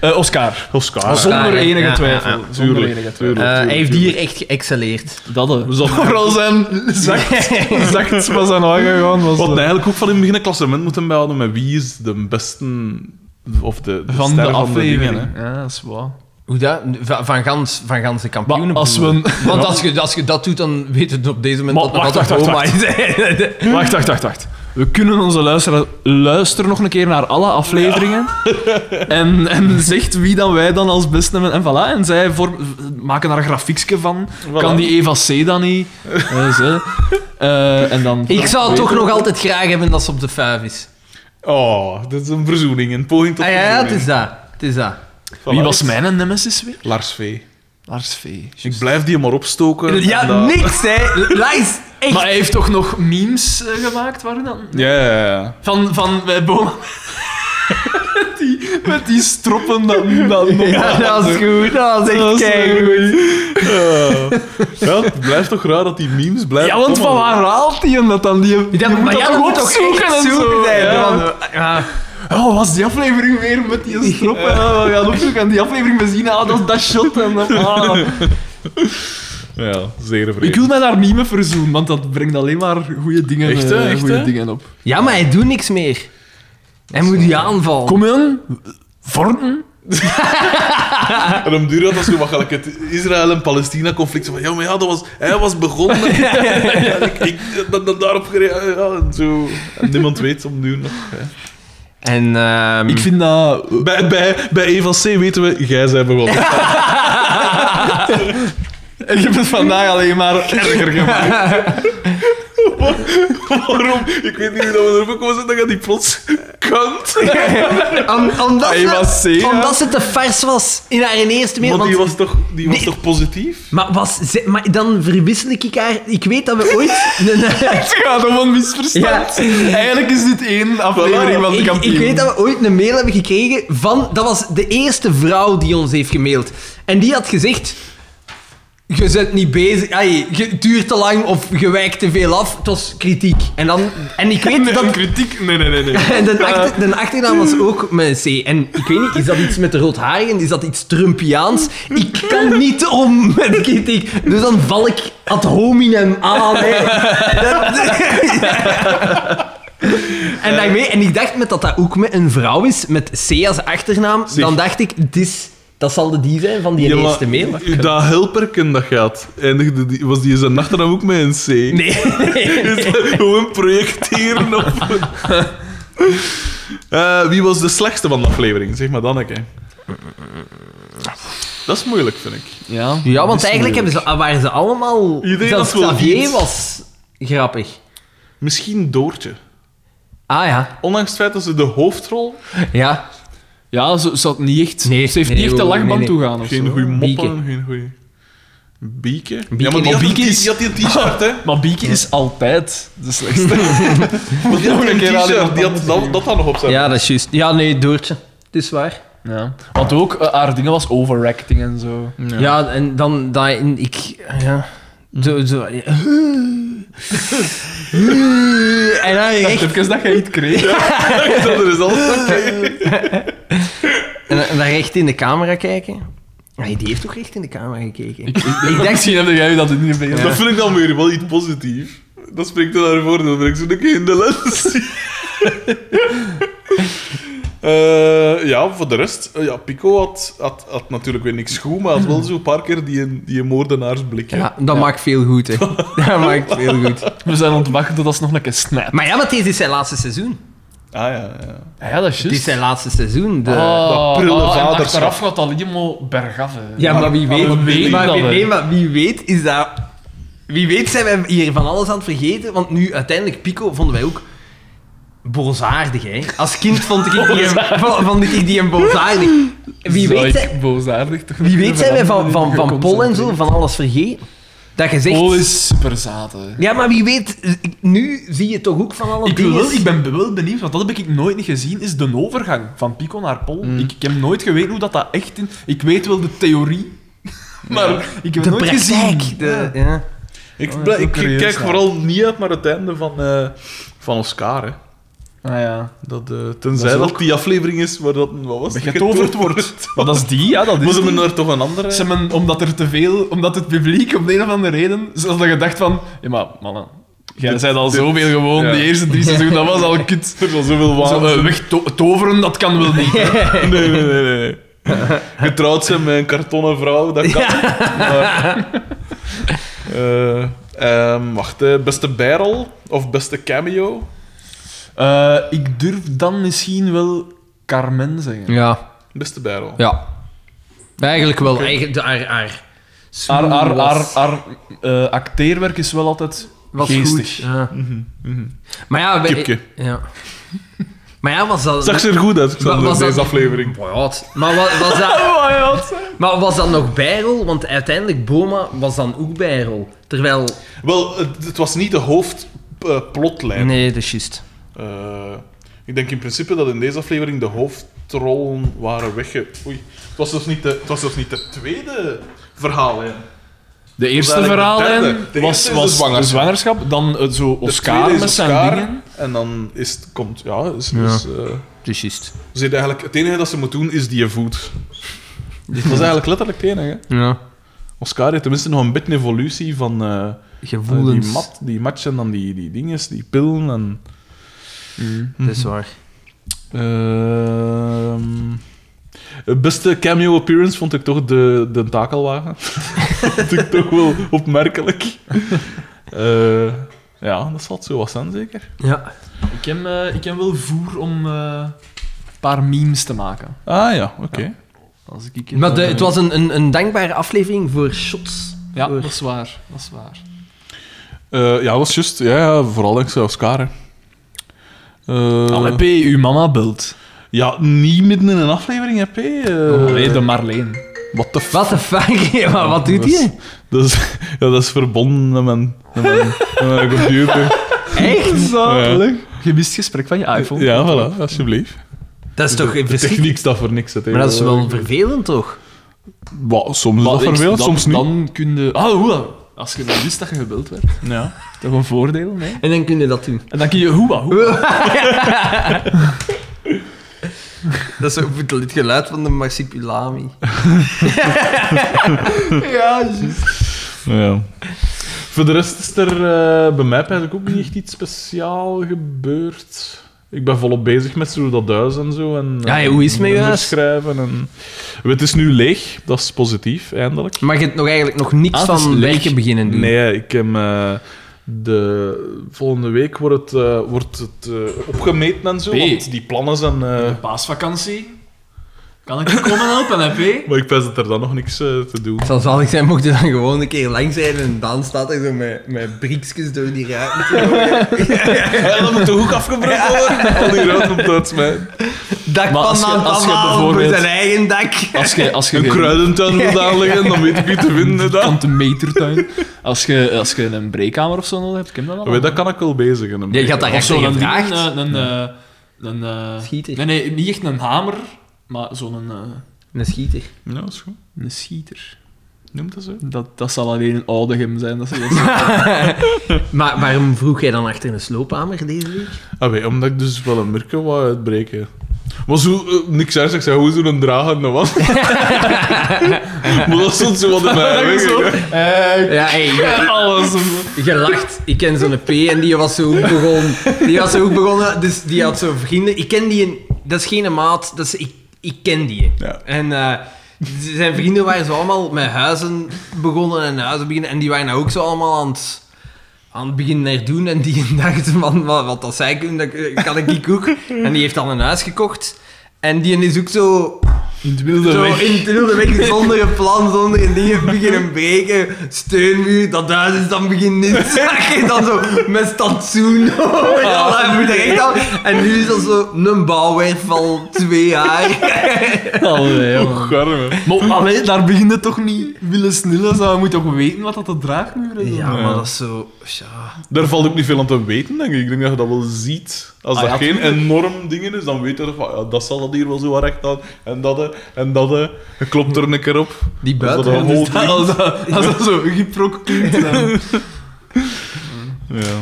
Eh, Oscar. Oscar. Zonder hè? enige Ja, twijfel. ja, ja. Zonder Tuurlijk, enige twijfel. tuurlijk. Eh, hij heeft hier echt geëxcelleerd. Dat eh, [laughs] Vooral zijn zacht, zacht was aan hangen gewoon. Was Wat eh, eigenlijk ook van in het begin een klassement moeten bijhouden met wie is de beste... Of de, de van ster Van de de dingen, aflevering. hè. ja, dat is waar. [laughs] Hoe dat? Van, van gans, van gans de kampioenen. Maar als we bedoel ik. een- Want als je, als je dat doet, dan weet het op deze moment Maar dat nog wacht, altijd wacht, Roma is. [laughs] Wacht, wacht, wacht, wacht. We kunnen onze luisteraar luisteren nog een keer naar alle afleveringen. En, en zegt wie dan wij dan als beste hebben. En voilà, en zij vorm- maken daar een grafiekje van. Kan die Eva C dan niet? Eh, ze. Eh, en dan... Ik zou toch nog altijd graag hebben dat ze op de vijf is. Oh, dit is een verzoening. Een poging tot Ah, ja, ja, het verzoening. is dat. Het is dat. Voilà. Wie was mijn nemesis weer? Lars V. Lars V. Ik blijf die maar opstoken. Ja, en dat- niks, hè. Lijst, echt. Maar hij heeft toch nog memes eh, gemaakt, waren dat? Ja, ja, ja. Van, van eh, Boma. met, [laughs] die, met die stroppen dan. dan ja, dat is goed. Dat is echt Dat is, eh, keigoed. Ja. [laughs] Ja, het blijft toch raar dat die memes blijven. Ja, want van komen. waar haalt hij hem dat dan? Die, die moet maar ja, dat moet toch opzoeken echt en zo. zoeken zijn, Ja. want- ja. Oh, was die aflevering weer met die strop? Ja, we gaan opzoeken en die aflevering we zien. Ah, dat is dat shot. En dan, ah. Ja, zeer vreemd. [laughs] Ik wil mij daar niet mee verzoenen, want dat brengt alleen maar goede dingen, Echt, hè? eh, Echt, goede hè? dingen op. Ja, maar hij doet niks meer. Hij moet je aanvallen. Kom in, vormen. En om duur had dat zo makkelijk het Israël-en-Palestina-conflict. Van, Ja, maar ja, dat was, hij was begonnen. [laughs] Ja, ik, ik, dat, dat daarop gereageerd. Ja, en zo. En niemand weet om duur nog. hè. En, ehm, Ik vind dat... Bij, bij, bij Eva C weten we, jij zij begonnen. [laughs] Ik heb het vandaag alleen maar erger [laughs] gemaakt. Waarom? Ik weet niet hoe dat we erop komen zitten. Dan gaat die plots kant. om- omdat, Hij was ze, zeer- omdat ze te vers was in haar eerste meer. Maar want- die was toch, die was Nee. toch positief? Maar, was, ze- maar dan verwissel ik haar. Ik weet dat [laughs] we ooit. Het gaat om een misverstand. Ja. Eigenlijk is dit één aflevering van de ik, kampioen. ik weet dat we ooit een mail hebben gekregen van. Dat was de eerste vrouw die ons heeft gemaild. En die had gezegd. Je bent niet bezig, ai, je duurt te lang of je wijkt te veel af. Het was kritiek. En, dan, en ik weet Nee, dat. kritiek... Nee, nee, nee. nee. En de, achter, de achternaam was ook met een C. En ik weet niet, is dat iets met de roodharigen? Is dat iets Trumpiaans? Ik kan niet om met kritiek. Dus dan val ik ad hominem aan. hè. Dat- en, daarmee, en ik dacht met dat dat ook met een vrouw is, met C als achternaam, dan dacht ik, dis, dat zal de die zijn van die maar eerste mail. Dat helperken dat gaat, eindigde die, was die zijn achternaam ook met een C? Nee, Is dat Gewoon projecteren op... Eh, wie was de slechtste van de aflevering? Zeg maar Danneke. Dat is moeilijk, vind ik. Ja, Ja, want eigenlijk hebben ze, waren ze allemaal... Iedereen zelfs had wel Xavier iets. was grappig. Misschien Doortje. Ah ja, Ondanks het feit dat ze de hoofdrol... ja. Ja, ze, ze had niet echt... Nee, ze heeft nee, niet echt de nee, lachband nee. toegegaan of zo. Geen goede moppen, Bieke. geen goede... Bieke? Bieke ja, maar die niet. had, een Bieke t- is- die had die een t-shirt, hè. Maar Bieke is altijd de slechtste. Maar die had Volgende een keer aan t-shirt, iemand die had anders dat, dat dan nog op zijn. Ja, dat is juist. Ja, nee, Doortje. Het is waar. ja. Want ook eh, haar dingen was overacting en zo. Ja, en dan... Dat, en ik... Ja. Zo, zo. [laughs] En dan echt... Even dat jij iets kreeg. [laughs] Dat is alles. En dan- en dan recht in de camera kijken. Nee, die heeft toch recht in de camera gekeken? Ik, dacht... Misschien heb jij dat niet meer. Dat vind ik dan weer wel iets positiefs. Dat spreekt dan haar voordeel, maar ik zit ook in de les. [laughs] Eh, ja, voor de rest, eh, ja, Pico had, had, had natuurlijk weer niks goed, maar had wel zo'n paar keer die, die moordenaarsblik. hè. [laughs] Ja, dat maakt veel goed, hè. [laughs] Dat maakt veel goed. We zijn ontwachten tot als nog een keer snap. Maar ja, want dit is zijn laatste seizoen. Ah ja, ja. Ja, dat is Dit is juist. zijn laatste eh, seizoen. De... dat prille Ah. en vaderschap. Achteraf gaat dat helemaal bergaf. Hè. Ja, maar wie weet... maar we weten maar, dat wie, wel. nee, maar wie weet is dat... Wie weet zijn wij hier van alles aan het vergeten, want nu uiteindelijk Pico vonden wij ook boosaardig, hè. Als kind [laughs] vond ik die, vond vond ik die een boosaardig. Wie Zou weet... ik zijn- boosaardig toch Wie weet zijn wij van, veranderen van, in van Pol en zo geconcentreerd? van alles vergeten. Dat je zegt... Pol is super zaad, hè. Ja, maar wie weet, ik- nu zie je toch ook van alle Ik, dingen. wil wel- ik ben wel benieuwd, want dat heb ik nooit gezien, is de overgang van Pico naar Pol. Ik, ik heb nooit geweten hoe dat, dat echt in... Ik weet wel de theorie, maar ik heb de nooit praktijk. gezien. De, Ja. ja. Ik, Oh, blij- zo ik curieus, kijk ja. vooral niet uit naar het einde van, eh, van Oscar. Hè. Ah ja. Dat, eh, tenzij Dat dat, is die aflevering is waar dat, wat was het? Begetoverd [laughs] wordt. Want dat [laughs] is die, ja, dat Maar is ze die. hebben er toch een andere... Ze hebben- omdat er te veel... Omdat het publiek om de een of andere reden... Ze hadden gedacht van... Ja, maar mannen... Jij zei al zoveel gewoon, ja. die eerste drie seizoenen, dat was al kut. [laughs] Er was zoveel Zo, waanzin. eh, weg to- toveren, dat kan wel niet. Nee, nee, nee. nee. Getrouwd zijn met een kartonnen vrouw, dat kan. Maar, Eh, ehm, wacht, eh, beste barrel of beste cameo? Eh, ik durf dan misschien wel Carmen zeggen. ja, Beste barrel. ja. Eigenlijk wel. Eigenlijk, de, haar, haar, Haar, smoel haar, haar, was- haar, eh, acteerwerk is wel altijd was geestig. goed. Ja. Mhm, Maar ja, wij- Kipke. Ja. Maar ja, was dat... Zag ze er goed uit, Wa- Xander, was in dat- eh, deze aflevering. Oh, Maar ja, het- Maar was, [laughs] was dat... maar was dat nog bijrol? Want uiteindelijk Boma was dan ook bijrol. Terwijl... Wel, het, het was niet de hoofdplotlijn. Nee, dat is juist. Eh, ik denk in principe dat in deze aflevering de hoofdrollen waren wegge... Oei, het was zelfs niet de, het was zelfs niet de tweede verhaallijn. De eerste Dat was eigenlijk de verhaal derde. in De was, eerste is was de de zwangerschap. zwangerschap. dan eh, zo De Oscar tweede is met zijn Oscar, dingen. En dan is het, komt... Ja, is, is, eh, Dat is juist. Ze heeft eigenlijk, het enige dat ze moet doen is die voet. Dat is eigenlijk letterlijk het enige. Ja. Oscar heeft tenminste nog een beetje evolutie van eh, eh, Gevoelens. die, mat, die match en dan die, die dinges, die pillen. En, Dat is waar. Ehm, het beste cameo appearance vond ik toch de, de takelwagen. [laughs] vond ik toch wel opmerkelijk. Eh, ja, dat zal het zo wat zijn, zeker. Ja. Ik heb, eh, ik heb wel voer om eh, een paar memes te maken. Ah ja, oké. Als ik, ik Maar de- het was een, een, een dankbare aflevering voor shots. Ja, Voor- dat is waar. Dat is waar. Eh, ja, dat was juist. Ja, ja, vooral dankzij Oscar. hè. Eh, Allee, P, uw mama belt. Ja, niet midden in een aflevering, hè, P. Oh. Eh, nee, de Marleen. What the f... What the fuck? [laughs] maar wat doet Dat is- hij? Dat is, ja, dat is verbonden met mijn, met mijn, met mijn [laughs] computer. Echt? Zalig. Je mist het gesprek van je iPhone. Ja, voilà, alsjeblieft. Dat is toch De verschrikkelijk. techniek staat voor niks. hè, Maar dat is wel tegenwoordig. vervelend, toch? Wa, soms is Maar dat ik- vervelend, dan- soms niet. Dan kun je... Ah, hoe? Als je dan wist dat je gebeld werd. Ja. Toch een voordeel, nee? En dan kun je dat doen. En dan kun je hoewa, hoewa. Dat is ook het geluid van de marsipulami. ja, juist. ja. Voor de rest is er eh, bij mij eigenlijk ook niet echt iets speciaal gebeurd. Ik ben volop bezig met zo dat huis en zo. En, Ja, eh, hoe is het met je nummers huis? schrijven en... Het is nu leeg, dat is positief, eindelijk. Maar je hebt nog eigenlijk nog niks Ah, het is van leeg. werken beginnen doen. Nee, ik heb... eh, de volgende week wordt het, eh, wordt het eh, opgemeten en zo, P. want die plannen zijn... eh, De paasvakantie. Kan ik je komen helpen, hè, P? maar ik pens dat er dan nog niks eh, te doen. Het zal zalig zijn mocht je dan gewoon een keer langs zijn en dan staat er zo met, met briekjes door die ruimte. Ja, dat moet toch ook afgebroken worden? Al die ruimte om te uitsmijten. Dak Maar van als je- dan als je voor bijvoorbeeld- zijn eigen dak. Als je, als je Een kruidentuin moet aanleggen, dan weet ik wie [laughs] te vinden. Dat. Kante metertuin. Als je, als je een breekkamer of zo nodig hebt, ken je dat al? Weet, dat kan ik wel bezigen. Je gaat daar Of echt zo een gevraagd. ding, een... een, eh, een, eh, Schieter. Nee, nee, niet echt een hamer, maar zo'n... eh, Een schieter. Ja, dat is goed. een schieter. Noemt dat zo? Dat, dat zal alleen een oude gem zijn. Dat ze [laughs] dat Maar waarom vroeg jij dan achter een sloophamer deze week? Ah, weet, omdat ik dus wel een murken wou uitbreken. Maar zo, eh, niks ergs, ik zei, hoe zo'n dragende [laughs] was. maar dat stond zo wat in mijn weg. hè. Ja, hey, alles. gelacht. Ik ken zo'n P en die was zo ook begonnen. Die was zo ook begonnen, dus die had zo vrienden. Ik ken die, een- dat is geen maat, dat is, ik, ik ken die. Ja. En eh, zijn vrienden waren zo allemaal met huizen begonnen en huizen beginnen. En die waren nou ook zo allemaal aan het, aan het beginnen naar doen. En die [laughs] dachten van, wat, wat dat zij kunnen, dat kan ik ook. En die heeft dan een huis gekocht. En die is ook zo In het wilde zo weg. in het wilde weg, zonder een plan, zonder een ding beginnen breken. Steunmuur, dat huis is dan [laughs] beginnen zakken. Dan zo met stantsoen. [laughs] Hij moet er echt aan. En nu is dat zo een bouwwerf van twee jaar. [laughs] Allee, jongen. Och, arme. [laughs] Maar allee, daar begint het toch niet. Willen snillen, zou moet toch weten wat dat de draagmuren zijn? Ja, maar dat is zo... Ja. Daar valt ook niet veel aan te weten, denk ik. Ik denk dat je dat wel ziet. Als Ah, dat ja, geen tuurlijk. enorm dingen is, dan weet je van, ja, dat zal dat hier wel zo wat recht aan. En dat, hè, en dat. hè. Je klopt er een keer op. Die Als dat buiten. een Dus hol dat, [laughs] als, dat, als dat zo geprok klinkt. [laughs] dan- Ja.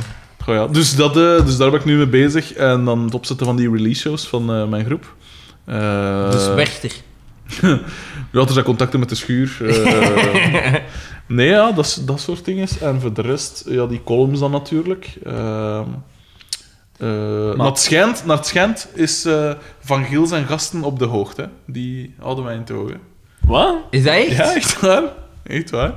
Goh, ja. Dus, dat, eh, dus daar ben ik nu mee bezig. En dan het opzetten van die release-shows van eh, mijn groep. Eh, Dus Werchter. Ja, er zijn contacten met de schuur. [laughs] eh. nee, ja, dat, is- dat soort dingen. En voor de rest, ja, die columns dan natuurlijk. Ehm, eh, naar, het schijnt, naar het schijnt is eh, Van Giel zijn gasten op de hoogte. Die houden wij in het oog. hè. Wat? Is dat echt? Ja, echt waar. Echt waar.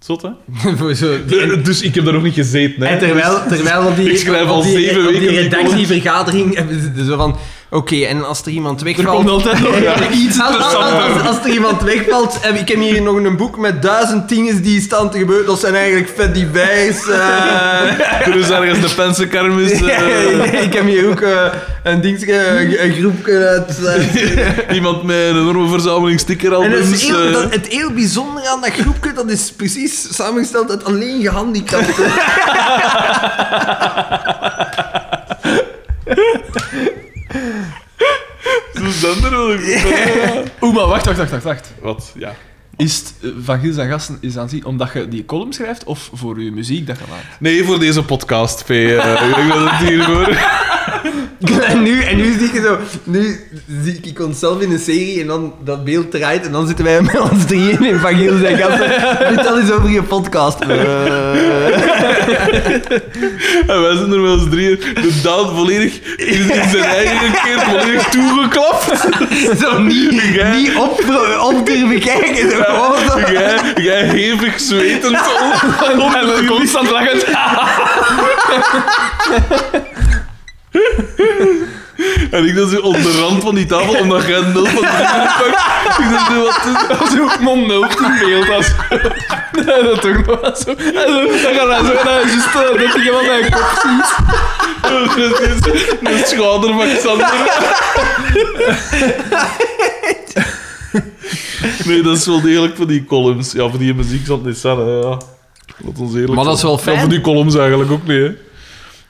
Zot, hè? [laughs] Voor zo... die- De- dus ik heb daar nog niet gezeten, hè. Dus- En terwijl, [laughs] terwijl op die, Ik schrijf op al die, zeven op die weken die redactievergadering hebben ze dus- zo van... Oké, en als er iemand Er wegvalt... komt altijd [laughs] nog iets Als, als, interessanter. als- als er iemand wegvalt, en ik heb hier nog een boek met duizend dingen die staan te gebeuren. Dat zijn eigenlijk vet die [laughs] wijs. dus, eh. Er is ergens de pensenkermis. eh, ik heb hier ook eh, een dingetje, een- een groepje [laughs] uit. eh. iemand met een enorme verzameling en het, is stickeralbums. heel, eh. [laughs] dat- het heel bijzondere aan dat groepje, dat is precies samengesteld uit alleen gehandicapten. Zo zijn er wel. Oeh, maar wacht, wacht, wacht, wacht, wacht. Wat? Ja. Is het, eh, Van Giel zijn gasten is aan zien omdat je die column schrijft of voor je muziek dat je maakt? Nee, voor deze podcast, P. eh, [laughs] ik denk dat het hiervoor... [laughs] En nu, en nu zie ik zo, nu zie ik onszelf in een serie en dan dat beeld draait en dan zitten wij met ons drieën in Van Giel zijn gasten. [laughs] Vertel eens over je podcast. Eh. En wij zijn er wel eens drieën. De Daan volledig in, in zijn eigen keer volledig toegeklapt. [laughs] Zo niet, niet op, op durven kijken. Zo, gewoon zo. Jij, jij hevig zwetend op, op de En lift. constant lachend. En ik dan zo op de rand van die tafel, omdat jij nul van de lift pakt. Ik dan zo wat... te- Dat is ook mond hoofd in beeld. Dat is [laughs] Nee, dat toch nog wel zo. En zo- Dan gaan wij zo naar juist eh, dat je iemand naar je kop [laughs] ziet. De schouder van Xander. Nee, dat is wel degelijk van die columns. Ja, voor die muziek zal het niet zijn, hè, ja. Laat ons eerlijk Maar dat is zijn. wel fijn. Ja, voor die columns eigenlijk ook niet, hè.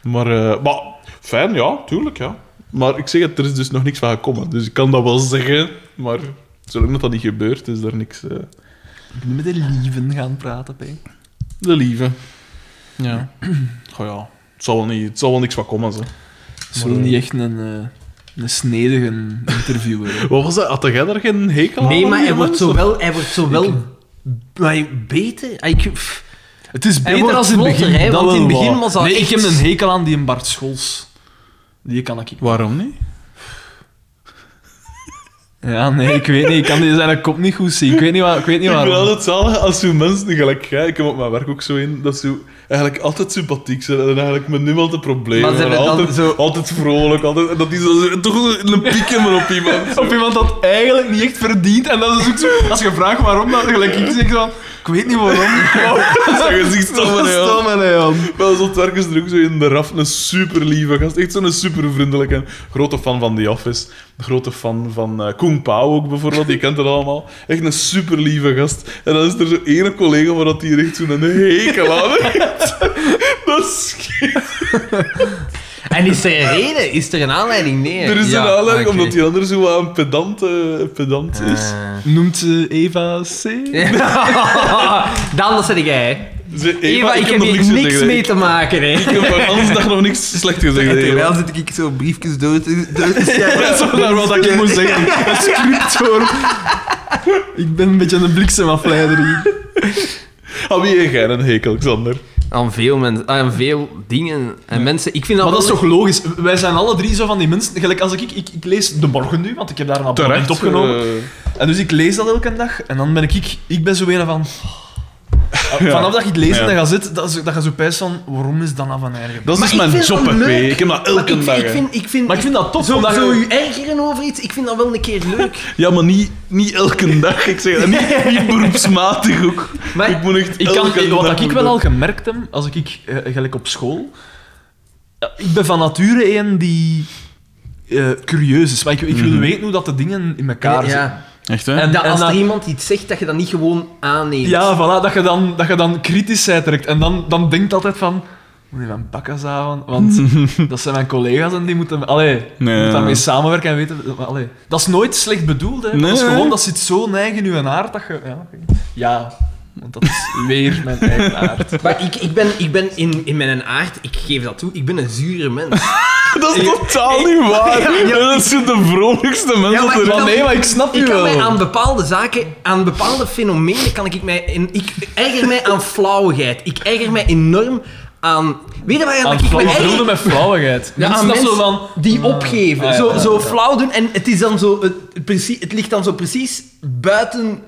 Maar, eh, maar fijn, ja, tuurlijk, ja. Maar ik zeg het, er is dus nog niks van gekomen. Dus ik kan dat wel zeggen, maar zolang dat, dat niet gebeurt, is er niks... eh, Ik ben met de lieven gaan praten, P. de lieve. Ja. Goh ja, het zal wel, niet, het zal wel niks van komen, hè. Ze wil niet echt een, eh, een snedige interviewer. hè. Wat was dat? Had jij daar geen hekel aan? Nee, maar hij die wordt mensen? zo wel, hij wordt zo wel maar beter. Hij, ik- pff. Het is beter wordt als in het vlotter, begin. hè, dat want in wel het begin waar. was dat Nee, ik echt- heb een hekel aan die Bart Scholz. Die kan ik... Waarom niet? Ja, nee, ik weet niet. Ik kan die zijn kop niet goed zien. Ik weet niet, waar, ik weet niet Ik ben waarom. altijd zalig als zo mensen, gelijk jij, ik heb op mijn werk ook zo in, dat ze eigenlijk altijd sympathiek zijn en eigenlijk met niemand een probleem Maar ze hebben. hebben dan Altijd, zo- altijd vrolijk, altijd, en dat die zo, zo- toch een pieken maar op [laughs] iemand. Op iemand dat eigenlijk niet echt verdient. En dat is ook zo... Als je vraagt waarom, dan gelijk ik zeg dan... Ik weet niet waarom. Oh. Zijn gezicht stom, hè, joh. Stomme, hè, Jan. Bij ons op het werk is er ook zo in de raf een super lieve gast. Echt zo'n super vriendelijke. Grote fan van The Office. Grote fan van eh Koen Pauw ook bijvoorbeeld. Je kent het allemaal. Echt een super lieve gast. En dan is er zo'n ene collega waar dat [laughs] hier echt zo'n hekel aan heeft. Dat is En is er een reden? Is er een aanleiding? Nee. Er is Ja, een aanleiding, oké. omdat die ander zo wat een pedant, eh, pedant is. Eh. Noemt eh, Eva C? Dan dat zeg jij. Ze- Eva, Eva, ik, heb nog hier te niks zeggen. mee te maken. Hè. Ik heb van onze dag nog niks slecht gezegd. En tegen Eva. terwijl zit ik zo briefjes door te, door te schrijven. [laughs] Dat is daar wat ik moet zeggen. Dat script hoor. Ik ben een beetje een bliksemafleider hier. Aan Ah, wie heb jij een hekel, Xander? Aan veel, mensen, aan veel dingen en mensen. Ik vind dat Maar dat is wel- toch logisch? Wij zijn alle drie zo van die mensen. Gelijk als ik, ik, ik lees De Morgen nu, want ik heb daar een abonnement opgenomen. eh, En dus ik lees dat elke dag. En dan ben ik, ik, ik ben zo weer van. Vanaf dat je het leest en Ja. dan gaat zitten, dat, is- dat je zo pijst van waarom is dat nou van eigenlijk? dat is Maar dus ik mijn vind job, het hè, leuk. P. Ik heb dat Maar elke ik, dag. Ik hè. vind, ik vind, Maar ik vind dat tof, Zo, omdat zo je- je ergeren over iets, ik vind dat wel een keer leuk. Ja, maar niet, niet elke dag. Ik zeg dat [laughs] niet, niet beroepsmatig ook. Maar ik moet echt Ik kan, elke dag wat ik wel doen. al gemerkt heb, als ik, ik eh, gelijk op school. Ja, ik ben van nature een die eh, curieus is. Maar ik, ik wil Mhm. weten hoe dat de dingen in elkaar zitten. ja. Echt, hè? En- Dat als en er dat- iemand iets zegt, dat je dat niet gewoon aanneemt. Ja, voilà, dat je dan, dat je dan kritisch bent direct. En dan, dan denkt altijd van... Moet je mijn bakkes houden? [laughs] Want dat zijn mijn collega's en die moeten... Allee, Nee. moet daarmee samenwerken en weten... maar Allee, dat is nooit slecht bedoeld, hè. Dat is Nee. gewoon, dat zit zo neig in je aard dat je... Ja, ja, want dat is weer mijn eigen aard. Maar ik, ik ben, ik ben in, in mijn aard, ik geef dat toe, ik ben een zure mens. Dat is totaal [laughs] niet waar. [laughs] Dat zijn de vrolijkste mensen maar ter- ik kan- Nee, maar ik snap je Ik kan wel. mij aan bepaalde zaken, aan bepaalde fenomenen kan ik mij... in- ik erger mij aan flauwigheid. Ik erger mij enorm aan... Weet je waar Aan ik me flauwe erger? vrienden met flauwigheid. Ja, Mensen aan dat mensen zo van... die opgeven. Ah, ja, zo, ja, zo ja. flauw doen. En het, is dan zo, het, het precie- het ligt dan zo precies buiten...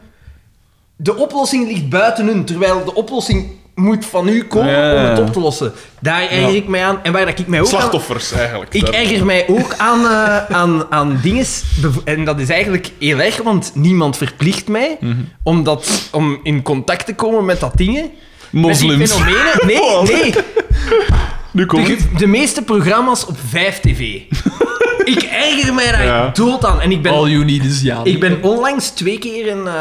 De oplossing ligt buiten hun, terwijl de oplossing moet van u komen Ja. om het op te lossen. Daar erger ik mij aan. En waar dat ik mij ook aan- Slachtoffers, eigenlijk. ik Daar- erger mij ook aan, eh, aan, aan dingen. En dat is eigenlijk heel erg, want niemand verplicht mij Mhm. om, dat, om in contact te komen met dat dingen. Met Moslims. Oh, die [laughs] fenomenen. Nee, nee. Nu komt het. De, de meeste programma's op 5TV. ik erger mij daar Ja. dood aan. En ik ben, All you need is ja. ik ben onlangs twee keer in, eh,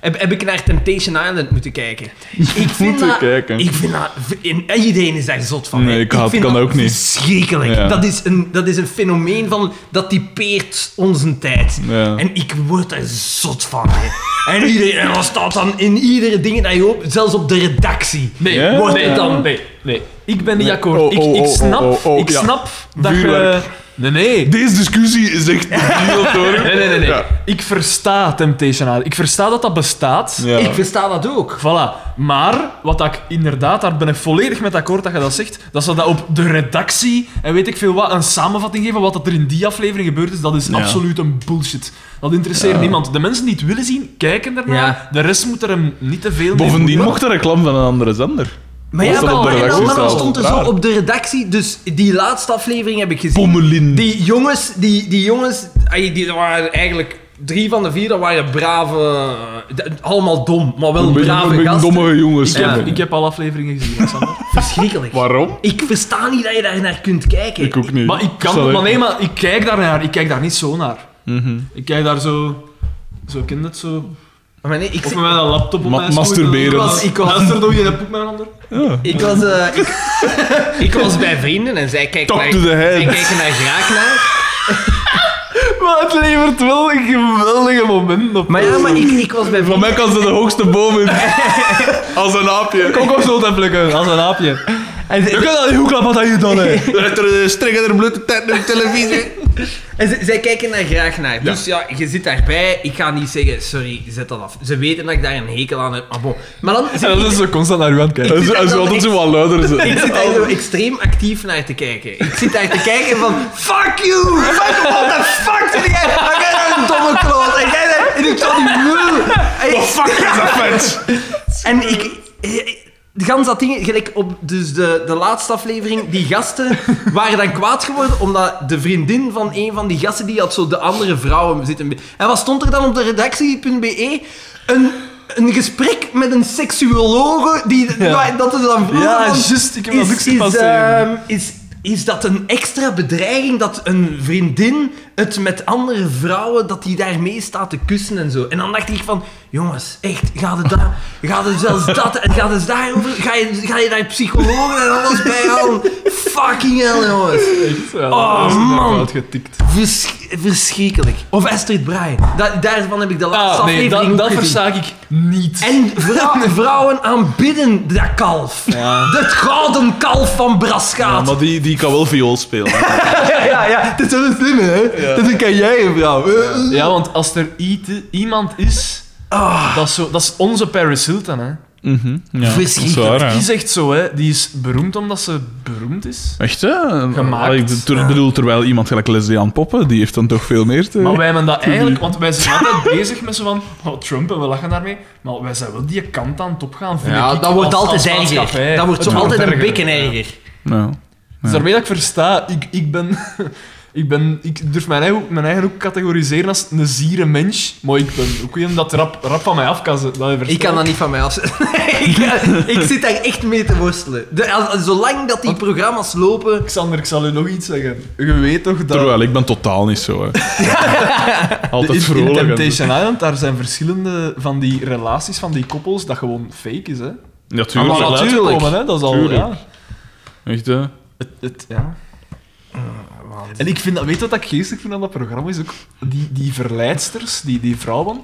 heb, heb ik naar Temptation Island moeten kijken. Ik vind Moeten dat, kijken. Ik vind dat... en iedereen is daar zot van. hè. Nee, ik haat- vind kan dat ook niet. verschrikkelijk. Ja. Dat, is een, dat is een fenomeen van... Dat typeert onze tijd. Ja. En ik word er zot van. hè. En, iedereen, en dat staat dan in iedere ding dat je op... Zelfs op de redactie. Nee, Ja? wordt Nee, het dan. nee, Nee, nee. Ik ben niet akkoord. Oh, oh, ik, ik oh, snap, oh, oh, oh, ik ja. snap dat Vuurwerk. je... Nee, nee. Deze discussie is [laughs] echt niet door. Nee, nee, nee. nee. Ja. Ik versta Temptation Island. Ik versta dat dat bestaat. Ja. Ik versta dat ook. Voilà. Maar, wat dat ik inderdaad, daar ben ik volledig met akkoord dat je dat zegt, dat ze dat op de redactie en weet ik veel wat, een samenvatting geven wat dat er in die aflevering gebeurd is, dat is absoluut een bullshit. Dat interesseert niemand. De mensen die het willen zien, kijken ernaar. Ja. De rest moet er hem niet te veel mee Bovendien voeden. mocht er reclame van een andere zender. Maar Was ja, dat maar, op de maar- redactie maar dat staan? stond er zo Raar. op de redactie. Dus die laatste aflevering heb ik gezien. Pommelin. Die jongens, die, die jongens, ay, die waren eigenlijk drie van de vier, dat waren brave, eh, d- allemaal dom, maar wel Een beetje- een brave beetje gasten. dommige jongens. Ik heb, Ja. ik heb alle afleveringen gezien, Sander. Verschrikkelijk. Waarom? Ik versta niet dat je daar naar kunt kijken. Ik Mhm. ook niet. Maar ik kan, Sorry. maar nee, maar ik kijk daar naar. Ik kijk daar niet zo naar. Ik kijk daar zo, zo kind het zo. Maar nee, ik, Of met zit- mijn laptop op Ma- mijn masturberend. Ik was, ik was, Luister, doe je een poep met een [laughs] ander. ik was, eh, [laughs] ik, ik was bij vrienden en zij kijken Talk naar, to the hand. zij kijken naar graag naar. Maar het levert wel een geweldige moment op. [laughs] Maar ja, maar ik, ik was bij Van vrienden. mij kan ze de hoogste boom in. Als een aapje. kokosnoot en plukken, als een aapje. En zij- Je kan dat niet goed klappen wat je dan hè. Er strikken er bloed tijd naar de televisie. En ze- zij kijken daar graag naar. Dus ja, je zit daarbij. Ik ga niet zeggen, sorry, zet dat af. Ze weten dat ik daar een hekel aan heb. Maar, bon. maar dan zit En [laughs] ik, dat is zo constant naar u aan het kijken. En zo, en zo altijd zo wat luider. zo. [laughs] ik zit Oh. daar zo extreem actief naar te kijken. Ik zit daar te kijken van, fuck [laughs] you! Fuck, what the fuck zit jij? Wat jij daar een domme kloot? En jij daar, en ik zat die nul. Oh, fuck is dat vet. En ik... De gans dat ding, gelijk op dus de, de laatste aflevering, die gasten waren dan kwaad geworden omdat de vriendin van een van die gasten, die had zo de andere vrouwen zitten... be- En wat stond er dan op de redactie.be? E? Een, een gesprek met een seksuologe, die, waar- dat is dan vroeger Ja, van, Oh, juist, ik heb dat is- ook zien is, passeren. ehm, is Is dat een extra bedreiging dat een vriendin het met andere vrouwen, dat die daarmee staat te kussen en zo? En dan dacht ik van, jongens, echt, gaat het daar, gaat het zelfs dat en gaat het daarover? Ga je, ga je daar psychologen en alles bij houden? Fucking hell, jongens. Echt, ja, Oh, dat is nog man. uitgetikt. Versch- verschrikkelijk. Of Astrid Bryan. Da- daarvan heb ik de laatste Ah, nee, aflevering dat, ook dat gezien. versta ik niet. En vrou- vrouwen aanbidden dat kalf. Dat gouden kalf van Ja, Brascaat. maar die, die kan wel viool [laughs] spelen. Ja, ja, ja. Dat is wel een slimme, hè? Dat kan jij, een vrouw. Ja, want als er iete- iemand is, Ah. dat, is zo, dat is onze Paris Hilton. Hè. Ja, Verschrikkelijk. dat is waar, Die ja. is echt zo, hè. die is beroemd omdat ze beroemd is. Echt, hè? Gemaakt. Allee, Ik ter- bedoel, terwijl iemand gelijk Leslie aan Poppen, die heeft dan toch veel meer te... Maar wij hebben dat eigenlijk, want wij zijn altijd [laughs] bezig met zo van oh, Trump en we lachen daarmee, maar wij zijn wel die kant aan het opgaan. vind Ja, ik, dat wordt als- altijd als maatschappij. erger. Dat wordt zo Het altijd een erger. bekken erger. Nou, Dus daarmee dat ik versta, ik, ik ben... [laughs] Ik, ben, ik durf mijn eigen, mijn eigen ook categoriseren als een ziere mens, maar ik ben ook iemand dat rap, rap van mij af kan zetten. Dat Ik kan dat niet van mij afzetten. Nee, [laughs] ik, eh, ik zit daar echt mee te worstelen. De- als- als- zolang dat die programma's lopen... Alexander, ik zal u nog iets zeggen. Je weet toch dat... terwijl ik ben totaal niet zo, [laughs] hè. In, Altijd in vrolijk. en- Temptation Island, daar zijn verschillende van die relaties van die koppels dat gewoon fake is, hè. Ja, Dat tuurlijk. is al natuurlijk. uitgekomen, hè. Dat is al... Tuurlijk. Ja, Echt, hè? [laughs] het, het, ja. En ik vind dat... Weet je wat ik geestig vind aan dat programma? Is ook die, die verleidsters, die, die vrouwen...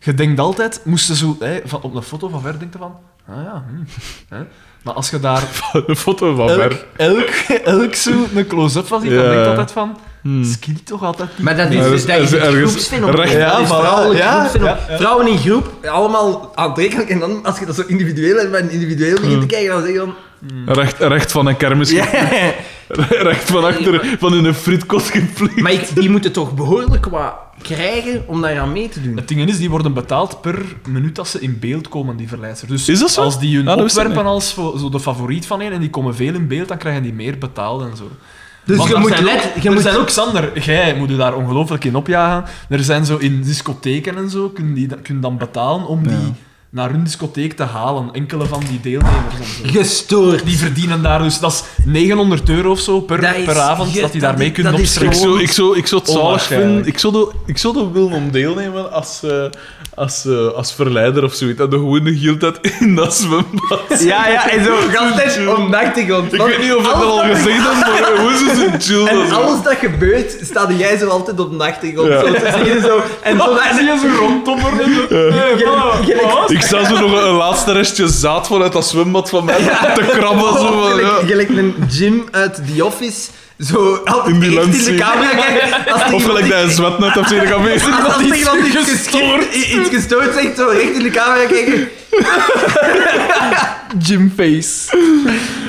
Je denkt altijd... Moesten zo... Hè, van, op een foto van ver denkt je van... Ah ja, hm, hè. Maar als je daar Een foto [laughs] van elk, ver. elk, elk zo een close-up van ziet, dan Ja. Hm. denk je altijd van... Skill toch altijd niet. [laughs] Maar dat Ja, is, dat is- dat is dat is een ergens groepsfenomeen. recht- Ja, Dat is voilà, vrouwelijk ja, groepsfenomeen. ja, ja. Vrouwen in groep, allemaal aantrekkelijk. En dan, als je dat zo individueel en bij een individueel begint te kijken, dan zeg je dan... Recht, recht van een kermis. ge- [laughs] Ja. Recht van achter, van in een frietkot gepleegd. Maar ik- die moeten toch behoorlijk wat krijgen om daar aan mee te doen. Het ding is, die worden betaald per minuut dat ze in beeld komen, die verleidsters. Dus Is dat zo? als die hun Ah, dat wist ik opwerpen als voor- zo de favoriet van een en die komen veel in beeld, dan krijgen die meer betaald en zo. Dus Want je er moet zijn let... ook, Je er moet zijn ook, Sander, jij moet je daar ongelooflijk in opjagen. Er zijn zo in discotheken en zo, kun je kun dan betalen om die naar hun discotheek te halen. Enkele van die deelnemers en zo. gestoord. Die verdienen daar dus, dat is 900 euro of zo per, Dat is- per avond, je- dat die dat daarmee is- kunnen dat is Ik opstrekken. gewoon- zou, ik [laughs] zou, ik zou het zalig Onwaarschijnlijk. vinden. Ik zou, dat- ik zou dat willen om deelnemen als, eh, als, eh, als verleider of zoiets. En dan gewoon de hele tijd in dat zwembad. Ja, ja, [laughs] en zo altijd om nachtegrond. Ik weet niet of ik dat al gezegd heb, maar [laughs] gewoon zo'n chill. dat En zo. alles dat gebeurt, sta jij zo altijd op nachtegrond. Ja. Zo te zeggen, zo. En zo Dan zie je ze rondtommeren. Hey, voilà. Gelijk- Wat? Ik zou zo nog een, een laatste restje zaad vanuit dat zwembad van mij te krabben. Zo van, ja. Gelijk, gelijk een Jim uit The Office, zo altijd In die eerst lens in zien. de camera kijken. Als er Of iemand gelijk dat je zwet net hebt zien gaan [laughs] iets- mee. Als er iemand iets gestoord, iets gestoord zegt, zo recht in de camera kijken. [laughs] Gymface.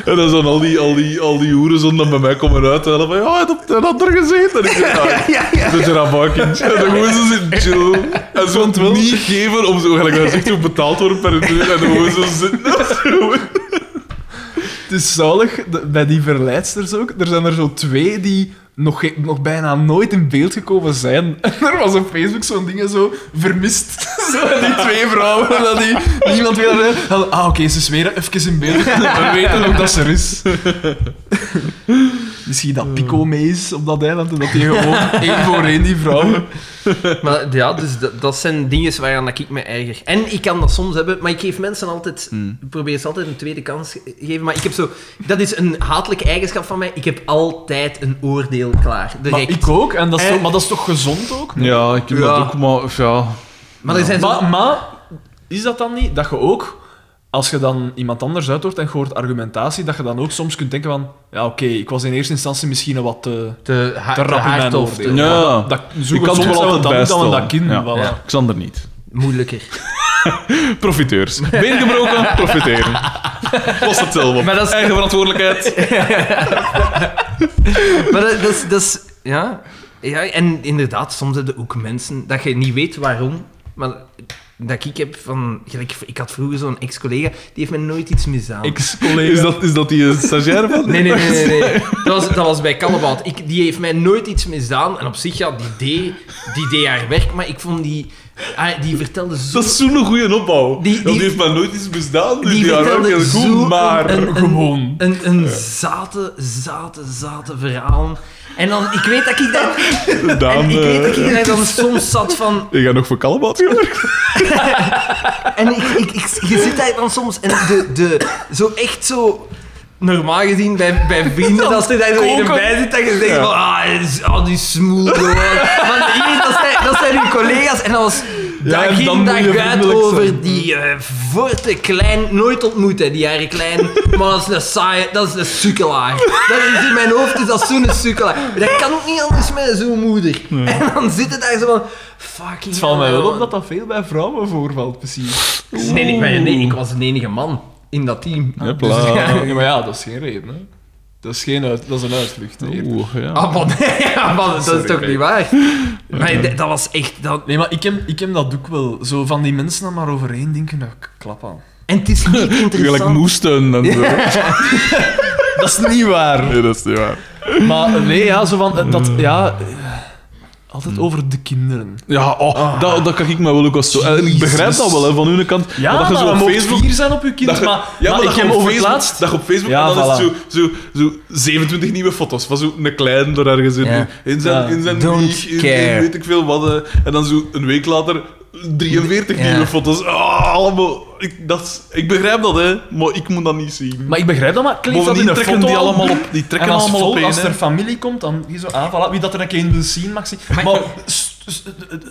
En dan zijn al die, al die, al die hoeren zo dan bij mij komen uit en dan van, ja, dat dat had er gezeten. En ik zeg, ja, Ja, ja. dat je dat [laughs] bakend. En dan gewoon zo zitten chill. En ze het niet geven om zo, gelijk dat zegt, hoe betaald worden per uur. En dan gewoon zo zitten. Het is zalig, de- bij die verleidsters ook. Er zijn er zo twee die nog, ge- nog bijna nooit in beeld gekomen zijn. [laughs] En er was op Facebook zo'n ding zo vermist. [laughs] Zo, en die twee vrouwen, dat die niemand wil hebben. Dan, Ah, oké, ze is weer even in beeld. [laughs] We weten ook dat ze er is. Misschien dat Pico mee is op dat eiland en dat die gewoon één voor één die vrouwen. Maar ja, dus dat, dat zijn dingen waaraan dat ik me erger. En ik kan dat soms hebben, maar ik geef mensen altijd... Hmm. Ik probeer ze altijd een tweede kans te geven. Maar ik heb zo... Dat is een hatelijke eigenschap van mij. Ik heb altijd een oordeel klaar. Maar Direct. ik ook, en dat is toch, maar dat is toch gezond ook? Ja, ik heb dat Ja. dat ook, ook, maar ja... Maar er zijn zo... Maar, maar is dat dan niet dat je ook, als je dan iemand anders uithoort en je hoort argumentatie, dat je dan ook soms kunt denken van, ja oké, ik was in eerste instantie misschien een wat eh, te, te, ha- te te rap in mijn hard of te- oordeel. Ja. Dat, zo Ik kan het gezond wel zijn altijd we dan niet dan we bijstellen. dat kind. Ja. voilà. Ja. Xander niet. moeilijker. [laughs] Profiteurs. Been gebroken, profiteren. Los het zelf op. Maar dat is- Eigen verantwoordelijkheid. maar dat, dat is... Dat is ja. ja, en inderdaad, soms hebben ook mensen dat je niet weet waarom, maar dat ik heb van... gelijk, ik had vroeger zo'n ex-collega, die heeft me nooit iets misdaan. Ex-collega. Is dat, is dat die eh, stagiair van? Nee, nee, nee, nee. nee. Dat, was, dat was bij Callebaut. Ik, die heeft mij nooit iets misdaan. En op zich, ja, die deed, die deed haar werk, maar ik vond die... ah, Die vertelde zo... Dat is zo'n goede opbouw. Die- Die, die- heeft mij nooit iets misdaan. Dus Die die, waren ook vertelde heel zo goed, maar... een- een- gewoon. Een, een zate, zate, zate verhaal. En dan, ik weet dat ik daar... Dan, en ik weet dat eh, ik daar dan soms zat van... Ik ga nog voor [laughs] Callebaut gewerkt. En ik, ik, ik, je zit daar dan soms en de, de, zo echt zo... Normaal gezien bij, bij [laughs] vrienden, als je daar zo in koken. bij zit, dat je denkt van, ah, dit is- ah, die smoel. hoor." Want hier, dat zijn, dat zijn hun collega's. En dat was Ja, dag en dan in moet je dag uit vriendelijk over zijn. die eh voor te klein, nooit ontmoet, hè, die Harry Klein. Maar dat is een saaie, dat is een sukkelaar. Dat is in mijn hoofd, is dat zo'n sukkelaar. Dat kan ook niet anders met zo'n moeder. En dan zit het daar zo van, fucking Het valt mij hell, wel op man. dat dat veel bij vrouwen voorvalt, precies. Nee, nee, maar nee, ik was de enige man in dat team. Hopla. Dus, ja, [laughs] maar ja, dat is geen reden. Hè. Dat, is geen uit, dat is een uitvlucht. hè. Oeh, ja. Ah, man, [laughs] ja, man, dat is toch niet waar? Maar d- dat was echt... Dat... Nee, maar ik heb, ik heb dat ook wel. Zo van die mensen dan maar overheen denken, nou, k- klap aan. En het is niet Gelijk interessant. moesten en zo. Dat is niet waar. Nee, dat is niet waar. Maar nee, ja, zo van... eh, Mm. Dat, ja, eh, altijd over de kinderen. Ja, oh, Dat, dat kan ik me wel ook als zo... En ik begrijp dat wel, hè, van hun kant. Ja, Maar maar dat je zo op Facebook... vier zijn op je kind, Dat je- maar, ja, maar, maar dat ik je heb op over het Facebook- laatst... Dat je op Facebook Ja, en dan is voilà. het zo, zo, zo 27 nieuwe foto's van zo'n klein door ergens in, Ja. in zijn, Ja. in zijn Don't wieg, in- in care. weet ik veel wat. eh, En dan zo een week later 43 Ja. nieuwe foto's. Ah, allemaal. Ik, dat, is- ik begrijp dat, hè, maar ik moet dat niet zien. Maar ik begrijp dat, maar kleef dat Bovendien in een trekken die fotoalbum. allemaal op, die trekken en als, allemaal vol- op één. als hè. er familie komt, dan hier zo aan. Voilà, wie dat er een keer wil zien, mag zien. Maar, s- s-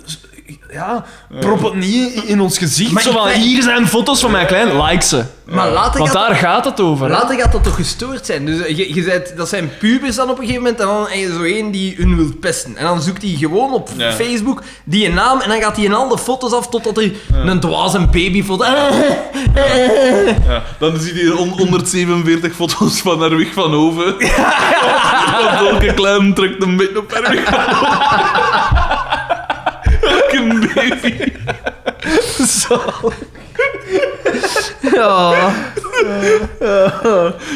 s- ja, prop het niet in- in ons gezicht. Maar zo ik van, ben- hier zijn foto's van mijn klein, like ze. Maar later Want gaat, daar gaat het over. hè. [laughs] later gaat dat toch gestoord zijn. Dus eh, je, je zet, dat zijn pubers dan op een gegeven moment en dan heb je zo één die hun wil pesten. En dan zoekt hij gewoon op Ja. Facebook die een naam en dan gaat hij in al de foto's af totdat er een dwaas een babyfoto... [laughs] Ja, dan zie je on- 147 foto's van Erwig van [laughs] Hoven. Want elke klein trekt een beetje op Erwig van [laughs] Hoven. Elke baby. Ja.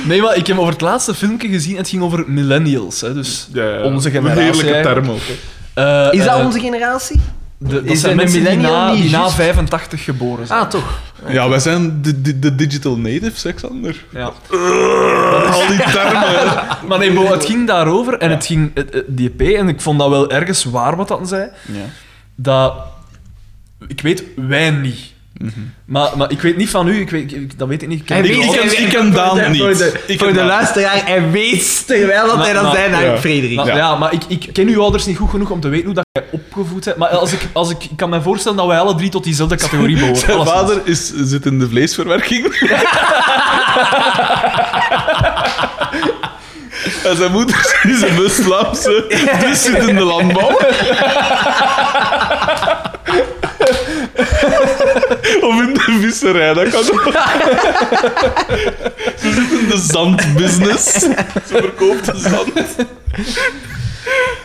Nee, maar ik heb over het laatste filmpje gezien. Het ging over millennials. Hè, dus onze generatie. Een heerlijke eigenlijk. term ook. Eh, Is dat eh, onze generatie? de- dat is zijn een mensen die millennial na, niet die na juist? 85 geboren zijn. Ah, toch. Ja, wij zijn de, de, de digital natives, Alexander. Ja. Al die termen. Maar nee, bo, het ging daarover en het ging het- het- die EP en ik vond dat wel ergens waar wat dat zei. Ja. Dat ik weet wij niet. Mhm. Maar, maar ik weet niet van u, ik weet, ik- dat weet ik niet. Ik ken Hij die weet- Ik, ik, altijd- ken- ik ken Daan niet. Ik Voor ken de Daan. luisteraar, hij weet terwijl dat hij Maar- dat maar- zei naar ja. Frederik. maar, Ja. ja. maar ik, ik ken uw ouders niet goed genoeg om te weten hoe dat jij opgevoed bent. Maar als ik, als ik, ik kan me voorstellen dat wij alle drie [laughs] tot diezelfde categorie behoren. Zijn alleszins. vader is, zit in de [laughs] vleesverwerking. en zijn moeder is een West-Vlaamse, dus zit in de landbouw. of in de visserij, dat kan ook. Ze zit in de zandbusiness. Ze verkoopt de zand.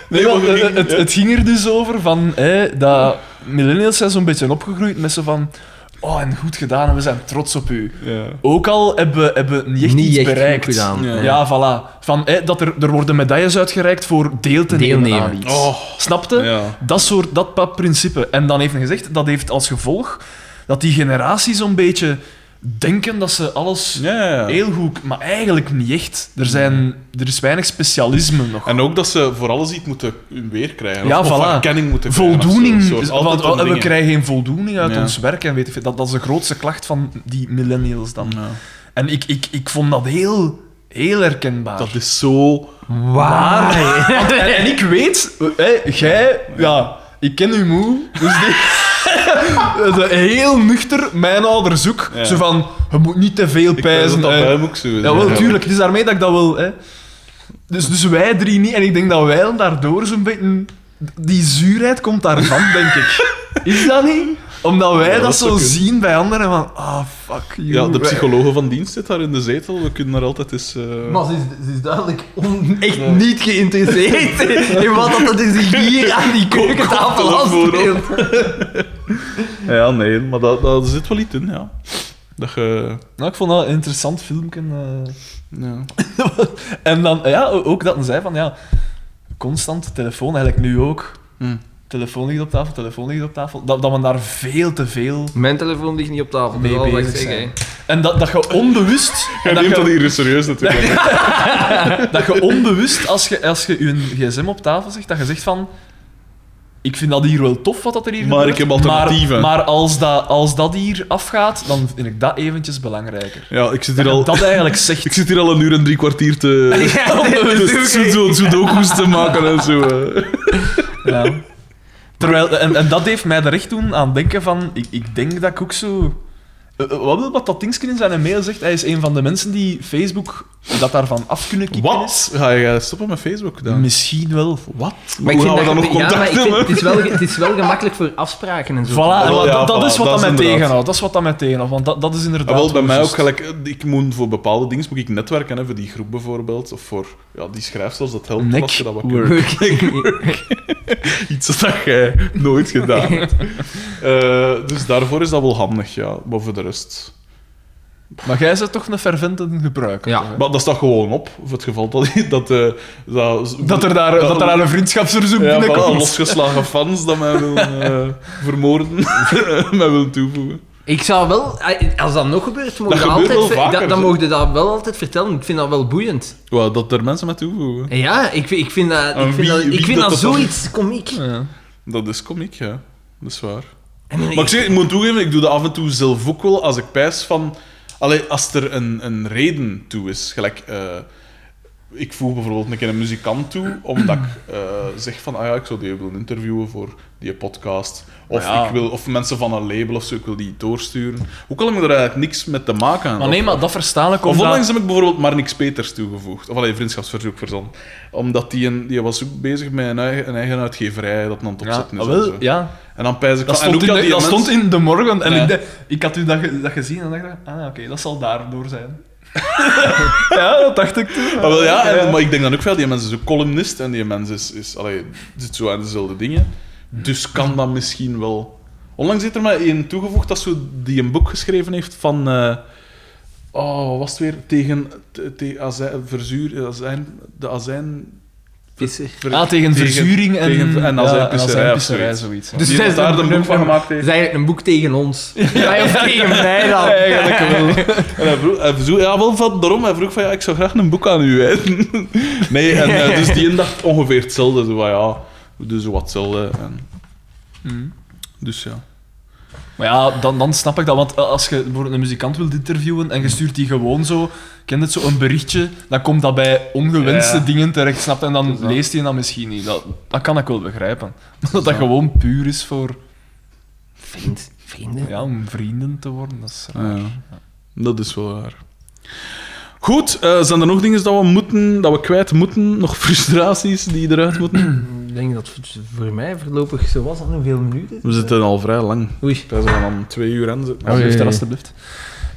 Nee, want, maar- eh, het, het ging er dus over van hè, dat millennials zijn zo'n beetje opgegroeid met zo van. Oh, en goed gedaan en we zijn trots op u. Ja. Ook al hebben we hebben we niet echt Niet iets echt bereikt. goed gedaan. Ja, Ja. voilà. Van, hè, dat er, er worden medailles uitgereikt voor deel te nemen Deelnemen. aan iets. Oh. Snapte? Ja. Dat soort, dat pa- principe. En dan heeft hij gezegd, dat heeft als gevolg dat die generaties zo'n beetje denken dat ze alles Ja, ja, ja. heel goed... Maar eigenlijk niet echt. Er, zijn, er is weinig specialisme nog. En ook dat ze voor alles iets moeten weer krijgen. Ja, of, of voilà. erkenning moeten krijgen. Voldoening. of zo. Een soort is- want altijd we een ding. krijgen geen voldoening uit Ja. ons werk. En weet ik, veel. dat, dat is de grootste klacht van die millennials dan. Ja. En ik, ik, ik vond dat heel, heel herkenbaar. Dat is zo... Waar? Want- en, en ik weet, hè, jij, ja, ik ken uw moe, dus die. [laughs] dat is heel nuchter, mijn ouders ook. Ja. Zo van, je moet niet te veel Ik weet pijzen. dat dat bij hè. hem ook zo is. Ja, wel, tuurlijk. Het is daarmee dat ik dat wil. Hè. Dus, dus wij drie niet. En ik denk dat [laughs] wij daardoor zo'n beetje... Die zuurheid komt daarvan, denk ik. Is dat niet? Omdat wij dat, dat zo zou kunnen. zien bij anderen van, ah, fuck you. Ja, de Wij- psychologe van dienst zit daar in de zetel. We kunnen daar altijd eens... eh, Maar ze is, ze is duidelijk on- echt niet [laughs] geïnteresseerd in wat dat er zich hier aan die keukentafel Kom, kom, afspeelt. Ja, nee, maar dat, dat zit wel iets in, ja. Dat je... Nou, ik vond dat een interessant filmpje. eh. Ja. En dan, ja, ook dat hij zei van, ja, constant telefoon, eigenlijk nu ook. Hm. Telefoon ligt op tafel, telefoon ligt op tafel. Dat, dat men daar veel te veel Mijn telefoon ligt niet op tafel, mee dat bezig zijn. En dat, dat je [laughs] onbewust... Jij en dat, neemt dat je, hier serieus natuurlijk. dat je onbewust, als je, als je je gsm op tafel zegt, dat je zegt van... Ik vind dat hier wel tof, wat dat er hier Maar gebeurt, ik heb alternatieven." Maar, maar als, dat, als dat hier afgaat, dan vind ik dat eventjes belangrijker. [laughs] Ja, ik zit Dat hier je al... dat eigenlijk zegt. [laughs] Ik zit hier al een uur en drie kwartier te... [laughs] [laughs] te zo sudoku's te maken en zo. eh. Ja. Terwijl, en, en dat heeft mij er echt doen aan denken van, ik, ik denk dat ik ook zo... Eh, eh, Wat wil wat dat Tingskin in zijn mail zegt? Hij is een van de mensen die Facebook dat daarvan af kunnen kicken Wat? is. Ga je stoppen met Facebook dan? Misschien wel. Wat? Maar ik Hoe vind dat gaan we dan nog ja, maar contact ik vind- hebben? het, is wel, ge- het is wel gemakkelijk voor afspraken en zo. Voilà, en wat- ja, dat, dat voilà, is dat wat dat is mij inderdaad. tegenhoudt. Dat is wat dat mij tegenhoudt, want dat, dat is inderdaad... Ah, wel, bij wel mij ook juist. gelijk. eh, Ik moet voor bepaalde dingen moet ik netwerken, hè, voor die groep bijvoorbeeld, of voor ja, die schrijfstels, dat helpt wel als je dat wat kunt. [laughs] Iets dat jij nooit [laughs] gedaan hebt. Eh, dus daarvoor is dat wel handig, ja. Maar voor de rest... Maar jij bent toch een fervente gebruiker? Ja. toch, hè? Maar dat staat gewoon op, voor het geval dat... Dat, eh, dat, Dat er daar, dat er daar een vriendschapsverzoek Ja, voilà, binnenkomt. losgeslagen fans dat mij willen [laughs] eh, vermoorden, [laughs] mij willen toevoegen. Ik zou wel, als dat nog gebeurt, mogen Dat we gebeurt altijd, wel ver- vaker, dat, dan zo. mogen we dat wel altijd vertellen. Ik vind dat wel boeiend. Wauw, dat er mensen mij toevoegen. En Ja, ik, vind- ik vind dat, En ik vind wie- dat, wie ik vind dat dat, dat dan- zoiets komiek. Dat is komiek, ja. Dat is waar. En dan- Maar ik, zeg, ik moet toegeven, ik doe dat af en toe zelf ook wel als ik pijs van... Allee, als er een, een reden toe is. Gelijk, eh, ik voeg bijvoorbeeld een keer een muzikant toe, omdat ik eh, zeg van, ah ja, ik zou die willen interviewen voor die podcast. Of, Ah Ja. ik wil, of mensen van een label of zo, ik wil die doorsturen. Ook al heb ik er eigenlijk niks mee te maken. Maar nee, maar dat verstaan ik Of omdat- onlangs heb ik bijvoorbeeld Marnix Peters toegevoegd. Of alleen vriendschapsverzoek verzond. Omdat die, een, die was ook bezig met een eigen, een eigen uitgeverij, dat dan het Ja, opzetten is. ah, en wel, zo. ja. En dan pijs ik Dat, van... en stond in, ook de, die dat mensen- stond in de morgen. En Ja. ik, de- ik had u dat, ge- dat gezien en dacht ik, ah, oké, dat zal daardoor zijn. [laughs] ja, dat dacht ik toen. Ah, wel, ja, en- maar ik denk dan ook veel, die mens is ook columnist en die mens is, is, allee, zit zo aan dezelfde dingen. Dus kan dat misschien wel. Onlangs zit er maar één toegevoegd dat zo, die een boek geschreven heeft van. eh, oh, wat was het weer? Tegen te, te- azijn, verzuur, eh, azijn, de azijn. Visser. ver- Ah, tegen verzuring en, tegen- en azijnpisserij ja, of azijnpisserij, zoiets. zoiets. Dus Die zij heeft zijn daar een boek van gemaakt Dat heeft. is eigenlijk een boek tegen [laughs] ons. Ja, of tegen mij dan. En hij vroeg, hij vroeg- ja, wel van, daarom, hij vroeg van, ja, ik zou graag een boek aan u wijden. [laughs] nee, en eh, dus die een dacht ongeveer hetzelfde. Zo van, ja, we doen zo wat hetzelfde. En, Hmm. dus ja. Maar ja, dan, dan snap ik dat. Want eh, als je bijvoorbeeld een muzikant wilt interviewen en je stuurt die gewoon zo, kent het zo, een berichtje, dan komt dat bij ongewenste Ja. dingen terecht, snap je? En dan leest hij dat misschien niet. Dat, dat kan ik wel begrijpen. [laughs] Maar dat dat gewoon puur is voor Vriend, vrienden. ja, om vrienden te worden. Dat is raar. Ja, eh, dat is wel waar. Goed, eh, zijn er nog dingen dat we, moeten, dat we kwijt moeten? Nog [laughs] frustraties die eruit moeten? Ik denk dat het voor mij voorlopig zo was. En hoeveel minuten? We zitten al vrij lang. Oei. Wij zijn al aan twee uur aan zitten. Alsjeblieft, Oei. alsjeblieft.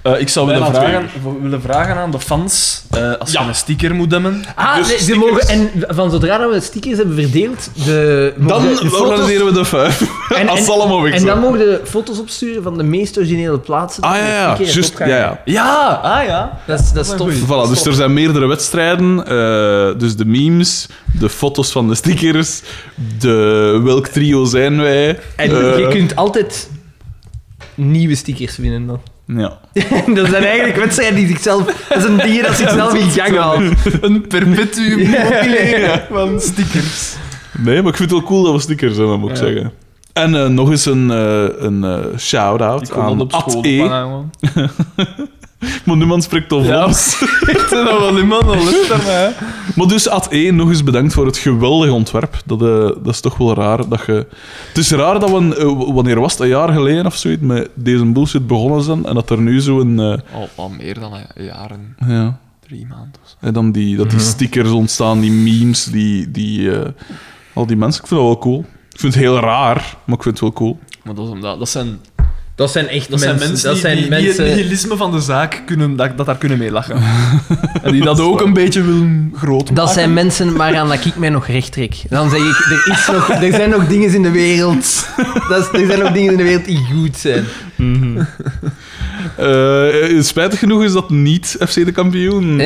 Eh, ik zou willen Bijna twee vragen, w- willen vragen aan de fans, eh, als Ja. je een sticker moet demmen, Ah, Dus nee, ze stickers. mogen, en van zodra dat we stickers hebben verdeeld, de, Dan mogen de foto's- organiseren we de vijf. en, [laughs] Als en- ze allemaal weg En zijn. dan mogen de foto's opsturen van de meest originele plaatsen. Ah die ja, de ja, sticker juist. Ja, opgehangen. ja. Ja, ah ja. Dat is, dat is Maar tof. goed. [laughs] Voilà, dus er zijn meerdere wedstrijden. eh, dus de memes, de foto's van de stickers, de welk trio zijn wij. En eh, je kunt altijd nieuwe stickers winnen dan. Ja. [laughs] dat zijn eigenlijk wedstrijden die zichzelf... Dat is een dier dat zichzelf in gang haalt. [laughs] Een perpetuum [laughs] mobile van stickers. Nee, maar ik vind het wel cool dat we stickers hebben, moet ik Ja. zeggen. En eh, nog eens een, eh, een eh, shout-out aan Ad E. Maar niemand spreekt over Ja. ons. Ik ben wel iemand, [laughs] dat [laughs] lukt aan mij. [laughs] Maar dus Ad E, nog eens bedankt voor het geweldige ontwerp. Dat, eh, dat is toch wel raar dat je... Het is raar dat we, een- eh, wanneer was het, een jaar geleden of zoiets, met deze bullshit begonnen zijn en dat er nu zo'n... eh, Oh, Al, al meer dan een jaar en ja... drie maanden. of zo. En dan die, dat die stickers ontstaan, die memes, die, die, eh, al die mensen. Ik vind dat wel cool. Ik vind het heel raar, maar ik vind het wel cool. Maar dat, is omdat, dat zijn, Dat zijn echt dat mensen. zijn mensen dat die, zijn die- die mensen. het nihilisme van de zaak kunnen, dat, dat daar kunnen mee [laughs] lachen. en die dat ook een beetje willen groot maken. Dat zijn mensen waaraan dat ik mij nog recht trek. Dan zeg ik, er, is nog, er zijn nog dingen in de wereld. Dat is, er zijn nog dingen in de wereld die goed zijn. Eh, spijtig genoeg is dat niet FC de kampioen.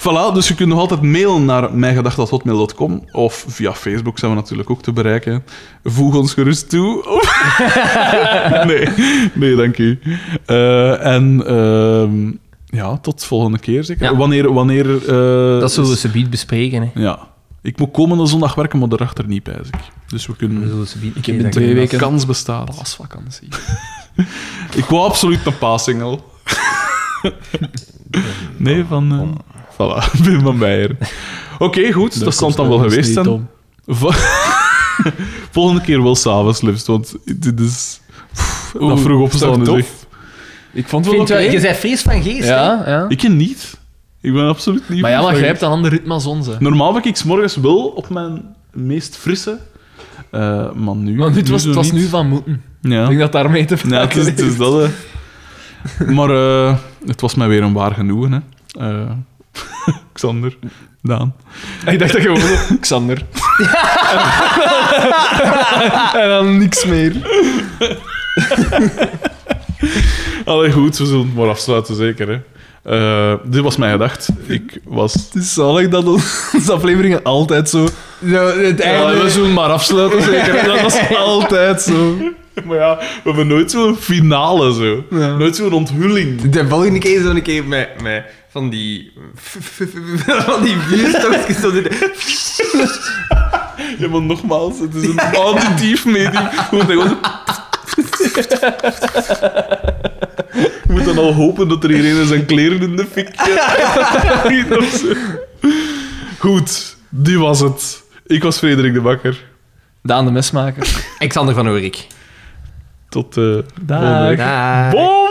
voilà, dus je kunt nog altijd mailen naar mijngedacht.hotmail.com of via Facebook zijn we natuurlijk ook te bereiken. Voeg ons gerust toe. [laughs] Of- nee, nee, dank u. Eh, en ehm, ja, tot volgende keer zeker. Ja. Wanneer... wanneer eh, Dat zullen we is- subiet bespreken. Hè. Ja. Ik moet komende zondag werken, maar daarachter niet, pijs ik. Dus we kunnen... Ik heb in twee weken kans bestaat. paasvakantie. Ik wou absoluut een paasingel. [laughs] nee, van... eh, voilà, [laughs] Wim van Meijer. Oké, goed. dat zal het dan wel geweest zijn. Vo- [laughs] Volgende keer wel s'avonds, liefst, want dit is... Pff, dat Oeh, vroeg opstaan is is toch echt... Ik vond het Vind wel je oké. wel- Je bent fris van geest, hè? Ja, ja. Ik niet. Ik ben absoluut niet... Maar ja, maar van- jij hebt een ander ritme als onze. Normaal ben ik 's morgens wel op mijn meest frisse... eh, maar nu... Want dit was, zo het was niet. nu van moeten. Ja. Ik denk dat daarmee te [laughs] Ja, het maken is, het is heeft. dat. hè. Maar eh, het was mij weer een waar genoegen. Hè. Eh, [laughs] Xander, Daan. [laughs] Ik dacht dat gewoon... [laughs] Xander. en dan niks meer. Allee, goed, we zullen het maar afsluiten, zeker. Hè. Eh, dit was mijn gedacht. Ik was... Het is zalig dat onze afleveringen altijd zo... Zo, het einde- Ja, we zullen maar afsluiten, zeker. Dat was altijd zo. Maar ja, we hebben nooit zo'n finale zo. Ja. Nooit zo'n onthulling. De volgende keer zo'n keer met, met van die... [laughs] Van die vuurstokjes. zo zitten. Ja, maar nogmaals, het is een auditief medium. Je moet, dan gewoon... Je moet dan al hopen dat er iedereen zijn kleren in de fik krijgt of zo. Goed, die was het. Ik was Frederik de Bakker. Daan de mesmaker. Alexander van Oerik. Tot eh volgende Dag. week. Daag. Bye!